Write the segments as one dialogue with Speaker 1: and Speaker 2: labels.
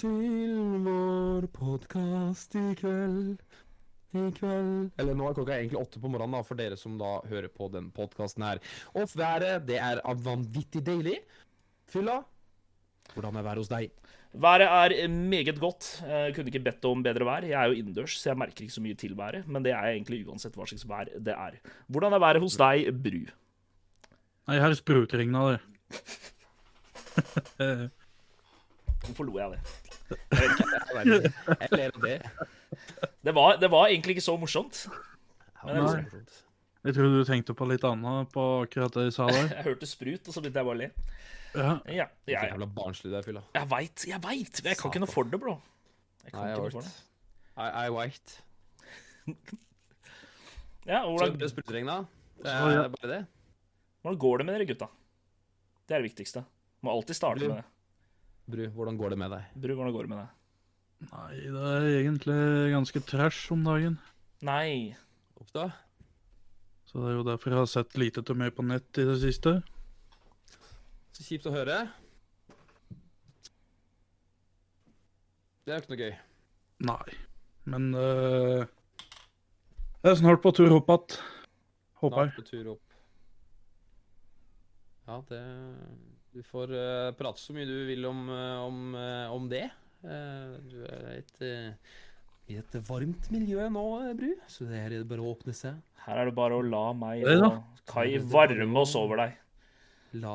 Speaker 1: til vår podkast i kveld. I kveld Eller nå er klokka egentlig åtte på morgenen, da, for dere som da hører på den podkasten her. Og været, det er vanvittig deilig. Fylla, hvordan er været hos deg?
Speaker 2: Været er meget godt. Jeg kunne ikke bedt om bedre vær. Jeg er jo innendørs, så jeg merker ikke så mye til været. Men det er egentlig uansett hva slags vær det er. Hvordan er været hos deg, Bru?
Speaker 3: Nei, her sprutregna det.
Speaker 2: Hvorfor lo jeg av det?
Speaker 1: Jeg ler av det.
Speaker 2: Det var, det var egentlig ikke så morsomt.
Speaker 1: Ja, det er
Speaker 3: Nei.
Speaker 1: morsomt.
Speaker 3: Jeg tror du tenkte på litt annet på akkurat det jeg sa der.
Speaker 2: Jeg hørte sprut, og så begynte jeg bare å le.
Speaker 3: Ja.
Speaker 2: Ja,
Speaker 1: Så
Speaker 2: jeg,
Speaker 1: jævla barnslig du er, Fylla.
Speaker 2: jeg veit, jeg veit! Men jeg kan ikke noe for det, bro. Jeg kan
Speaker 1: Nei,
Speaker 2: ikke
Speaker 1: jeg
Speaker 2: noe for det.
Speaker 1: veit. I veit. Så
Speaker 2: Ja, hvordan,
Speaker 1: det sprutregna. Det
Speaker 3: Så, ja.
Speaker 1: er bare det.
Speaker 2: hvordan går det med dere gutta? Det er det viktigste. Må alltid starte med det.
Speaker 1: Bru, hvordan går det med deg?
Speaker 2: Bru, hvordan går det med deg?
Speaker 3: Nei, det er egentlig ganske trash om dagen.
Speaker 2: Nei.
Speaker 1: Oppstå?
Speaker 3: Så det er jo derfor jeg har sett lite til meg på nett i det siste.
Speaker 1: Så kjipt å høre. Det er jo ikke noe gøy.
Speaker 3: Nei. Men eh, jeg er snart på tur opp igjen. Håper jeg.
Speaker 1: Snart på tur opp. Ja, det Du får eh, prate så mye du vil om, eh, om, eh, om det. Eh, du er i et, eh, i et varmt miljø nå, eh, Bru, så det her er det bare å åpne seg.
Speaker 2: Her er det bare å la meg
Speaker 3: Det da.
Speaker 2: og Kai varme oss over deg.
Speaker 1: La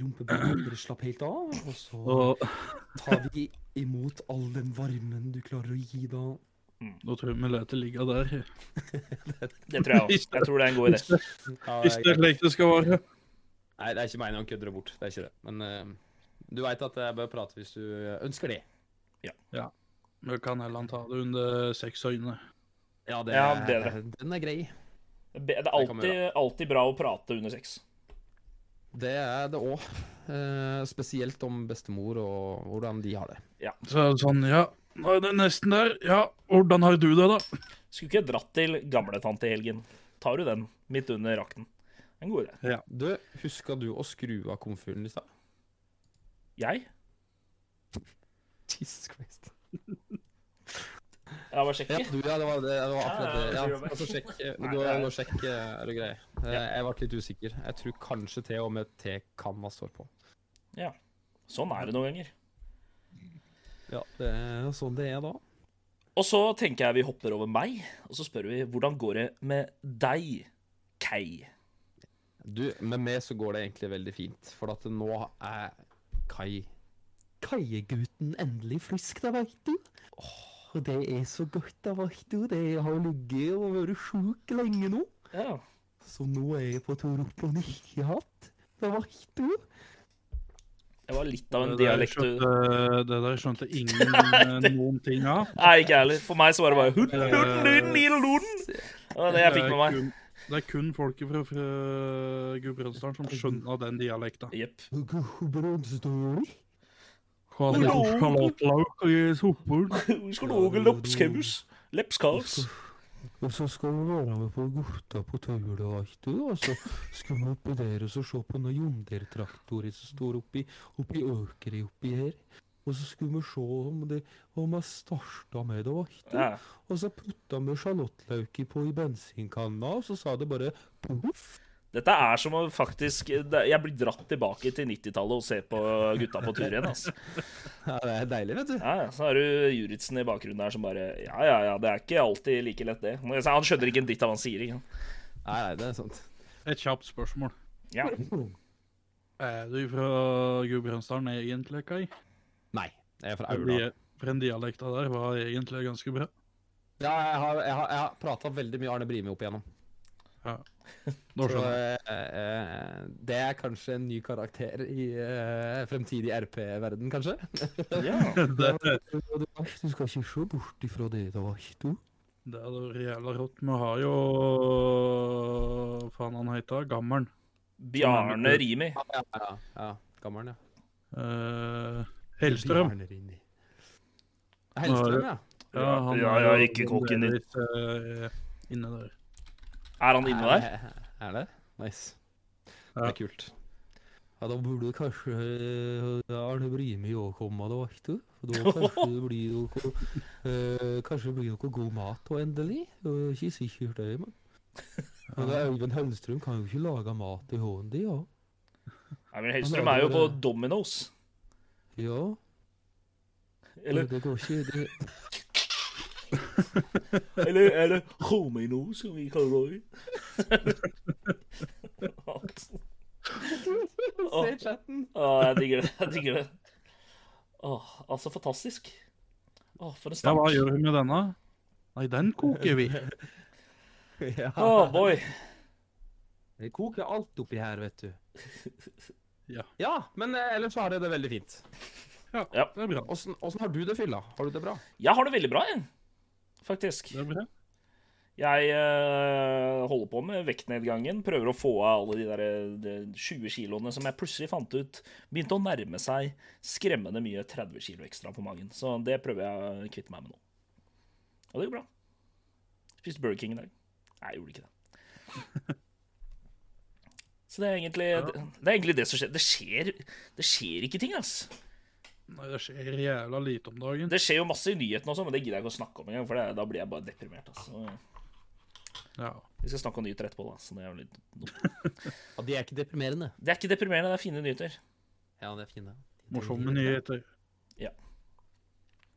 Speaker 1: rumpeballene slappe helt av, og så
Speaker 3: Og
Speaker 1: tar vi imot all den varmen du klarer å gi da.
Speaker 3: da tror jeg vi lar det ligge der.
Speaker 2: Det tror jeg òg. Jeg tror det er en god idé.
Speaker 3: Hvis det, hvis det er slik det skal være.
Speaker 1: Nei, det er ikke meningen å kødde det bort. Det er ikke det. Men eh, du veit at jeg bør prate hvis du eh, ønsker det.
Speaker 3: Vi kan heller ta det under seks øyne.
Speaker 1: Ja, det,
Speaker 2: Ja, det er det.
Speaker 1: den er grei.
Speaker 2: Det
Speaker 1: Det
Speaker 2: er
Speaker 1: kan vi
Speaker 2: alltid, alltid bra å prate under sex.
Speaker 1: Det er det òg. Eh, spesielt om bestemor og hvordan de har det.
Speaker 3: Så er det sånn, ja. Nå er det nesten der. Ja, hvordan har du det, da?
Speaker 2: Skulle ikke dratt til gamletante i helgen. Tar du den midt under rakten? En god idé.
Speaker 1: Du, huska du å skru av komfyren i stad?
Speaker 2: Jeg?
Speaker 1: Jesus Christ.
Speaker 2: Jeg bare
Speaker 1: Ja,
Speaker 2: sjekker.
Speaker 1: du, ja, det var, det, det var akkurat det. Ja,
Speaker 2: Ja, ja, det
Speaker 1: altså, sjekk, eh,
Speaker 2: Nei,
Speaker 1: gå,
Speaker 2: det er-
Speaker 1: gå og sjekk, eh, er du grei. Eh, Jeg ble litt usikker. Jeg tror kanskje til og med tekanna står på.
Speaker 2: Sånn er det noen ganger.
Speaker 1: Ja, det er sånn det er da.
Speaker 2: Og så tenker jeg vi hopper over meg, og så spør vi hvordan går det med deg, Kei?
Speaker 1: Du, med meg så går det egentlig veldig fint, for at nå er Kai Kaiegutten endelig frisk, da, veit du. Og det er så godt, da, veit du. Det har ligget og vært sjuk lenge nå.
Speaker 2: Ja.
Speaker 1: Så nå er jeg på tur opp og nikkehatt, da, veit du.
Speaker 2: Jeg var litt av en
Speaker 3: Det der
Speaker 2: dialekt...
Speaker 3: skjønte, det der skjønte ingen eh, noen ting av.
Speaker 2: Nei, ikke jeg heller. For meg så var det bare hun, hun, hun, hun, hun. Det var det jeg fikk med meg.
Speaker 3: kun- Det er kun folket fra, fra Gudbrandsdalen som skjønner den dialekta.
Speaker 2: Jepp.
Speaker 1: Gudbrandsdølen?
Speaker 2: Hallo.
Speaker 3: Sjalatlauk og jeg sopper.
Speaker 2: Vi skal lage lepskaus. Lepskaus.
Speaker 1: Og så skal vi være med på gutta på Taula, veit du. Og så skal vi oppi der og så se på noen jondertraktorer som står oppi, oppi økeret oppi her. Og så skulle vi se om, det, om jeg starta med det, veit du.
Speaker 2: Ja.
Speaker 1: Og så putta vi sjalottlauki på i bensinkanna, og så sa det bare poff.
Speaker 2: Dette er som å faktisk det- Jeg blir dratt tilbake til 90-tallet og ser på gutta på tur igjen. Altså.
Speaker 1: Ja, det er deilig, vet du.
Speaker 2: Ja, ja, så har du Juritzen i bakgrunnen der som bare Ja, ja, ja, det er ikke alltid like lett, det. Men Han skjønner ikke en dritt av hva han sier. Ikke? sant?
Speaker 1: Nei, nei, det er sant.
Speaker 3: Et kjapt spørsmål.
Speaker 2: Ja.
Speaker 3: Er du fra Gudbrandsdalen egentlig, Kai?
Speaker 1: Nei, jeg er fra Aula.
Speaker 3: Fordi- For den dialekta der var egentlig ganske bra.
Speaker 1: Ja, jeg har, jeg har, jeg har prata veldig mye Arne Brimi opp igjennom.
Speaker 3: Da
Speaker 1: Så,
Speaker 3: skjønner jeg.
Speaker 1: eh, eh, det er kanskje en ny karakter i eh, fremtidig RP-verden, kanskje?
Speaker 2: ja.
Speaker 3: Det,
Speaker 1: Du skal ikke se bort ifra det, da, du.
Speaker 3: det er jo jævla rått. Vi har jo Faen, han heter Gammelen.
Speaker 2: Bjarne Rimi.
Speaker 1: Ja, ja, ja. Gammel, ja.
Speaker 3: Eh, Hellstrøm.
Speaker 1: Hellstrøm, ja.
Speaker 3: Ja, han
Speaker 2: Ja,
Speaker 3: er
Speaker 2: ja,
Speaker 3: jo
Speaker 2: ikke kokken din.
Speaker 3: delvis, eh, Inne der.
Speaker 2: Er han inne der?
Speaker 1: Er- Er det? Nice.
Speaker 3: Ja.
Speaker 1: Det er kult. Ja, da burde det kanskje eh, Arne Brimi òg komme, da, veit du. For Da kanskje det blir noe, eh, kanskje det blir noe god mat og endelig. Og ikke sikkert det, men Men Øyvind Hellstrøm kan jo ikke lage mat til hånden din, ja.
Speaker 2: Nei, men Hellstrøm er jo på Domino's.
Speaker 1: ja.
Speaker 2: Eller,
Speaker 1: Det går ikke det,
Speaker 2: eller, eller Homino, som vi kaller det. Se
Speaker 1: chatten.
Speaker 2: Å, jeg digger det. Jeg digger det. Å, altså, fantastisk. Å, for en
Speaker 3: Ja, hva
Speaker 2: start.
Speaker 3: gjør vi med denne? Nei, den koker vi.
Speaker 1: Ja.
Speaker 2: Å, boy.
Speaker 1: Det koker alt oppi her, vet du.
Speaker 3: Ja.
Speaker 1: ja, men eh, ellers har jeg det veldig fint.
Speaker 3: Ja,
Speaker 2: Ja.
Speaker 3: det er bra.
Speaker 1: Åssen åssen har du det, Fylla? Har du det bra?
Speaker 2: Jeg har det veldig bra, jeg. Faktisk.
Speaker 3: Det er bra.
Speaker 2: Jeg eh, holder på med vektnedgangen. Prøver å få av alle de der eh, de 20 kiloene som jeg plutselig fant ut begynte å nærme seg skremmende mye 30 kilo ekstra på magen. Så det prøver jeg å kvitte meg med nå. Og det går bra. Spiste Burger King i dag. Nei, jeg gjorde ikke det. Så det er egentlig det, det, er egentlig det som skjer. Det skjer, det skjer ikke ting, ass.
Speaker 3: Nei, det skjer jævla lite om dagen.
Speaker 2: Det skjer jo masse i nyhetene også, men det gidder jeg ikke å snakke om engang, for det, da blir jeg bare deprimert. Altså.
Speaker 3: Ja.
Speaker 2: Vi skal snakke om nyheter etterpå, da. Så det er jo litt dumt.
Speaker 1: Ja, De er ikke deprimerende.
Speaker 2: Det er ikke deprimerende, det er fine nyheter.
Speaker 1: Ja, det er fine.
Speaker 3: Morsomme nyheter.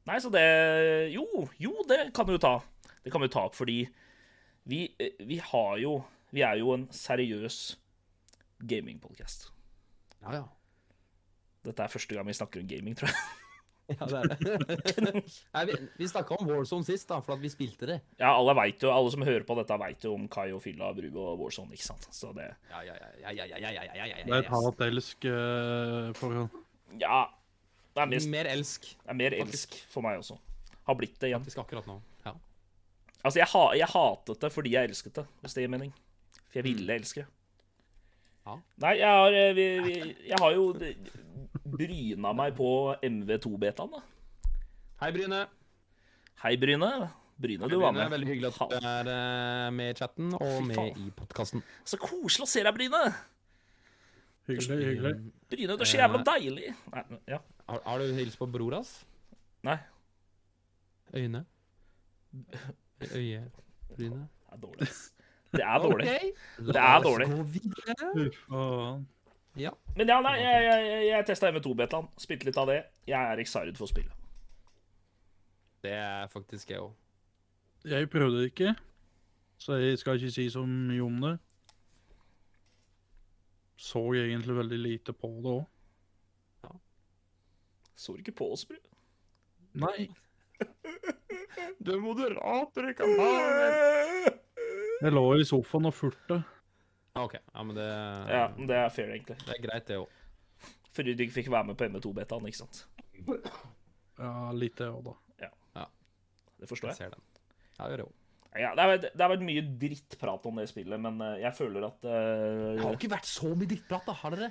Speaker 2: Nei, så det Jo, jo, det kan vi jo ta. Det kan vi jo ta opp, fordi vi, eh, vi har jo Vi er jo en seriøs gamingpodkast.
Speaker 1: Ja, ja.
Speaker 2: Dette er første gang vi snakker om gaming, tror jeg.
Speaker 1: Ja, det er det. Nei, vi vi snakka om Warzone sist, da, for at vi spilte det.
Speaker 2: Ja, alle vet jo, alle som hører på dette, veit jo om Kai og Fylla, Bru og Warzone, ikke sant. Så det
Speaker 1: Ja, ja, ja, ja, ja, ja, ja, ja, ja,
Speaker 3: Det er et eh, halatelsk forhold.
Speaker 2: Ja. Det er, mest,
Speaker 1: Mer elsk,
Speaker 2: det er mer elsk for meg også. Har blitt det igjen.
Speaker 1: faktisk akkurat nå. Ja.
Speaker 2: Altså, jeg, ha, jeg hatet det fordi jeg elsket det, hvis det gir mening. For jeg ville elske det.
Speaker 1: Mm. Ja.
Speaker 2: Nei, jeg har, eh, vi, vi, jeg har jo bryna meg på MV2-betaen, da.
Speaker 1: Hei, Bryne.
Speaker 2: Hei, Bryne. Bryne, du var
Speaker 1: Bryne,
Speaker 2: med.
Speaker 1: Veldig hyggelig at du er eh, med i chatten og
Speaker 2: Fy faen.
Speaker 1: med i podkasten.
Speaker 2: Så koselig å se deg, Bryne.
Speaker 3: Hyggelig, hyggelig.
Speaker 2: Bryne, du er så jævla deilig. Nei, men- ja.
Speaker 1: Har, har du hilst på bror hans?
Speaker 2: Nei,
Speaker 1: Øyne? Øye... Bryne?
Speaker 2: det er dårlig. ass. Det er dårlig.
Speaker 1: Ok,
Speaker 2: Det
Speaker 1: la
Speaker 2: er
Speaker 1: oss
Speaker 2: dårlig.
Speaker 1: gå videre.
Speaker 3: Fy faen.
Speaker 1: Ja.
Speaker 2: Men ja, nei, jeg, jeg, jeg testa MV2-betaen. Spilte litt av det. Jeg er excited for å spille.
Speaker 1: Det er faktisk jeg òg.
Speaker 3: Jeg prøvde det ikke, så jeg skal ikke si så mye om det. Så egentlig veldig lite på det òg.
Speaker 2: Så du ikke på oss, Bru?
Speaker 3: Nei,
Speaker 1: Du er moderator, ikke sant?
Speaker 3: jeg lå i sofaen og furte.
Speaker 1: OK, ja, men det,
Speaker 2: Ja, men det er fair, egentlig.
Speaker 1: det er greit, det òg.
Speaker 2: Fordi du ikke fikk være med på MV2-betaen, ikke sant.
Speaker 3: Ja, litt det òg, da.
Speaker 2: Det forstår jeg.
Speaker 1: Jeg ser den. Ja, gjør det òg.
Speaker 2: Ja, det, har vært, det har vært mye drittprat om det spillet, men eh, jeg føler at eh,
Speaker 1: Det har jo ikke vært så mye drittprat, da. Har dere?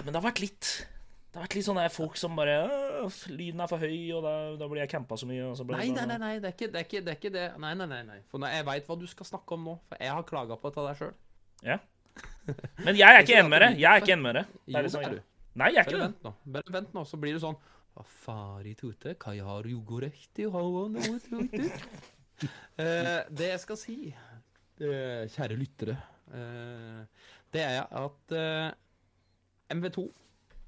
Speaker 2: Men det har vært litt. Det har vært litt sånn der folk som bare «Åh, Lyden er for høy, og da, da blir jeg campa så mye. Og så blir
Speaker 1: Nei,
Speaker 2: det
Speaker 1: nei,
Speaker 2: sånn,
Speaker 1: nei, nei, det er ikke det. Er ikke, det, er ikke det. Nei, nei, nei, nei. For nå- jeg veit hva du skal snakke om nå. For jeg har klaga på dette der sjøl.
Speaker 2: Men jeg er ikke
Speaker 1: Det er
Speaker 2: enig med det. Jeg er ikke enig med det. Det
Speaker 1: Jo,
Speaker 2: litt sånn-
Speaker 1: det er du.
Speaker 2: Nei, jeg
Speaker 1: Bare
Speaker 2: er ikke det.
Speaker 1: vent nå, bare vent nå, så blir du sånn Hva fari tute, hva jeg har jo gått riktig og har noe tute? Eh, Det jeg skal si, eh, kjære lyttere, eh, det er at eh, MV2,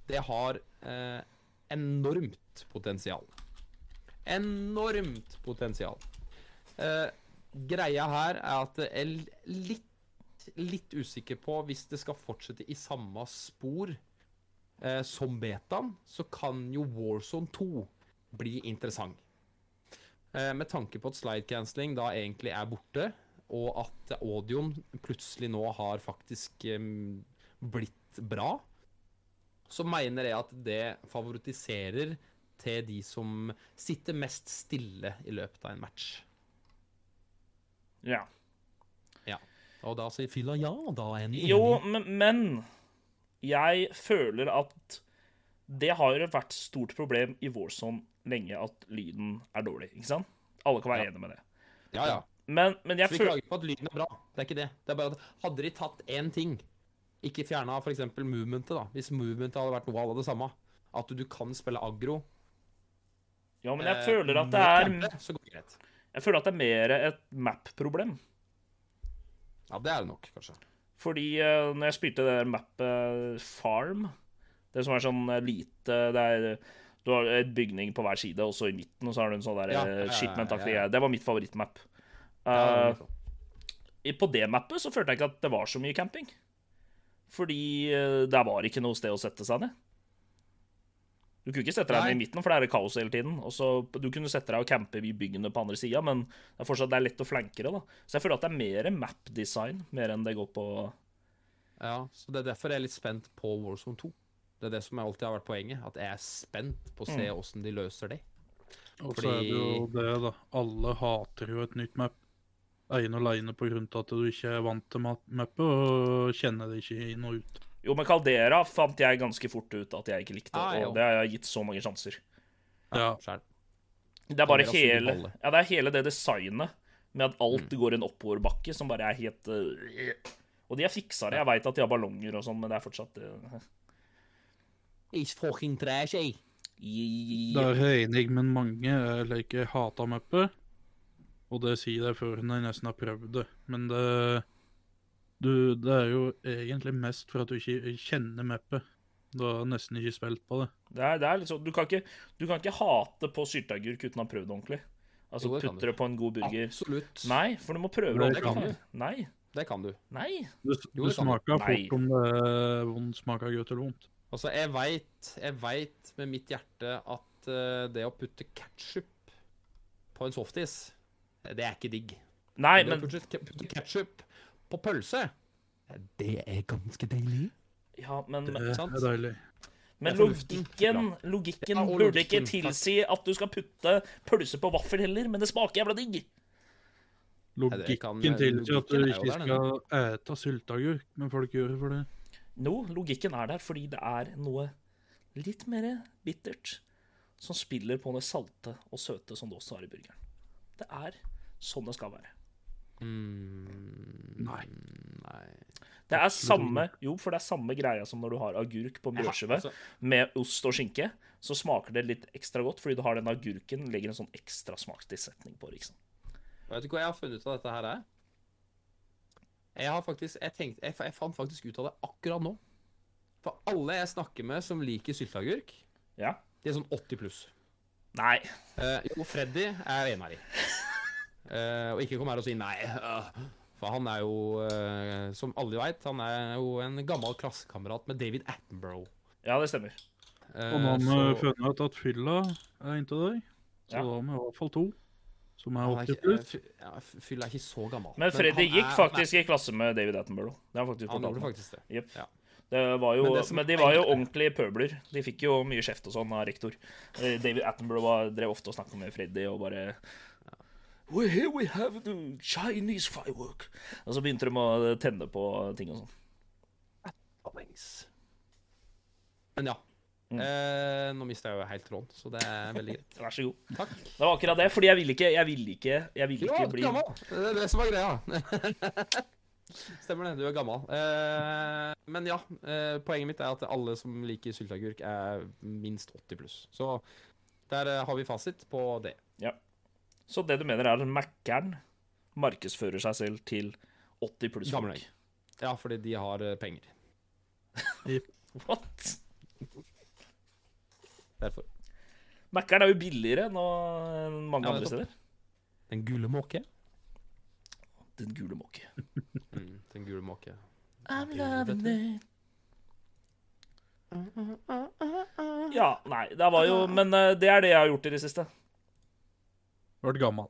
Speaker 1: det har eh, enormt potensial. Enormt potensial. Eh, Greia her er at jeg er litt, litt usikker på hvis det skal fortsette i samme spor eh, som betaen, så kan jo Warzone 2 bli interessant. Eh, med tanke på at slide cancelling da egentlig er borte, og at audioen plutselig nå har faktisk em, blitt bra, så mener jeg at det favoritiserer til de som sitter mest stille i løpet av en match.
Speaker 2: Ja.
Speaker 1: Og da sier Fylla ja, da er en
Speaker 2: Jo, men, men jeg føler at det har jo vært stort problem i Warzone lenge at lyden er dårlig, ikke sant? Alle kan være
Speaker 1: Ja.
Speaker 2: enige med det.
Speaker 1: Ja, ja.
Speaker 2: Men, men jeg
Speaker 1: Så vi
Speaker 2: føler
Speaker 1: klager på at lyden er bra. Det er ikke det. Det er bare at hadde de tatt én ting Ikke fjerna f.eks. movementet, da. Hvis movementet hadde vært noe av det samme. At du kan spille aggro.
Speaker 2: Ja, men jeg
Speaker 1: eh,
Speaker 2: føler at det
Speaker 1: med
Speaker 2: er
Speaker 1: camper, Så går det greit.
Speaker 2: Jeg føler at det er mer et map-problem.
Speaker 1: Ja, det er det nok, kanskje.
Speaker 2: Fordi eh, når jeg spilte det der mappet Farm Det som er sånn eh, lite Det er Du har et bygning på hver side, og så i midten, og så har du en sånn der
Speaker 1: Ja,
Speaker 2: eh,
Speaker 1: ja, ja,
Speaker 2: shipment-aktig
Speaker 1: ja, ja.
Speaker 2: greie. Det var mitt favorittmap.
Speaker 1: Ja, det
Speaker 2: Eh,
Speaker 1: er nok.
Speaker 2: i- på det mappet så følte jeg ikke at det var så mye camping. Fordi eh, der var ikke noe sted å sette seg ned. Du kunne ikke sette deg
Speaker 1: Nei.
Speaker 2: ned i midten, for der er det kaos hele tiden. Og så Du kunne sette deg og campe i byggene på andre sida, men det er fortsatt det er lett å flanke det. da. Så jeg føler at det er mer map-design mer enn det går på
Speaker 1: ja, så det er derfor jeg er litt spent på Warzone 2. Det er det som alltid har vært poenget. At jeg er spent på å se åssen de løser det.
Speaker 3: Og så er det jo det, da. Alle hater jo et nytt map. Ene og aleine på grunn av at du ikke er vant til ma- mappet og kjenner det ikke inn og ut.
Speaker 2: Jo, men Caldera fant jeg ganske fort ut at jeg ikke likte,
Speaker 1: Ah, jo.
Speaker 2: og det har jeg gitt så mange sjanser.
Speaker 3: Ja,
Speaker 1: Skjær.
Speaker 2: Det er bare
Speaker 1: Caldera suger
Speaker 2: hele,
Speaker 1: baller.
Speaker 2: ja, det, er hele det designet med at alt
Speaker 1: Mm.
Speaker 2: går en oppoverbakke som bare er helt øh, Og de har fiksa det. Jeg veit at de har ballonger og sånn, men det er fortsatt øh,
Speaker 1: It's fucking trash, eh.
Speaker 2: i-
Speaker 3: Der er jeg enig, men mange er eller ikke hata mappet. Og det sier jeg før når jeg nesten har prøvd det. Men det, du, det er jo egentlig mest for at du ikke kjenner mappet. Du har nesten ikke spilt på det.
Speaker 2: Det er, det er liksom, du, kan ikke, du kan ikke hate på sylteagurk uten å ha prøvd det ordentlig. Altså
Speaker 1: Jo, det kan du.
Speaker 2: putte det på en god burger.
Speaker 1: Absolutt.
Speaker 2: Nei, for du må prøve
Speaker 3: Nei,
Speaker 2: det
Speaker 1: det kan
Speaker 2: ordentlig.
Speaker 1: du.
Speaker 2: Nei.
Speaker 1: Det kan du.
Speaker 2: Nei.
Speaker 1: Jo,
Speaker 3: Du, du
Speaker 1: det kan du.
Speaker 3: smaker
Speaker 2: Nei.
Speaker 3: fort om det er vond smak av godt eller vondt.
Speaker 1: Altså, jeg veit, jeg vet med mitt hjerte at eh, det å putte ketsjup på en softis, det er ikke digg.
Speaker 2: Nei,
Speaker 1: Men
Speaker 2: men
Speaker 1: det å putte- putte ketsjup på pølse, det er ganske deilig.
Speaker 2: Ja, men
Speaker 3: Det
Speaker 1: sant?
Speaker 3: er deilig.
Speaker 2: Men
Speaker 1: Det er fornuften.
Speaker 2: logikken,
Speaker 1: Bra.
Speaker 2: logikken
Speaker 1: Ja, og
Speaker 2: burde ikke
Speaker 1: logikken, takk.
Speaker 2: tilsi at du skal putte pølse på vaffel heller, men det smaker jævla digg.
Speaker 1: det kan- eh,
Speaker 3: Logikken tilsier
Speaker 1: logikken
Speaker 3: at du
Speaker 1: er jo
Speaker 3: ikke
Speaker 1: der,
Speaker 3: skal ete sylteagurk, men folk gjør det for det.
Speaker 2: No, logikken er der fordi det er noe litt mer bittert som spiller på det salte og søte som det også er i burgeren. Det er sånn det skal være.
Speaker 3: Nei.
Speaker 1: Mm, Nei.
Speaker 2: Det er samme, jo, for det er samme greia som når du har agurk på
Speaker 1: Ja,
Speaker 2: brødskive
Speaker 1: altså-
Speaker 2: med ost og skinke, så smaker det litt ekstra godt fordi du har den agurken, legger en sånn ekstra smakstilsetning på, liksom.
Speaker 1: Vet du hva jeg har funnet ut av dette her er? Jeg har faktisk, jeg tenkte, jeg, fa- jeg fant faktisk ut av det akkurat nå. For alle jeg snakker med som liker sylteagurk,
Speaker 2: Ja.
Speaker 1: de er sånn 80 pluss.
Speaker 2: Nei.
Speaker 1: Eh, jo, Freddy er enig her i. Eh, og ikke kom her og si nei. øh, For han er jo, eh, som alle veit, han er jo en gammel klassekamerat med David Attenborough.
Speaker 2: Ja, det stemmer.
Speaker 1: Eh,
Speaker 3: Og nå har vi
Speaker 1: så-
Speaker 3: funnet ut at fylla er inntil deg, så
Speaker 2: Ja.
Speaker 3: da har vi i hvert fall to som er
Speaker 1: han er
Speaker 3: 80
Speaker 1: ikke-
Speaker 3: pluss.
Speaker 1: eh, fy- ja, f- Fyll er ikke så gammel.
Speaker 2: Men Freddy
Speaker 1: han
Speaker 2: gikk
Speaker 1: er-
Speaker 2: faktisk i klasse med David Attenborough. Det har han faktisk
Speaker 1: Han, er- han
Speaker 2: fortalt
Speaker 1: gjorde
Speaker 2: meg.
Speaker 1: faktisk det.
Speaker 2: Jep.
Speaker 1: Ja.
Speaker 2: Det var jo,
Speaker 1: Men
Speaker 2: men,
Speaker 1: det som-
Speaker 2: de var jo ordentlige pøbler. De fikk jo mye kjeft og sånn av rektor. Eh, David Attenborough var, drev ofte og snakka med Freddy og bare well, here we have the Chinese firework. Og så begynte de å tenne på ting og sånn.
Speaker 1: Allings. Men ja.
Speaker 2: Mm.
Speaker 1: Eh, nå mista jeg jo helt tråden, så det er veldig greit.
Speaker 2: Vær så god.
Speaker 1: Takk.
Speaker 2: Det var akkurat det, fordi jeg ville ikke Jeg ville ikke, jeg ville
Speaker 1: Du er
Speaker 2: ikke
Speaker 1: alltid
Speaker 2: bli
Speaker 1: gammel. Det er det som er greia. Stemmer det, du er gammel. Eh, men ja, eh, poenget mitt er at alle som liker sylteagurk, er minst 80 pluss. Så der eh, har vi fasit på det.
Speaker 2: Så det du mener, er at Mækkern markedsfører seg selv til 80 pluss
Speaker 1: Gamle
Speaker 2: folk?
Speaker 1: Ja, fordi de har eh, penger.
Speaker 2: What?
Speaker 1: Derfor.
Speaker 2: Mækkern er jo billigere enn å- enn mange
Speaker 1: Ja, det er
Speaker 2: andre
Speaker 1: sant.
Speaker 2: steder.
Speaker 1: Den gule måke.
Speaker 2: Den gule måke.
Speaker 1: Mm, den gule måke.
Speaker 2: I'm
Speaker 1: loving
Speaker 2: it. Ja, nei, det var jo Men eh, det er det jeg har gjort i det siste.
Speaker 3: Vært gammal.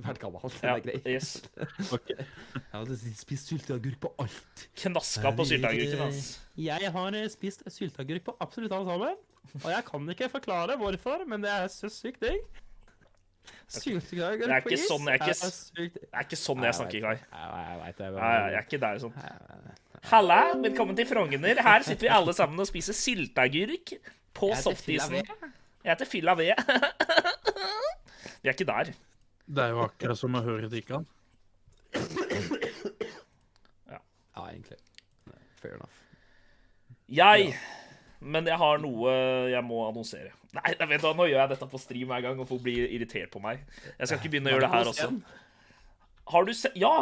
Speaker 1: Vært gammel. Den
Speaker 2: Ja,
Speaker 1: er grei.
Speaker 2: yes.
Speaker 1: Jeg har spist sylteagurk på alt.
Speaker 2: Knaska på sylteagurken hans.
Speaker 1: Jeg har eh, spist sylteagurk på absolutt alle sammen. Og jeg kan ikke forklare hvorfor, men det er så sykt digg.
Speaker 2: Det er
Speaker 1: Sylteagurk på
Speaker 2: ikke
Speaker 1: is
Speaker 2: sånn, jeg er ikke s-
Speaker 1: sykt digg.
Speaker 2: Det er ikke sånn jeg snakker, Kai.
Speaker 1: Nei, jeg vet det.
Speaker 2: Nei, jeg er ikke der sånn. Halla, velkommen til Frogner. Her sitter vi alle sammen og spiser sylteagurk på
Speaker 1: Jeg heter Phil
Speaker 2: softisen.
Speaker 1: Avé.
Speaker 2: Jeg heter Fylla Ved. Vi er ikke der.
Speaker 3: Det er jo akkurat som å høre Tikkan.
Speaker 1: Ja, egentlig. Fair enough.
Speaker 2: Jeg Men jeg har noe jeg må annonsere. Nei, nei, vet du hva, nå gjør jeg dette på stream hver gang, og folk blir irritert på meg. Jeg skal ikke begynne å gjøre det her også. Har du sett Ja!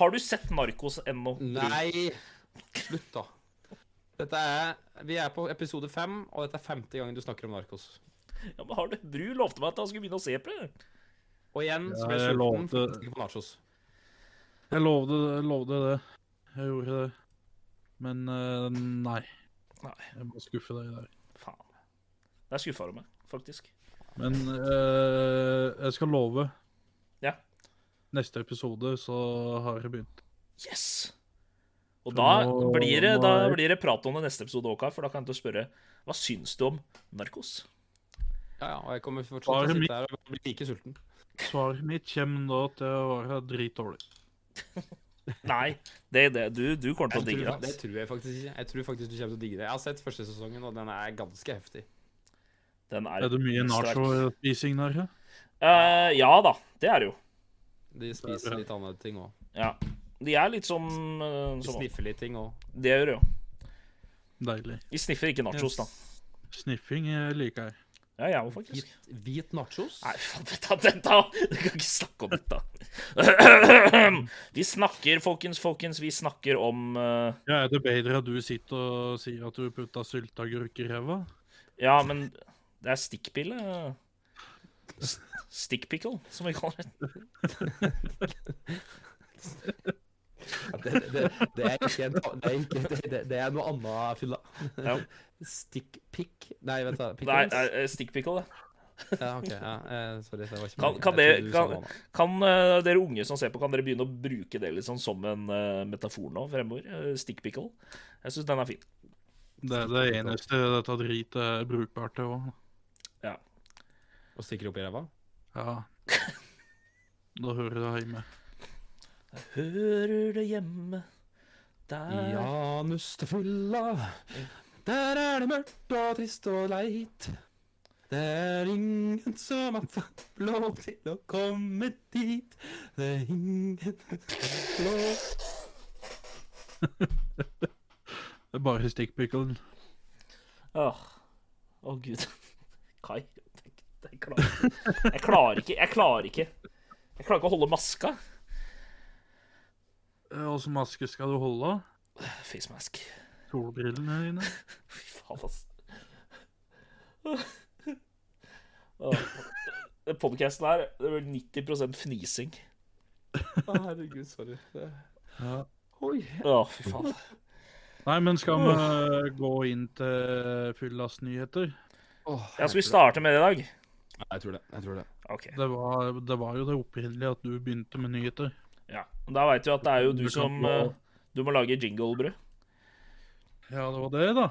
Speaker 2: Har du sett Narkos ennå?
Speaker 1: Nei! Slutt, da. Dette er Vi er på episode fem, og dette er femte gangen du snakker om narkos.
Speaker 2: Ja, men har du Bru lovte meg at han skulle begynne å se på det.
Speaker 1: Og igjen så ble
Speaker 3: Jeg
Speaker 1: jeg sulten.
Speaker 3: lovte-
Speaker 1: for jeg tenker på nachos.
Speaker 3: Jeg lovde, jeg lovde det. Jeg gjorde det. Men eh, nei.
Speaker 2: Nei.
Speaker 3: Jeg må skuffe deg der.
Speaker 2: Faen. Det er skuffa over meg, faktisk.
Speaker 3: Men eh, jeg skal love.
Speaker 2: Ja.
Speaker 3: Neste episode så har jeg begynt.
Speaker 2: Yes! Og da
Speaker 3: Nå-
Speaker 2: blir, det, da
Speaker 3: nå er-
Speaker 2: blir det prat om det neste episode òg, for da kan jeg til å spørre Hva syns du om Narkos?
Speaker 1: Ja, ja, og jeg kommer fortsatt
Speaker 3: Bare
Speaker 1: til å
Speaker 3: mitt-
Speaker 1: sitte her og bli like sulten.
Speaker 3: Svaret mitt kommer da til å være dritdårlig.
Speaker 2: Nei, det, det, du, du kommer
Speaker 1: Jeg
Speaker 2: til å
Speaker 1: tror,
Speaker 2: digge
Speaker 1: fa- det
Speaker 2: det. ass.
Speaker 1: tror jeg faktisk ikke. Jeg tror faktisk du kommer til å digge det. Jeg har sett første sesongen, og den er ganske heftig.
Speaker 2: Den er,
Speaker 3: Er det mye
Speaker 2: sterk.
Speaker 3: nachospising der? ja?
Speaker 2: Eh, ja da, det er det jo.
Speaker 1: De spiser litt andre ting òg.
Speaker 2: Ja. De er litt som, eh,
Speaker 1: De
Speaker 2: som
Speaker 1: sniffer litt ting òg.
Speaker 2: Det gjør de jo.
Speaker 3: Deilig.
Speaker 2: De sniffer ikke nachos, da.
Speaker 3: Sniffing eh, liker jeg.
Speaker 2: Ja, jeg òg, faktisk.
Speaker 1: Hvit, hvit nachos?
Speaker 2: Nei, faen, dette, dette Du kan ikke snakke om dette. Vi snakker, folkens, folkens, vi snakker om eh,
Speaker 3: Ja, Er det bedre at du sitter og sier at du putta sylteagurk i ræva?
Speaker 2: Ja, men det er stikkpille. S- Stickpickle, som vi kaller det.
Speaker 1: Ja, Det, det, det, er ikke en, ta- det, er ikke, det, det, det er noe annet fylla.
Speaker 2: Ja.
Speaker 1: Stikkpikk? Nei, vent da.
Speaker 2: Nei,
Speaker 1: Pickles?
Speaker 2: nei, eh, stickpickle, det.
Speaker 1: Ja, ok. Ja, eh, sorry, det var ikke
Speaker 2: Kan-
Speaker 1: meningen.
Speaker 2: kan
Speaker 1: Jeg
Speaker 2: det-
Speaker 1: trodde du
Speaker 2: kan-
Speaker 1: sa noe annet.
Speaker 2: Kan eh, dere unge som ser på, kan dere begynne å bruke det litt sånn som en eh, metafor nå fremover? Eh, stickpickle. Jeg syns den er fin.
Speaker 3: Det er det eneste dette dritet er brukbart til òg.
Speaker 1: Og stikker opp i ræva?
Speaker 3: Ja. Da hører det hjemme.
Speaker 2: Hører det hjemme der
Speaker 1: Janus til fylla, der er det mørkt og trist og leit. Det er ingen som har fått lov til å komme dit. Det er ingen lov
Speaker 3: Det er bare stikkpikkelen.
Speaker 2: Åh. Å, gud. Kai, tenk- jeg klarer, jeg klarer ikke. Jeg klarer ikke Jeg klarer ikke å holde maska.
Speaker 3: Åssen Eh, maske skal du holde? av?
Speaker 2: Face mask.
Speaker 3: Solbrillene dine?
Speaker 2: Fy faen, ass. Åh. Den Podcasten her det er vel 90 fnising.
Speaker 1: Å, herregud, sorry. Det...
Speaker 3: Ja.
Speaker 1: Oi.
Speaker 2: Å, fy faen.
Speaker 3: Nei, men skal vi eh, gå inn til fyllas nyheter?
Speaker 1: Åh,
Speaker 2: Ja, skal vi starte med det i dag?
Speaker 1: Jeg tror det. jeg tror det.
Speaker 2: OK.
Speaker 3: Det var, det var jo det opprinnelige at du begynte med nyheter.
Speaker 2: Ja. Da veit vi at det er jo du som eh, Du må lage jinglebrød.
Speaker 3: Ja, det var det, da.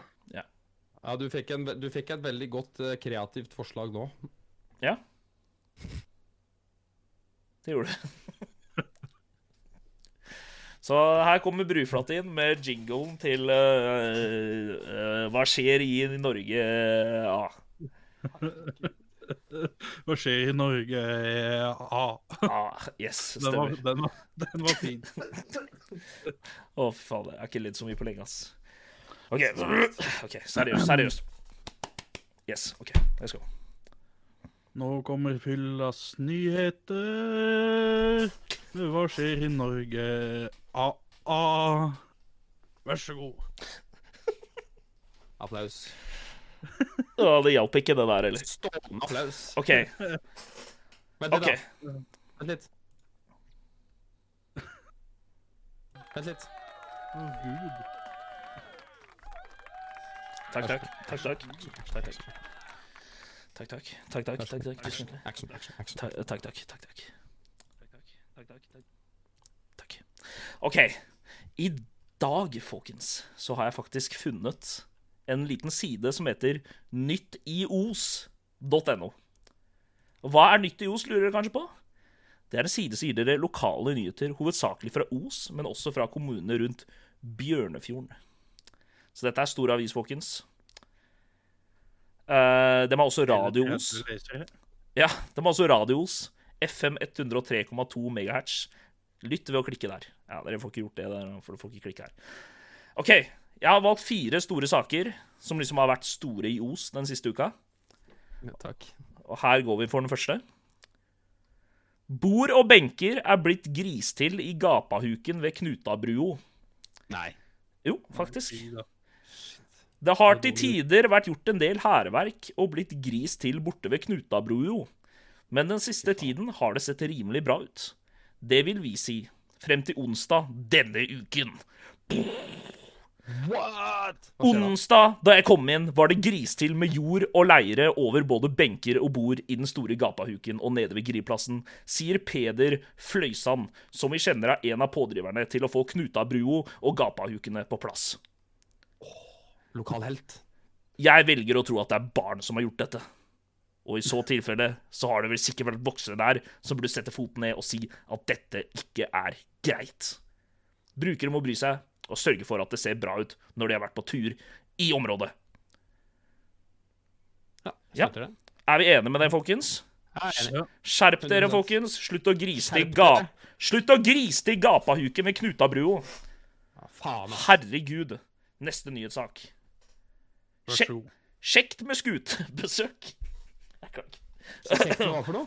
Speaker 1: Ja, du fikk, en, du fikk et veldig godt eh, kreativt forslag nå.
Speaker 2: Det gjorde du. Så her kommer Bruflatt inn med jinglen til eh, eh, Hva skjer i Norge? Ah, Ja.
Speaker 3: Hva skjer i Norge? Eh, Ja,
Speaker 2: Ja, ah, yes,
Speaker 3: den var,
Speaker 2: stemmer. Å,
Speaker 3: den var, den var fin.
Speaker 2: fy faen. Jeg har ikke ledd så mye på lenge, ass. OK, ok, seriøst. Seriøst. Yes, OK. Let's go.
Speaker 3: Nå kommer fyllas nyheter. Hva skjer i Norge? Ah, ah. Vær så god.
Speaker 1: Applaus.
Speaker 2: Å, det hjalp ikke, det der heller.
Speaker 1: Stående applaus.
Speaker 2: OK.
Speaker 1: Vent litt,
Speaker 2: ok.
Speaker 1: da. Vent litt. Vent litt.
Speaker 3: Å, Gud.
Speaker 2: Takk, takk. Takk, takk. Takk, takk. Takk, takk. Takk, takk. Takk, takk. Tusen hjertelig.
Speaker 1: Action, action, action.
Speaker 2: Ta- Takk, takk, takk, takk. Takk, takk, takk. Takk. OK. I dag, folkens, så har jeg faktisk funnet en liten side som heter nyttios.no. Hva er Nytt i Os, lurer dere kanskje på? Det er en side som gir dere lokale nyheter, hovedsakelig fra Os, men også fra kommunene rundt Bjørnefjorden. Så dette er stor avis, folkens. Eh, de har også Radio Os.
Speaker 3: Jeg leser det.
Speaker 2: Ja, det var altså radios. FM 103,2 MHz. Lytt ved å klikke der. Ja, dere får ikke gjort det, der, for dere får ikke klikke her. OK. Jeg har valgt fire store saker som liksom har vært store i Os den siste uka.
Speaker 1: Ja, takk.
Speaker 2: Og her går vi for den første. Bord og benker er blitt gristill i gapahuken ved Knutabrua.
Speaker 1: Nei.
Speaker 2: Jo, faktisk.
Speaker 3: Fy da.
Speaker 2: Det har til tider vært gjort en del hærverk og blitt gris til borte ved Knutabrua, men den siste tiden har det sett rimelig bra ut. Det vil vi si frem til onsdag denne uken.
Speaker 1: What? Hva skjer da?
Speaker 2: Onsdag da jeg kom inn, var det gristill med jord og leire over både benker og bord i den store gapahuken og nede ved Griplassen, sier Peder Fløysand, som vi kjenner er en av pådriverne til å få Knutabrua og gapahukene på plass.
Speaker 1: Lokal helt.
Speaker 2: Jeg velger å tro at det er barn som har gjort dette. Og i så tilfelle så har det vel sikkert vært voksne der som burde sette foten ned og si at dette ikke er greit. Brukere må bry seg og sørge for at det ser bra ut når de har vært på tur i området.
Speaker 1: Ja,
Speaker 2: Ja.
Speaker 1: skjønte det.
Speaker 2: Er vi enige med det, folkens?
Speaker 1: Jeg er enig.
Speaker 3: Ja.
Speaker 2: Skjerp dere, folkens. Slutt å grise til
Speaker 1: Skjerp
Speaker 2: ga...
Speaker 1: dere.
Speaker 2: Slutt å grise til gapahuken ved Knutabrua.
Speaker 1: Ja, faen, ass.
Speaker 2: Herregud. Neste nyhetssak.
Speaker 3: Vær
Speaker 2: Sjekk-
Speaker 3: så god.
Speaker 2: Sjekt med skutebesøk. Jeg kan ikke.
Speaker 1: Sjekk hva for noe.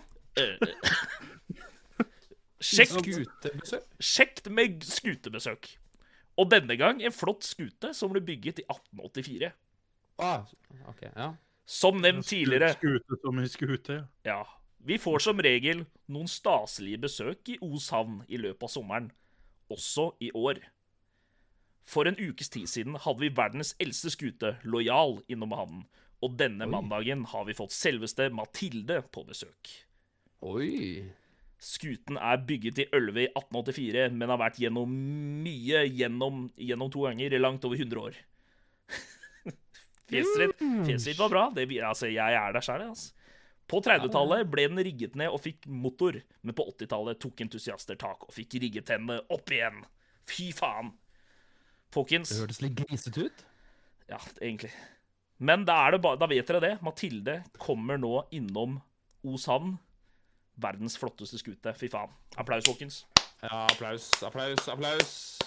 Speaker 2: Sjekt
Speaker 1: Skutebesøk.
Speaker 2: Sjekt med skutebesøk. Og denne gang en flott skute som ble bygget i 1884.
Speaker 1: Ah, ok, ja.
Speaker 2: Som nevnt tidligere
Speaker 3: Skute som i skute, ja.
Speaker 2: ja, Vi får som regel noen staselige besøk i Os havn i løpet av sommeren. Også i år. For en ukes tid siden hadde vi verdens eldste skute, Lojal, innom havnen. Og denne mandagen har vi fått selveste Mathilde på besøk.
Speaker 1: Oi.
Speaker 2: Skuten er bygget i Ølve i 1884, men har vært gjennom mye gjennom, gjennom to ganger i langt over 100 år. Fjeset ditt- fjeset ditt var bra. Det, vi- altså, jeg er der sjæl, altså. På 30-tallet ble den rigget ned og fikk motor, men på 80-tallet tok entusiaster tak og fikk rigget henne opp igjen. Fy faen. Folkens.
Speaker 1: Det hørtes litt grisete ut.
Speaker 2: Ja, egentlig. Men da, er det ba da vet dere det. Mathilde kommer nå innom Os havn. Verdens flotteste skute. Fy faen. Applaus, folkens.
Speaker 1: Ja, applaus, applaus, applaus.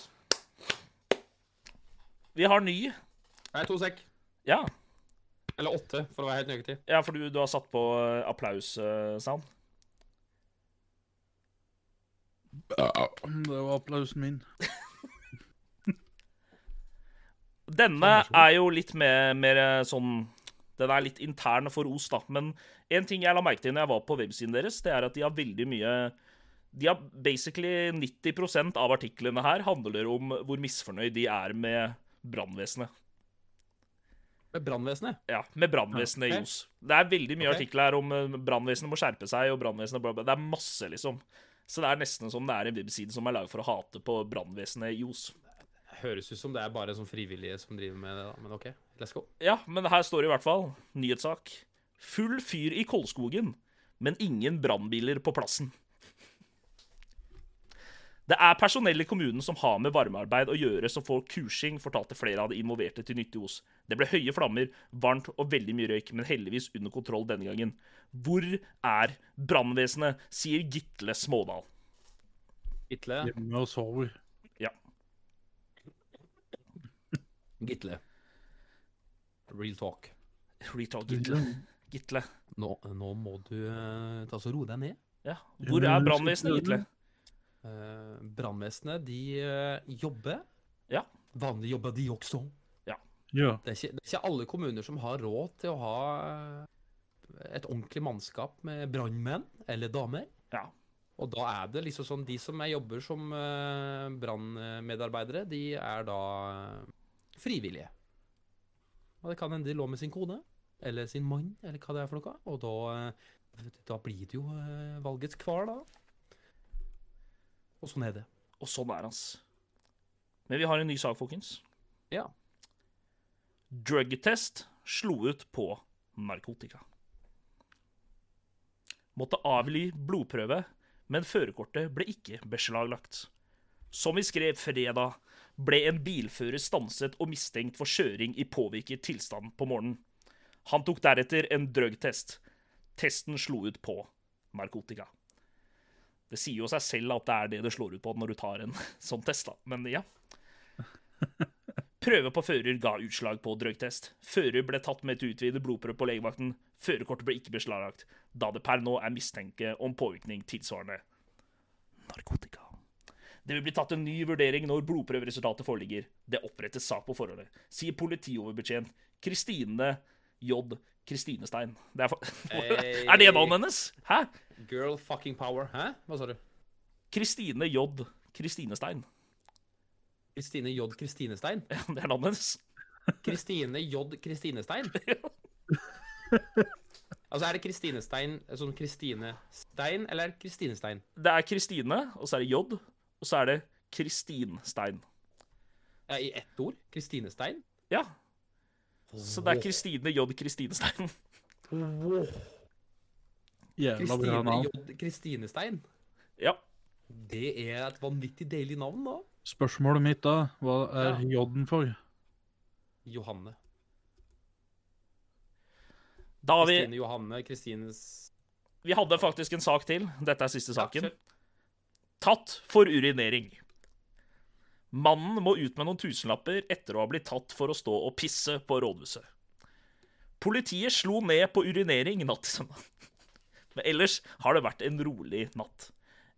Speaker 2: Vi har ny.
Speaker 1: Nei, to sekk.
Speaker 2: Ja,
Speaker 1: Eller åtte, for å være helt nøyaktig.
Speaker 2: ja for du, du har satt på eh, applaus-sound.
Speaker 3: Mm, Det var applausen min.
Speaker 2: Denne er jo litt mer, mer eh, sånn Den er litt intern for Os, da. Men en ting jeg la merke til når jeg var på websiden deres, det er at de har veldig mye de har basically 90 av artiklene her handler om hvor misfornøyd de er med brannvesenet.
Speaker 1: Med brannvesenet.
Speaker 2: Ja, med brannvesenet
Speaker 1: Ja,
Speaker 2: i
Speaker 1: ok.
Speaker 2: Os. Det er veldig mye
Speaker 1: Ok.
Speaker 2: artikler her om eh, brannvesenet må skjerpe seg, og brannvesenet bla, bla. Det er masse, liksom. Så det er nesten som det er en webside som er laget for å hate på brannvesenet i Os.
Speaker 1: Høres ut som det er bare sånn frivillige som driver med det, da. Men OK, let's go.
Speaker 2: Ja, men her står det i hvert fall. Nyhetssak. Full fyr i Kolskogen, men ingen brannbiler på plassen. Det er personell i kommunen som har med varmearbeid å gjøre, som får kursing, fortalte flere av de involverte til nytte i Os. Det ble høye flammer, varmt og veldig mye røyk, men heldigvis under kontroll denne gangen. Hvor er brannvesenet, sier Gitle Smådal.
Speaker 1: Gitle.
Speaker 3: Hjemme og sover.
Speaker 2: Ja.
Speaker 1: Gitle. Real talk.
Speaker 2: Retalk Gitle. Gitle.
Speaker 1: Nå, nå må du eh, ta så roe deg ned.
Speaker 2: Ja. Hvor er brannvesenet, Gitle?
Speaker 1: Uh, Brannvesenet, de eh, jobber.
Speaker 2: Ja.
Speaker 1: Vanlig jobber de også.
Speaker 3: Ja.
Speaker 1: Det er, ikke, det er ikke alle kommuner som har råd til å ha eh, et ordentlig mannskap med brannmenn eller damer.
Speaker 2: Ja.
Speaker 1: Og da er det liksom sånn De som jeg jobber som eh, brannmedarbeidere, de er da eh, frivillige. Og det kan hende de lå med sin kone eller sin mann eller hva det er for noe. Og da, eh, da blir det jo eh, valgets kval, da. Og sånn er det.
Speaker 2: Og sånn er hans. Men vi har en ny sak, folkens.
Speaker 1: Ja.
Speaker 2: Drugtest slo ut på narkotika. Måtte avgi blodprøve, men førerkortet ble ikke beslaglagt. Som vi skrev fredag, ble en bilfører stanset og mistenkt for kjøring i påvirket tilstand på morgenen. Han tok deretter en drugtest. Testen slo ut på narkotika. Det sier jo seg selv at det er det det slår ut på når du tar en sånn test, da. Men ja. Prøve på fører ga utslag på drøytest. Fører ble tatt med et utvidet blodprøve på legevakten. Førerkortet ble ikke beslaglagt, da det per nå er mistenke om påvirkning tilsvarende narkotika. Det vil bli tatt en ny vurdering når blodprøveresultatet foreligger. Det opprettes sak på forholdet, sier politioverbetjent Kristine J. Kristinestein. Det er, fa-
Speaker 4: Hey.
Speaker 2: er det navnet hennes? Hæ?
Speaker 4: Girl fucking power. Hæ? Hva sa du?
Speaker 2: Kristine J. Kristinestein.
Speaker 4: Kristine J. Kristinestein?
Speaker 2: Ja, Det er navnet hennes.
Speaker 4: Kristine J. Kristinestein? Altså, er det Kristinestein
Speaker 1: eh, sånn
Speaker 4: som Kristine Stein, eller er det Kristinestein?
Speaker 2: Det er Kristine, og så er det J, og så er det Kristinstein.
Speaker 4: Ja, I ett ord? Kristinestein?
Speaker 2: Ja, så det er Kristine J. Kristinestein.
Speaker 4: Wow.
Speaker 3: Jævla bra
Speaker 4: Kristine
Speaker 3: navn.
Speaker 4: J. Kristinestein?
Speaker 2: Ja.
Speaker 4: Det er et vanvittig deilig navn, da.
Speaker 3: Spørsmålet mitt da, hva er J-en for?
Speaker 4: Johanne.
Speaker 2: Da har vi,
Speaker 4: Kristine Johanne, Kristines
Speaker 2: vi hadde faktisk en sak til. Dette er siste
Speaker 4: Ja,
Speaker 2: saken.
Speaker 4: kjør.
Speaker 2: Tatt for urinering. Mannen må ut med noen tusenlapper etter å ha blitt tatt for å stå og pisse på rådhuset. Politiet slo ned på urinering natt til søndag. Men ellers har det vært en rolig natt.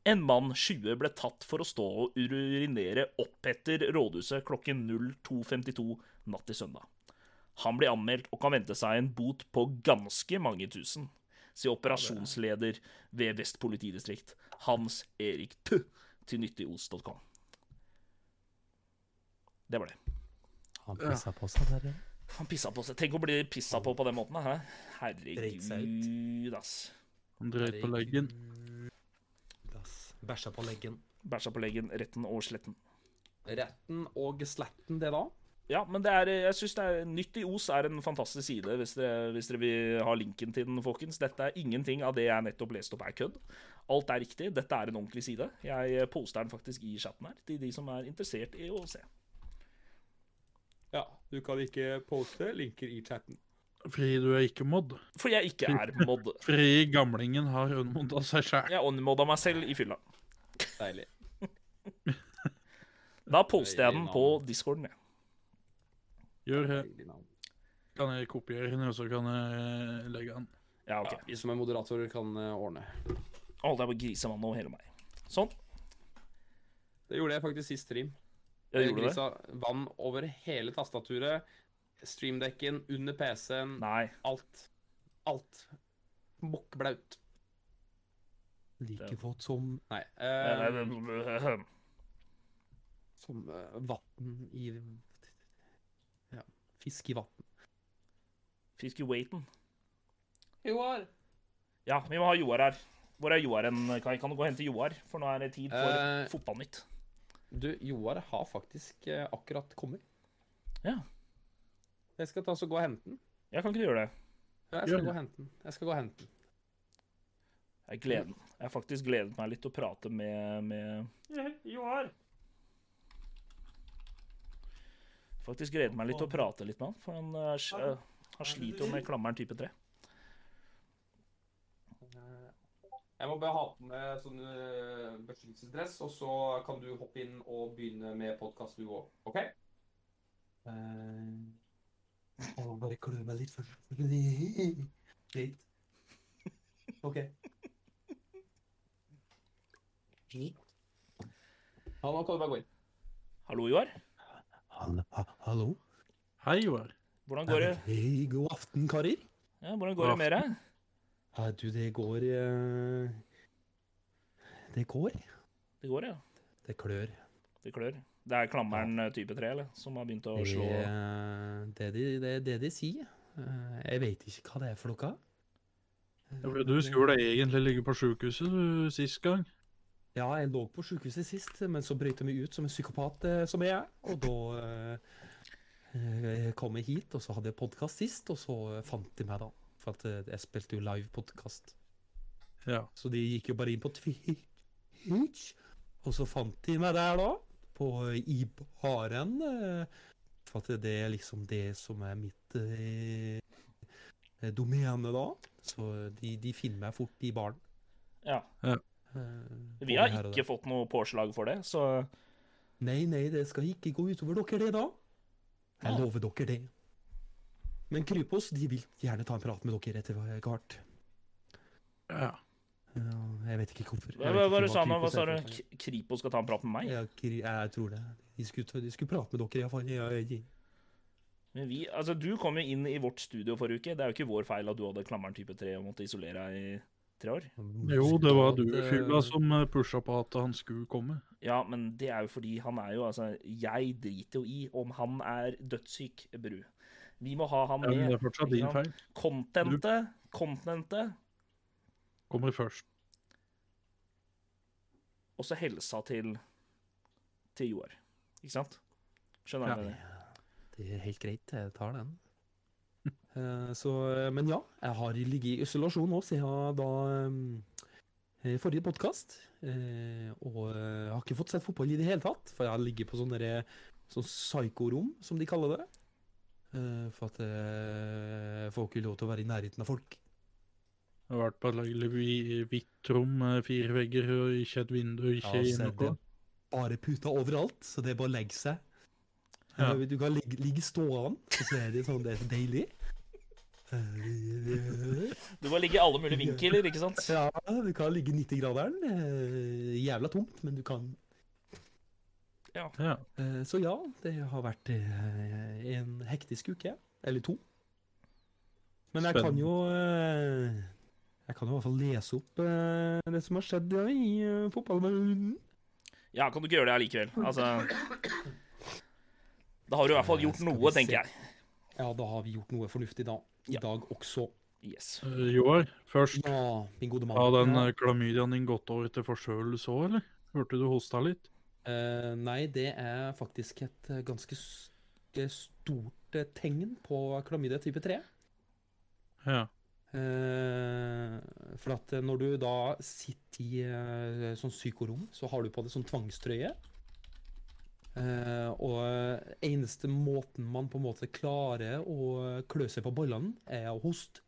Speaker 2: En mann 20 ble tatt for å stå og urinere oppetter rådhuset klokken 02.52 natt til søndag. Han blir anmeldt og kan vente seg en bot på ganske mange tusen, sier operasjonsleder ved Vest politidistrikt, Hans Erik Tø, til nyttigols.com. Det var det.
Speaker 4: Han
Speaker 3: pissa
Speaker 4: på seg der, ja.
Speaker 2: Han pissa på seg. Tenk å bli pissa på på den måten, hæ?
Speaker 4: Dreit seg
Speaker 2: Herregud, ass.
Speaker 3: Han drøyt på leggen.
Speaker 4: Bæsja på leggen.
Speaker 2: Bæsja på leggen, retten og sletten.
Speaker 4: Retten og sletten, det da?
Speaker 2: Ja, men det er, jeg synes det er Nytt i Os er en fantastisk side, hvis dere, hvis dere vil ha linken til den, folkens. Dette er ingenting av det jeg nettopp leste opp, er kødd. Alt er riktig. Dette er en ordentlig side. Jeg poster den faktisk i chatten her, til de som er interessert i å se.
Speaker 4: Ja, du kan ikke poste linker i chatten.
Speaker 3: Fordi du er ikke mod.
Speaker 2: For jeg ikke er mod.
Speaker 3: Fordi gamlingen har unmodda seg sjæl.
Speaker 2: Jeg onmodda meg selv i fylla.
Speaker 4: Deilig.
Speaker 2: Da poster jeg den på discorden, jeg.
Speaker 3: Gjør det.
Speaker 4: Deilig navn.
Speaker 3: Kan jeg kopiere den, og så kan jeg eh, legge den.
Speaker 2: Ja,
Speaker 4: Ja,
Speaker 2: ok.
Speaker 4: vi som er moderatorer, kan eh, ordne.
Speaker 2: Holdt jeg på å grise mannen over hele meg. Sånn.
Speaker 4: Det gjorde jeg faktisk sist stream.
Speaker 2: Jeg gjorde det.
Speaker 4: Grisa vann over hele tastaturet, streamdekken, under PC-en,
Speaker 2: Nei.
Speaker 4: alt. Alt. Mokkblaut.
Speaker 2: Like
Speaker 4: våt som Nei.
Speaker 2: Eh,
Speaker 4: Eh,
Speaker 2: eh, eh,
Speaker 4: som eh, vann i Ja. Fisk i vann.
Speaker 2: Fisk i waiten.
Speaker 4: Joar!
Speaker 2: Ja, vi må ha Joar her. Hvor er Joar hen? Kai? Kan du gå og hente Joar? For nå er det tid for
Speaker 4: Eh.
Speaker 2: Fotballnytt.
Speaker 4: Du, Joar har faktisk eh, akkurat kommet.
Speaker 2: Ja.
Speaker 4: Jeg skal ta så gå og hente den.
Speaker 2: Jeg kan ikke gjøre det.
Speaker 4: Ja, Jeg
Speaker 3: Gjør
Speaker 4: skal
Speaker 3: det.
Speaker 4: gå og hente den. Jeg skal gå og hente den.
Speaker 2: Jeg,
Speaker 4: Mm.
Speaker 2: gleder, jeg har faktisk gledet meg litt til å prate med, med Joar. Faktisk gledet meg litt til å prate litt med han, for han, eh, s- eh, han sliter jo med klammeren type 3.
Speaker 4: Jeg må bare ha på meg sånn uh, beskyttelsesdress, og så kan du hoppe inn og begynne med podkast, du òg. OK? jeg må eh, bare klø meg litt først. Litt. OK. Ja, nå kan du bare gå inn.
Speaker 2: Hallo, Joar.
Speaker 4: Hallo?
Speaker 3: Hei, Joar.
Speaker 2: Hvordan går det,
Speaker 4: Hei, god aften, karer.
Speaker 2: ja, hvordan går det med deg?
Speaker 4: Nei, du, det går eh, Det går.
Speaker 2: Det går, ja.
Speaker 4: Det klør.
Speaker 2: Det klør. Det er klammeren eh, type 3 eller, som har begynt å
Speaker 4: Det,
Speaker 2: slå
Speaker 4: eh, det, de, det, det de sier. Eh, Jeg vet ikke hva det er for noe. Eh,
Speaker 3: Ja, for Du skulle egentlig ligge på sjukehuset du, sist gang.
Speaker 4: Ja, jeg lå på sykehuset sist, men så brøyt jeg meg ut som en psykopat eh, som jeg er. Og da eh, eh, kom jeg hit, og så hadde jeg podkast sist, og så eh, fant de meg da. For at eh, jeg spilte jo live podkast.
Speaker 3: Ja.
Speaker 4: Så de gikk jo bare inn på Twitch, og så fant de meg der da, på i baren. eh, For at det er liksom det som er mitt eh, domene da. Så de, de finner meg fort i baren.
Speaker 2: Ja.
Speaker 4: eh,
Speaker 2: Vi
Speaker 4: både
Speaker 2: har
Speaker 4: her og der.
Speaker 2: ikke fått noe påslag for det, så
Speaker 4: Nei, nei, det skal ikke gå utover dere, det, da.
Speaker 2: Ah.
Speaker 4: Jeg lover dere det. Men Krypos de vil gjerne ta en prat med dere etter hvert.
Speaker 3: Ja.
Speaker 4: Ja, jeg vet ikke hvorfor. Jeg
Speaker 2: Hva,
Speaker 4: vet
Speaker 2: hva,
Speaker 4: ikke
Speaker 2: hva du sa nå? Hva
Speaker 4: Krypos
Speaker 2: sa
Speaker 4: er
Speaker 2: du?
Speaker 4: for noe.
Speaker 2: K- Kripos skal ta en prat med meg?
Speaker 4: Ja, Kri- jeg tror det. De skulle, ta- de skulle prate med dere, iallfall. Ja, ja, ja.
Speaker 2: Men vi, altså, du kom jo inn i vårt studio forrige uke. Det er jo ikke vår feil at du hadde klammeren type 3 og måtte isolere deg i tre år.
Speaker 3: Jo, det var du,
Speaker 4: At, eh,
Speaker 3: Fugla, som eh, pusha på at han skulle komme.
Speaker 2: Ja, men det er jo fordi han er jo altså Jeg driter jo i om han er dødssyk, Bru. Vi må ha han
Speaker 3: Ja, men
Speaker 2: med.
Speaker 3: det er fortsatt
Speaker 2: ikke
Speaker 3: din
Speaker 2: sant?
Speaker 3: feil.
Speaker 2: Contentet, contentet,
Speaker 3: Kommer først.
Speaker 2: og så helsa til til Joar. Ikke sant? Skjønner
Speaker 3: Ja.
Speaker 2: du? det?
Speaker 4: Det er helt greit, jeg tar den.
Speaker 1: Eh, Så, eh, men ja, jeg har ligget i isolasjon nå siden da eh, forrige podkast. Og eh, jeg har ikke fått sett fotball i det hele tatt, for jeg har ligget på sånne der- sånn psykorom, som de kaller det.
Speaker 4: Eh, For at eh, folk vil lov til å være i nærheten av folk.
Speaker 3: Jeg har vært på et laglig hvi- hvitt rom, eh, fire vegger og ikke et vindu, ikke
Speaker 4: Ja, så
Speaker 3: noe.
Speaker 4: er det bare puter overalt, så det er bare å legge seg.
Speaker 3: Ja.
Speaker 4: Eh, Du kan ligge, ligge stående, og så er det sånn, det er så deilig. Eh,
Speaker 2: Du må ligge i alle mulige vinkler, ikke sant?
Speaker 4: Ja, du kan ligge i 90-graderen. eh, Jævla tomt, men du kan.
Speaker 3: Ja.
Speaker 4: Eh, Så ja, det har vært eh, en hektisk uke. Eller to. Men jeg kan
Speaker 3: Spennende.
Speaker 4: jo eh, Jeg kan jo i hvert fall lese opp eh, det som har skjedd ja, i eh, fotballverdenen.
Speaker 2: Ja, kan du ikke gjøre det allikevel? Altså Da har du i hvert fall gjort
Speaker 4: Skal vi
Speaker 2: noe,
Speaker 4: se.
Speaker 2: tenker jeg.
Speaker 4: Ja, da har vi gjort noe fornuftig da. I
Speaker 2: Ja.
Speaker 4: dag også.
Speaker 2: Yes.
Speaker 3: Eh, Joar, først.
Speaker 4: Ja, min gode mann.
Speaker 3: Har den
Speaker 4: Ja.
Speaker 3: eh, klamydiaen din gått over til forkjølelse òg, eller? Hørte du hosta litt?
Speaker 4: Eh, nei, det er faktisk et eh, ganske s- eh, stort eh, tegn på klamydia type 3.
Speaker 3: Ja.
Speaker 4: Eh, for at eh, når du da sitter i eh, sånn psykorom, så har du på deg sånn tvangstrøye. Eh, og eh, eneste måten man på en måte klarer å eh, klø seg på ballene, er å hoste.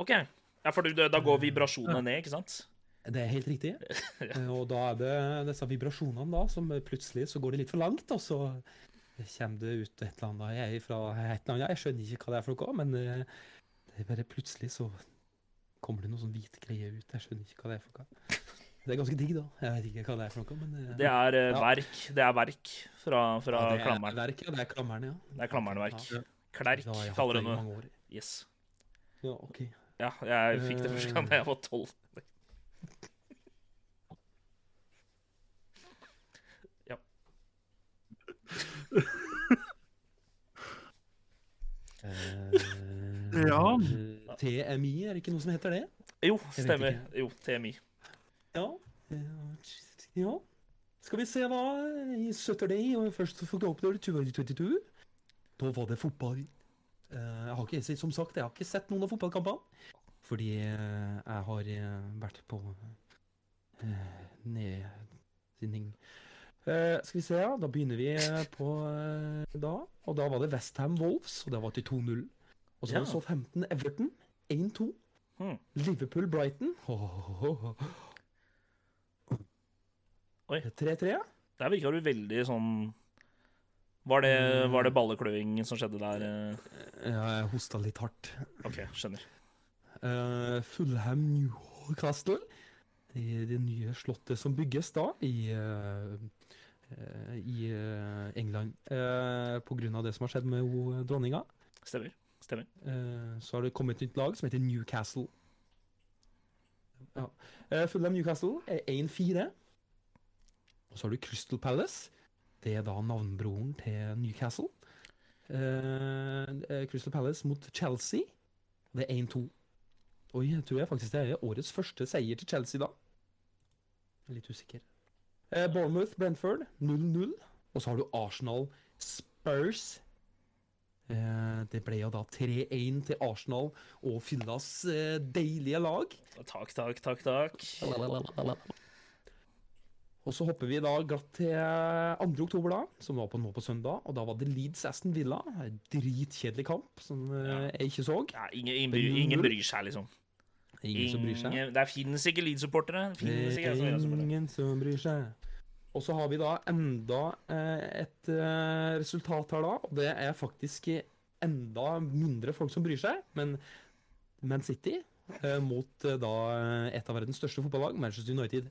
Speaker 2: OK. Ja, for du- da går vibrasjonene ned, ikke sant?
Speaker 4: Det er helt riktig. Eh, Og da er det disse vibrasjonene da, som eh, plutselig så går det litt for langt, og så kommer det ut et eller annet jeg, fra et eller annet. Jeg skjønner ikke hva det er for noe, men eh, det er bare plutselig så kommer det noe sånn hvit greie ut. Jeg skjønner ikke hva det er for noe. Det er ganske digg, da. Jeg vet ikke hva det er for noe, men eh,
Speaker 2: Det er eh,
Speaker 4: Ja.
Speaker 2: verk. Det er verk fra, fra
Speaker 4: ja, det er
Speaker 2: klammeren.
Speaker 4: verk, ja. Det er klammeren, ja.
Speaker 2: Det er klammernverk.
Speaker 4: Ja.
Speaker 2: Klerk,
Speaker 4: Da har jeg hatt
Speaker 2: kaller de
Speaker 4: det i
Speaker 2: det.
Speaker 4: mange år.
Speaker 2: Yes.
Speaker 4: Ja, ok.
Speaker 2: Ja, jeg fikk det første gang da jeg var tolv. Ja.
Speaker 4: Eh,
Speaker 3: Ja.
Speaker 4: eh, TMI, er det ikke noe som heter det?
Speaker 2: Jo,
Speaker 4: vet
Speaker 2: stemmer. Jo, TMI.
Speaker 4: Ja. eh, ja. Skal vi se, da. I Saturday, og først for Goapower 2022, da var det fotball. Eh, Jeg har ikke, som sagt, jeg har ikke sett noen av fotballkampene. Fordi eh, jeg har eh, vært på eh, nedsending. Eh, skal vi se, ja. Da begynner vi eh, på eh, da. Og da var det Westham Wolves, og det var til 2-0. Og så
Speaker 2: Ja.
Speaker 4: var det Southampton Everton 1-2.
Speaker 2: Hmm.
Speaker 4: Liverpool Brighton Åhåhåhå.
Speaker 2: Oi.
Speaker 4: 3-3.
Speaker 2: Der virka du veldig sånn var det, var
Speaker 4: Mm.
Speaker 2: det ballekløing som skjedde der? eh?
Speaker 4: Ja, jeg hosta litt hardt.
Speaker 2: OK, skjønner.
Speaker 4: Eh, Fulham Newcastle. Det, det nye slottet som bygges da i, eh, eh, i eh, England. Eh, på grunn av det som har skjedd med ho, dronninga,
Speaker 2: Stemmer. Stemmer.
Speaker 4: eh, så har det kommet et nytt lag som heter Newcastle. Ja. Eh, Fulham Newcastle er 1-4. Og så har du Crystal Palace. Det er da navnbroren til Newcastle. Eh, eh, Crystal Palace mot Chelsea. Det er 1-2. Oi, jeg tror jeg faktisk det er årets første seier til Chelsea da. Jeg er litt usikker. Eh, Bournemouth, Brentford 0-0. Og så har du Arsenal Spurs. Eh, det ble jo da 3-1 til Arsenal og Fyllas eh, deilige lag.
Speaker 2: Takk, takk, takk, takk.
Speaker 4: Og så hopper vi da glatt til 2. oktober, da, som var på nå på søndag. Og da var det Leeds Aston Villa. En Dritkjedelig kamp som eh, jeg ikke så.
Speaker 2: Ja, ingen, ingen, bryr, ingen bryr seg, liksom.
Speaker 4: Ingen som bryr seg.
Speaker 2: altså,
Speaker 4: Eh,
Speaker 2: Ingen- Der finnes ikke Leeds-supportere. Det finnes ikke jeg som gjør det,
Speaker 4: ingen som bryr seg. Og så har vi da enda eh, et eh, resultat her, da. Og det er faktisk enda mindre folk som bryr seg. Men Man City eh, mot eh, da et av verdens største fotballag, Manchester United.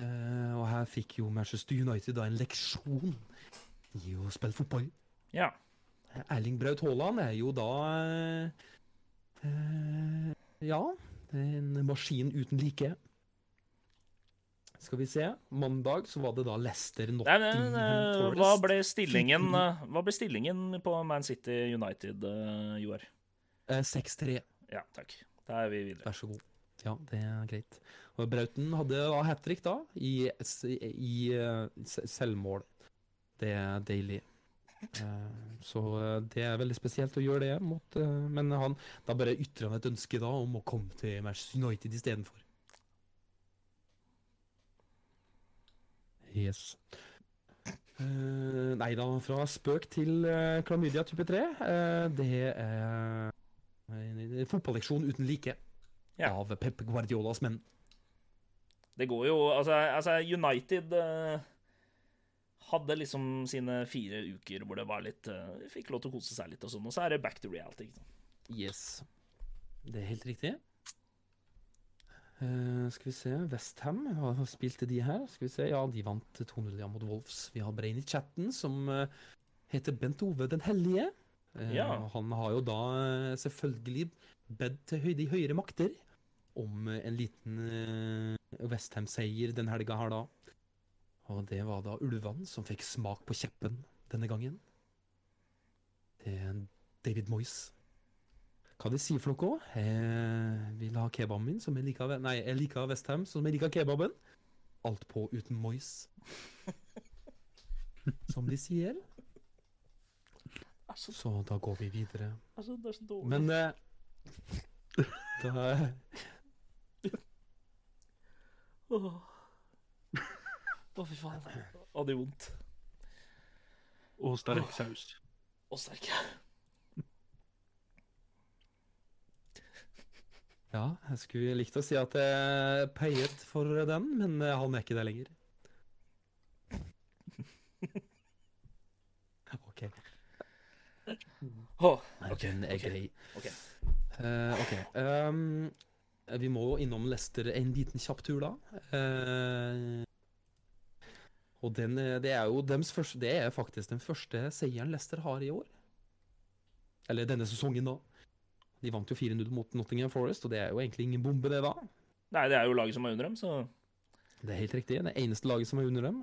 Speaker 4: Eh, og her fikk jo Manchester United da en leksjon i å spille fotball.
Speaker 2: Ja.
Speaker 4: Erling Braut Haaland er jo da eh, eh, Ja, en maskin uten like. Skal vi se. Mandag så var det da Leicester
Speaker 2: Nei, nei, nei,
Speaker 4: Nottingham
Speaker 2: nei,
Speaker 4: Forest.
Speaker 2: hva ble stillingen eh, Hva ble stillingen på Man City United, eh, Joar?
Speaker 4: Eh, 6-3.
Speaker 2: Ja, takk. Da er vi videre.
Speaker 4: Vær så god. Ja, det er greit. Og Brauten hadde da hat trick da, i, s- i eh, s- selvmål. Det er deilig. Eh, Så eh, det er veldig spesielt å gjøre det mot eh, Men han da bare ytrer han et ønske da om å komme til Manchester United istedenfor. Yes. Eh, nei da, fra spøk til eh, klamydia type 3. eh, det er en fotballeksjon uten like
Speaker 2: Ja.
Speaker 4: av Pep Guardiolas menn.
Speaker 2: Det går jo Altså, altså United eh, hadde liksom sine fire uker hvor det var litt eh, vi Fikk lov til å kose seg litt og sånn, og så er det back to reality. Ikke sant?
Speaker 4: Yes. Det er helt riktig. Eh, skal vi se Westham, hva spilte de her? Skal vi se, Ja, de vant 2-0 ja, mot Wolves. Vi har Brain i chatten, som eh, heter Bent Ove den hellige. Eh,
Speaker 2: Ja.
Speaker 4: og Han har jo da eh, selvfølgelig bedt til høy- de høyere makter om eh, en liten uh, Westham-seier den helga her, da. Og det var da ulvene som fikk smak på kjeppen denne gangen. Det er en David Moyes. Hva de sier for noe? Jeg vil ha kebaben min, som jeg liker ve- Nei, jeg liker Westham, som jeg liker kebaben. Alt på uten Moyes. Som de sier.
Speaker 2: Altså,
Speaker 4: Så da går vi videre.
Speaker 2: altså, det er så dårlig.
Speaker 4: Men eh, da,
Speaker 2: Åh. Å, fy faen. Å, det gjør vondt.
Speaker 3: Og sterk saus.
Speaker 2: Å, sterk.
Speaker 4: Ja, jeg skulle likt å si at jeg peiet for den, men eh, han er ikke det lenger. OK.
Speaker 2: Åh,
Speaker 4: Nei,
Speaker 2: OK.
Speaker 4: den er
Speaker 2: ok.
Speaker 4: grei.
Speaker 2: ok.
Speaker 4: Eh, ok, ehm, vi må jo innom Leicester en liten kjapp tur, da. Eh, og den, eh, det er jo dems første, det er faktisk den første seieren Leicester har i år. Eller denne sesongen, da. De vant jo 4-0 mot Nottingham Forest, og det er jo egentlig ingen bombe, det, da.
Speaker 2: Nei, det er jo laget som er under dem, så
Speaker 4: Det er helt riktig. Det eneste laget som er under dem.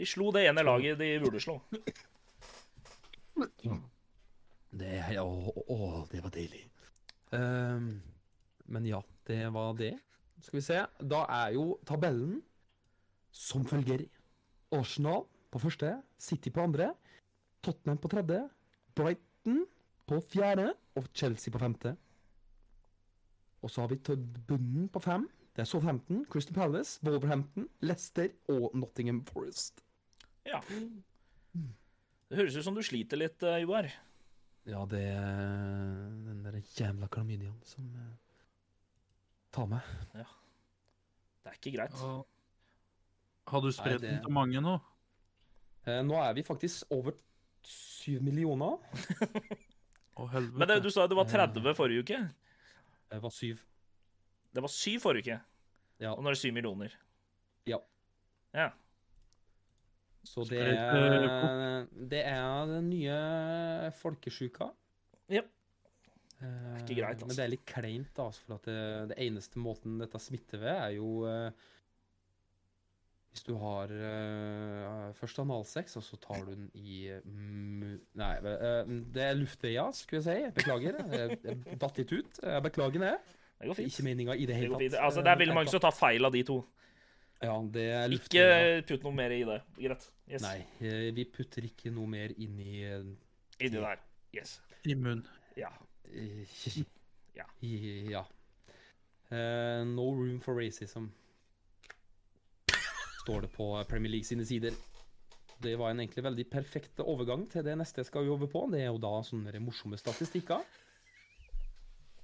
Speaker 2: De slo det ene laget de burde slå.
Speaker 4: Det er, å, å, å, det var deilig. Ehm, men ja, det var det. Skal vi se. Da er jo tabellen som følger. Arsenal på første, City på andre, Tottenham på tredje, Brighton på fjerde og Chelsea på femte. Og så har vi til bunnen på fem. Det er Southampton, Crystal Palace, Wolverhampton, Leicester og Nottingham Forest.
Speaker 2: Ja. Det høres ut som du sliter litt, eh, Joar.
Speaker 4: Ja, det er den der jævla klamydiaen som eh, tar meg.
Speaker 2: Det er ikke greit.
Speaker 3: Ja. Har du
Speaker 4: Nei,
Speaker 3: spredt
Speaker 4: det-
Speaker 3: den til mange nå?
Speaker 4: Eh, nå er vi faktisk over syv
Speaker 3: Å,
Speaker 4: millioner.
Speaker 2: Men det,
Speaker 3: helvete.
Speaker 2: du sa det var 30 forrige uke.
Speaker 4: Det var Eh, syv.
Speaker 2: Det var 7 forrige uke.
Speaker 4: Ja.
Speaker 2: Og nå er det 7 millioner.
Speaker 4: Ja.
Speaker 2: Ja.
Speaker 4: Så det
Speaker 3: Skal
Speaker 4: er,
Speaker 3: jeg,
Speaker 4: det er den nye folkesjuka.
Speaker 2: Jep.
Speaker 4: Eh,
Speaker 2: ikke greit, altså.
Speaker 4: Men det er litt kleint, da, altså, for at det, det eneste måten dette smitter ved, er jo eh, hvis du har eh, først analsex, og så tar du den i eh, mu... Nei, eh, det er luftveia, skulle jeg si. Beklager. Jeg, jeg datt litt ut. Jeg beklager det.
Speaker 2: Det går
Speaker 4: Det er
Speaker 2: fint.
Speaker 4: ikke meninga i det
Speaker 2: Det,
Speaker 4: hele
Speaker 2: går fint.
Speaker 4: tatt. Eh,
Speaker 2: Altså, det er veldig mange som tar feil av de to.
Speaker 4: Ja, det er
Speaker 2: Ikke
Speaker 4: luftveia.
Speaker 2: putt noe mer i det. Greit. Yes.
Speaker 4: Nei, eh, vi putter ikke noe mer inn i eh,
Speaker 2: Inni der. Yes.
Speaker 3: I munnen.
Speaker 2: Ja.
Speaker 4: i-
Speaker 2: Ja.
Speaker 4: i- Ja. Eh, no room for racism. Står det på Premier League sine sider. Det var en egentlig veldig perfekt overgang til det neste jeg skal jobbe på. Det er jo da sånne morsomme statistikker.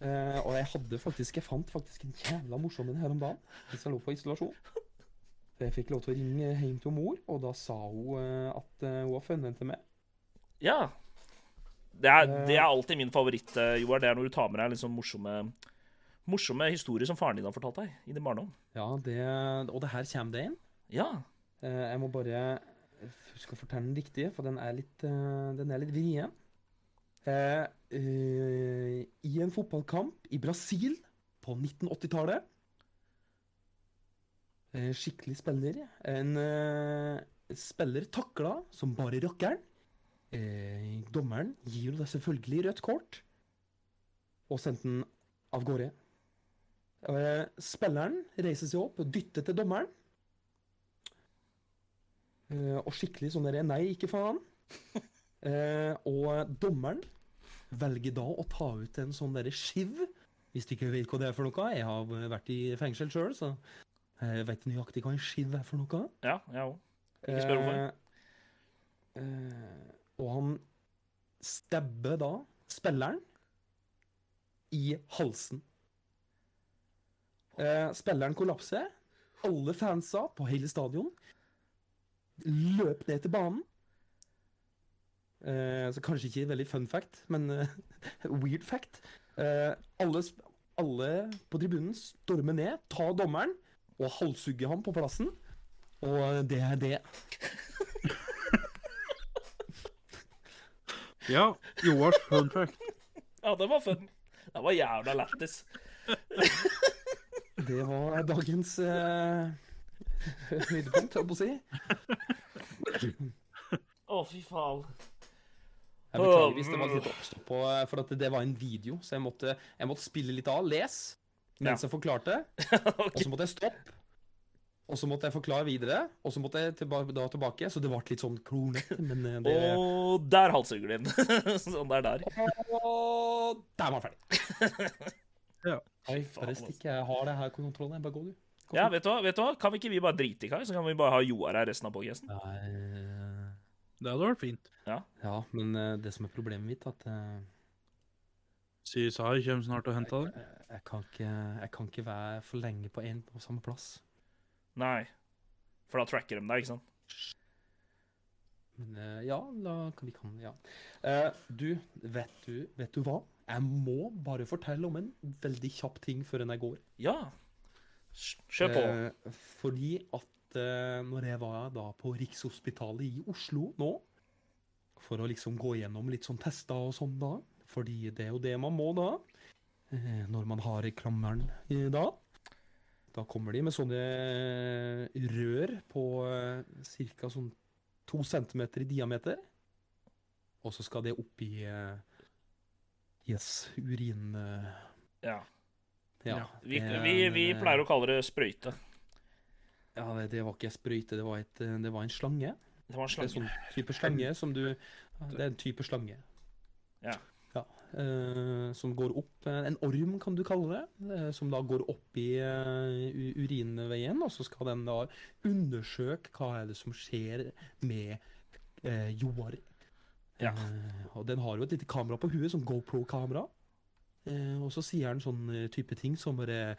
Speaker 4: Eh, og jeg hadde faktisk, jeg fant faktisk en jævla morsom en her om dagen. Mens jeg lå på isolasjon. Så Jeg fikk lov til å ringe hjem til mor, og da sa hun eh, at eh, hun har funnet den til meg.
Speaker 2: Ja. Det er, det er alltid min favoritt, eh, Joar. Det er når du tar med deg liksom morsomme, morsomme historier som faren din har fortalt deg i din barndom.
Speaker 4: Ja, det, og det her kommer det inn.
Speaker 2: Ja.
Speaker 4: Eh, Jeg må bare huske å fortelle den riktige, for den er litt, eh, den er litt vrien. Eh, eh, I en fotballkamp i Brasil på 1980-tallet eh, Skikkelig spiller. En eh, spiller takla som bare rakkeren. Eh, dommeren gir jo da selvfølgelig rødt kort, og sendte den av gårde. Eh, spilleren reiser seg opp og dytter til dommeren. Eh, og skikkelig sånn derre Nei, ikke faen. Eh, og dommeren velger da å ta ut en sånn derre skiv. Hvis du ikke vet hva det er for noe. Jeg har vært i fengsel sjøl, så jeg veit nøyaktig hva en skiv er for noe.
Speaker 2: Ja, jeg òg. Ikke spør hvorfor.
Speaker 4: Eh, eh, og han stabber da spilleren i halsen. Eh, spilleren kollapser. Alle fansa på hele stadion løp ned til banen. Eh, så kanskje ikke veldig fun fact, men eh, weird fact. Eh, alle, sp- alle på tribunen stormer ned, tar dommeren og halshugger ham på plassen. Og det er det.
Speaker 3: Ja, Joars fun fact.
Speaker 2: Ja, det var fun. Det var jævla lættis.
Speaker 4: Det var dagens eh, høydepunkt, holdt jeg på å si.
Speaker 2: Å, fy faen.
Speaker 4: Jeg beklager hvis det var litt oppstå på, eh, for at det var en video, så jeg måtte, jeg måtte spille litt av, les, mens jeg forklarte, og så måtte jeg stoppe. Og så måtte jeg forklare videre, og så måtte jeg tilba da tilbake, så det ble litt sånn klonete, men eh, det
Speaker 2: Og der halshugger de den. sånn der, der.
Speaker 4: Og der var han ferdig.
Speaker 3: Ja.
Speaker 4: Nei,
Speaker 2: Fy faen,
Speaker 4: bare
Speaker 2: altså.
Speaker 4: stikk. Jeg har det her kontrollen. Jeg bare gå, du. Gå
Speaker 2: Ja, vet du, hva? vet du hva? Kan vi ikke vi bare drite i Kai, så kan vi bare ha Joar her resten av podcasten?
Speaker 4: Nei,
Speaker 3: Det hadde vært fint.
Speaker 4: ja, men eh, det som er problemet mitt, at eh,
Speaker 3: CSI kommer snart og henter deg.
Speaker 4: jeg, jeg, kan ikke, jeg kan ikke være for lenge på én og samme plass.
Speaker 2: Nei. For da tracker de deg, ikke sant?
Speaker 4: Men eh, ja, da kan vi kan Ja. Eh, du, vet du, vet du hva? Jeg må bare fortelle om en veldig kjapp ting før enn jeg går.
Speaker 2: Ja. Kjør på.
Speaker 4: Eh, fordi at eh, når jeg var da på Rikshospitalet i Oslo nå, for å liksom gå gjennom litt sånn tester og sånn da, fordi det er jo det man må da, eh, når man har klammeren eh, da, da kommer de med sånne eh, rør på eh, cirka sånn to centimeter i diameter, og så skal det opp i eh, yes, urin... Eh,
Speaker 2: Ja.
Speaker 4: ja,
Speaker 2: Vi,
Speaker 4: det er
Speaker 2: vi,
Speaker 4: en,
Speaker 2: vi
Speaker 4: eh,
Speaker 2: pleier å kalle det sprøyte.
Speaker 4: Ja, det, det var ikke en sprøyte, det var, et, eh, det var en slange.
Speaker 2: Det var en
Speaker 4: Det er en
Speaker 2: slange.
Speaker 4: sånn type slange som du Det er en type slange.
Speaker 2: Ja.
Speaker 4: Ja, eh, som går opp eh, En orm, kan du kalle det. eh, som da går opp i eh, u- urinveien, og så skal den da undersøke hva er det som skjer med eh, Joar.
Speaker 2: Ja.
Speaker 4: Eh, og den har jo et lite kamera på huet, sånn GoPro-kamera. Eh, og så sier den sånn eh, type ting som bare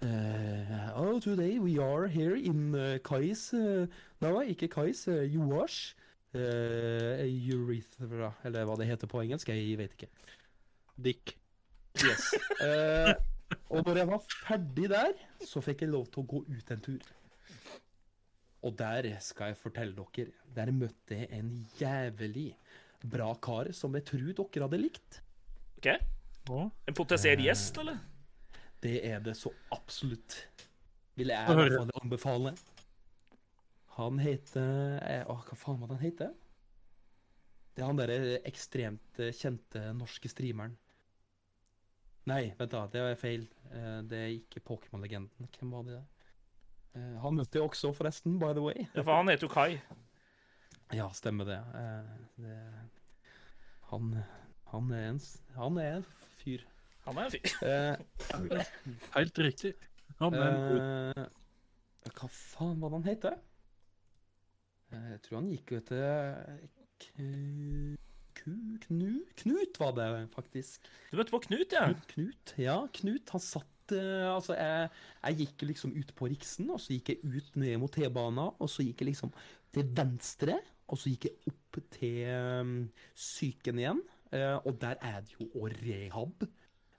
Speaker 4: eh, Oh, today we are here in eh, Kais eh, Nei, ikke Kais, eh, Joars eh, urethra, eller hva det heter på engelsk, jeg vet ikke.
Speaker 3: Dick.
Speaker 4: Yes. Eh, og når jeg var ferdig der, så fikk jeg lov til å gå ut en tur. Og der skal jeg fortelle dere, der møtte jeg en jævlig bra kar som jeg tror dere hadde likt.
Speaker 2: OK?
Speaker 3: Å,
Speaker 2: En potensiell gjest, eller?
Speaker 4: Det er det så absolutt. Vil jeg i
Speaker 3: Få høre.
Speaker 4: hvert fall anbefale. Han heter eh, Åh, hva faen var det han heter? Det er han derre ekstremt eh, kjente norske streameren. Nei, vent da, det er feil. Eh, Det er ikke Pokémon-legenden. Hvem var det? Eh, Han møtte jeg også, forresten, by the way.
Speaker 2: Ja, for han heter jo Kai.
Speaker 4: Ja, stemmer det. Eh, det han, han, er en, s- han er en fyr.
Speaker 2: Han er en fyr.
Speaker 4: Eh,
Speaker 3: Helt riktig. Ja, men
Speaker 4: Eh, hva faen var det han het? Eh, jeg tror han gikk jo etter K- Ku... Knu, Knut var det faktisk.
Speaker 2: Du møtte på Knut, ja.
Speaker 4: Knut, Knut. Ja, Knut. Han satt eh, altså jeg, jeg gikk liksom ut på Riksen, og så gikk jeg ut ned mot T-banen, og så gikk jeg liksom til venstre, og så gikk jeg opp til eh, psyken igjen, eh, og der er det jo også rehab.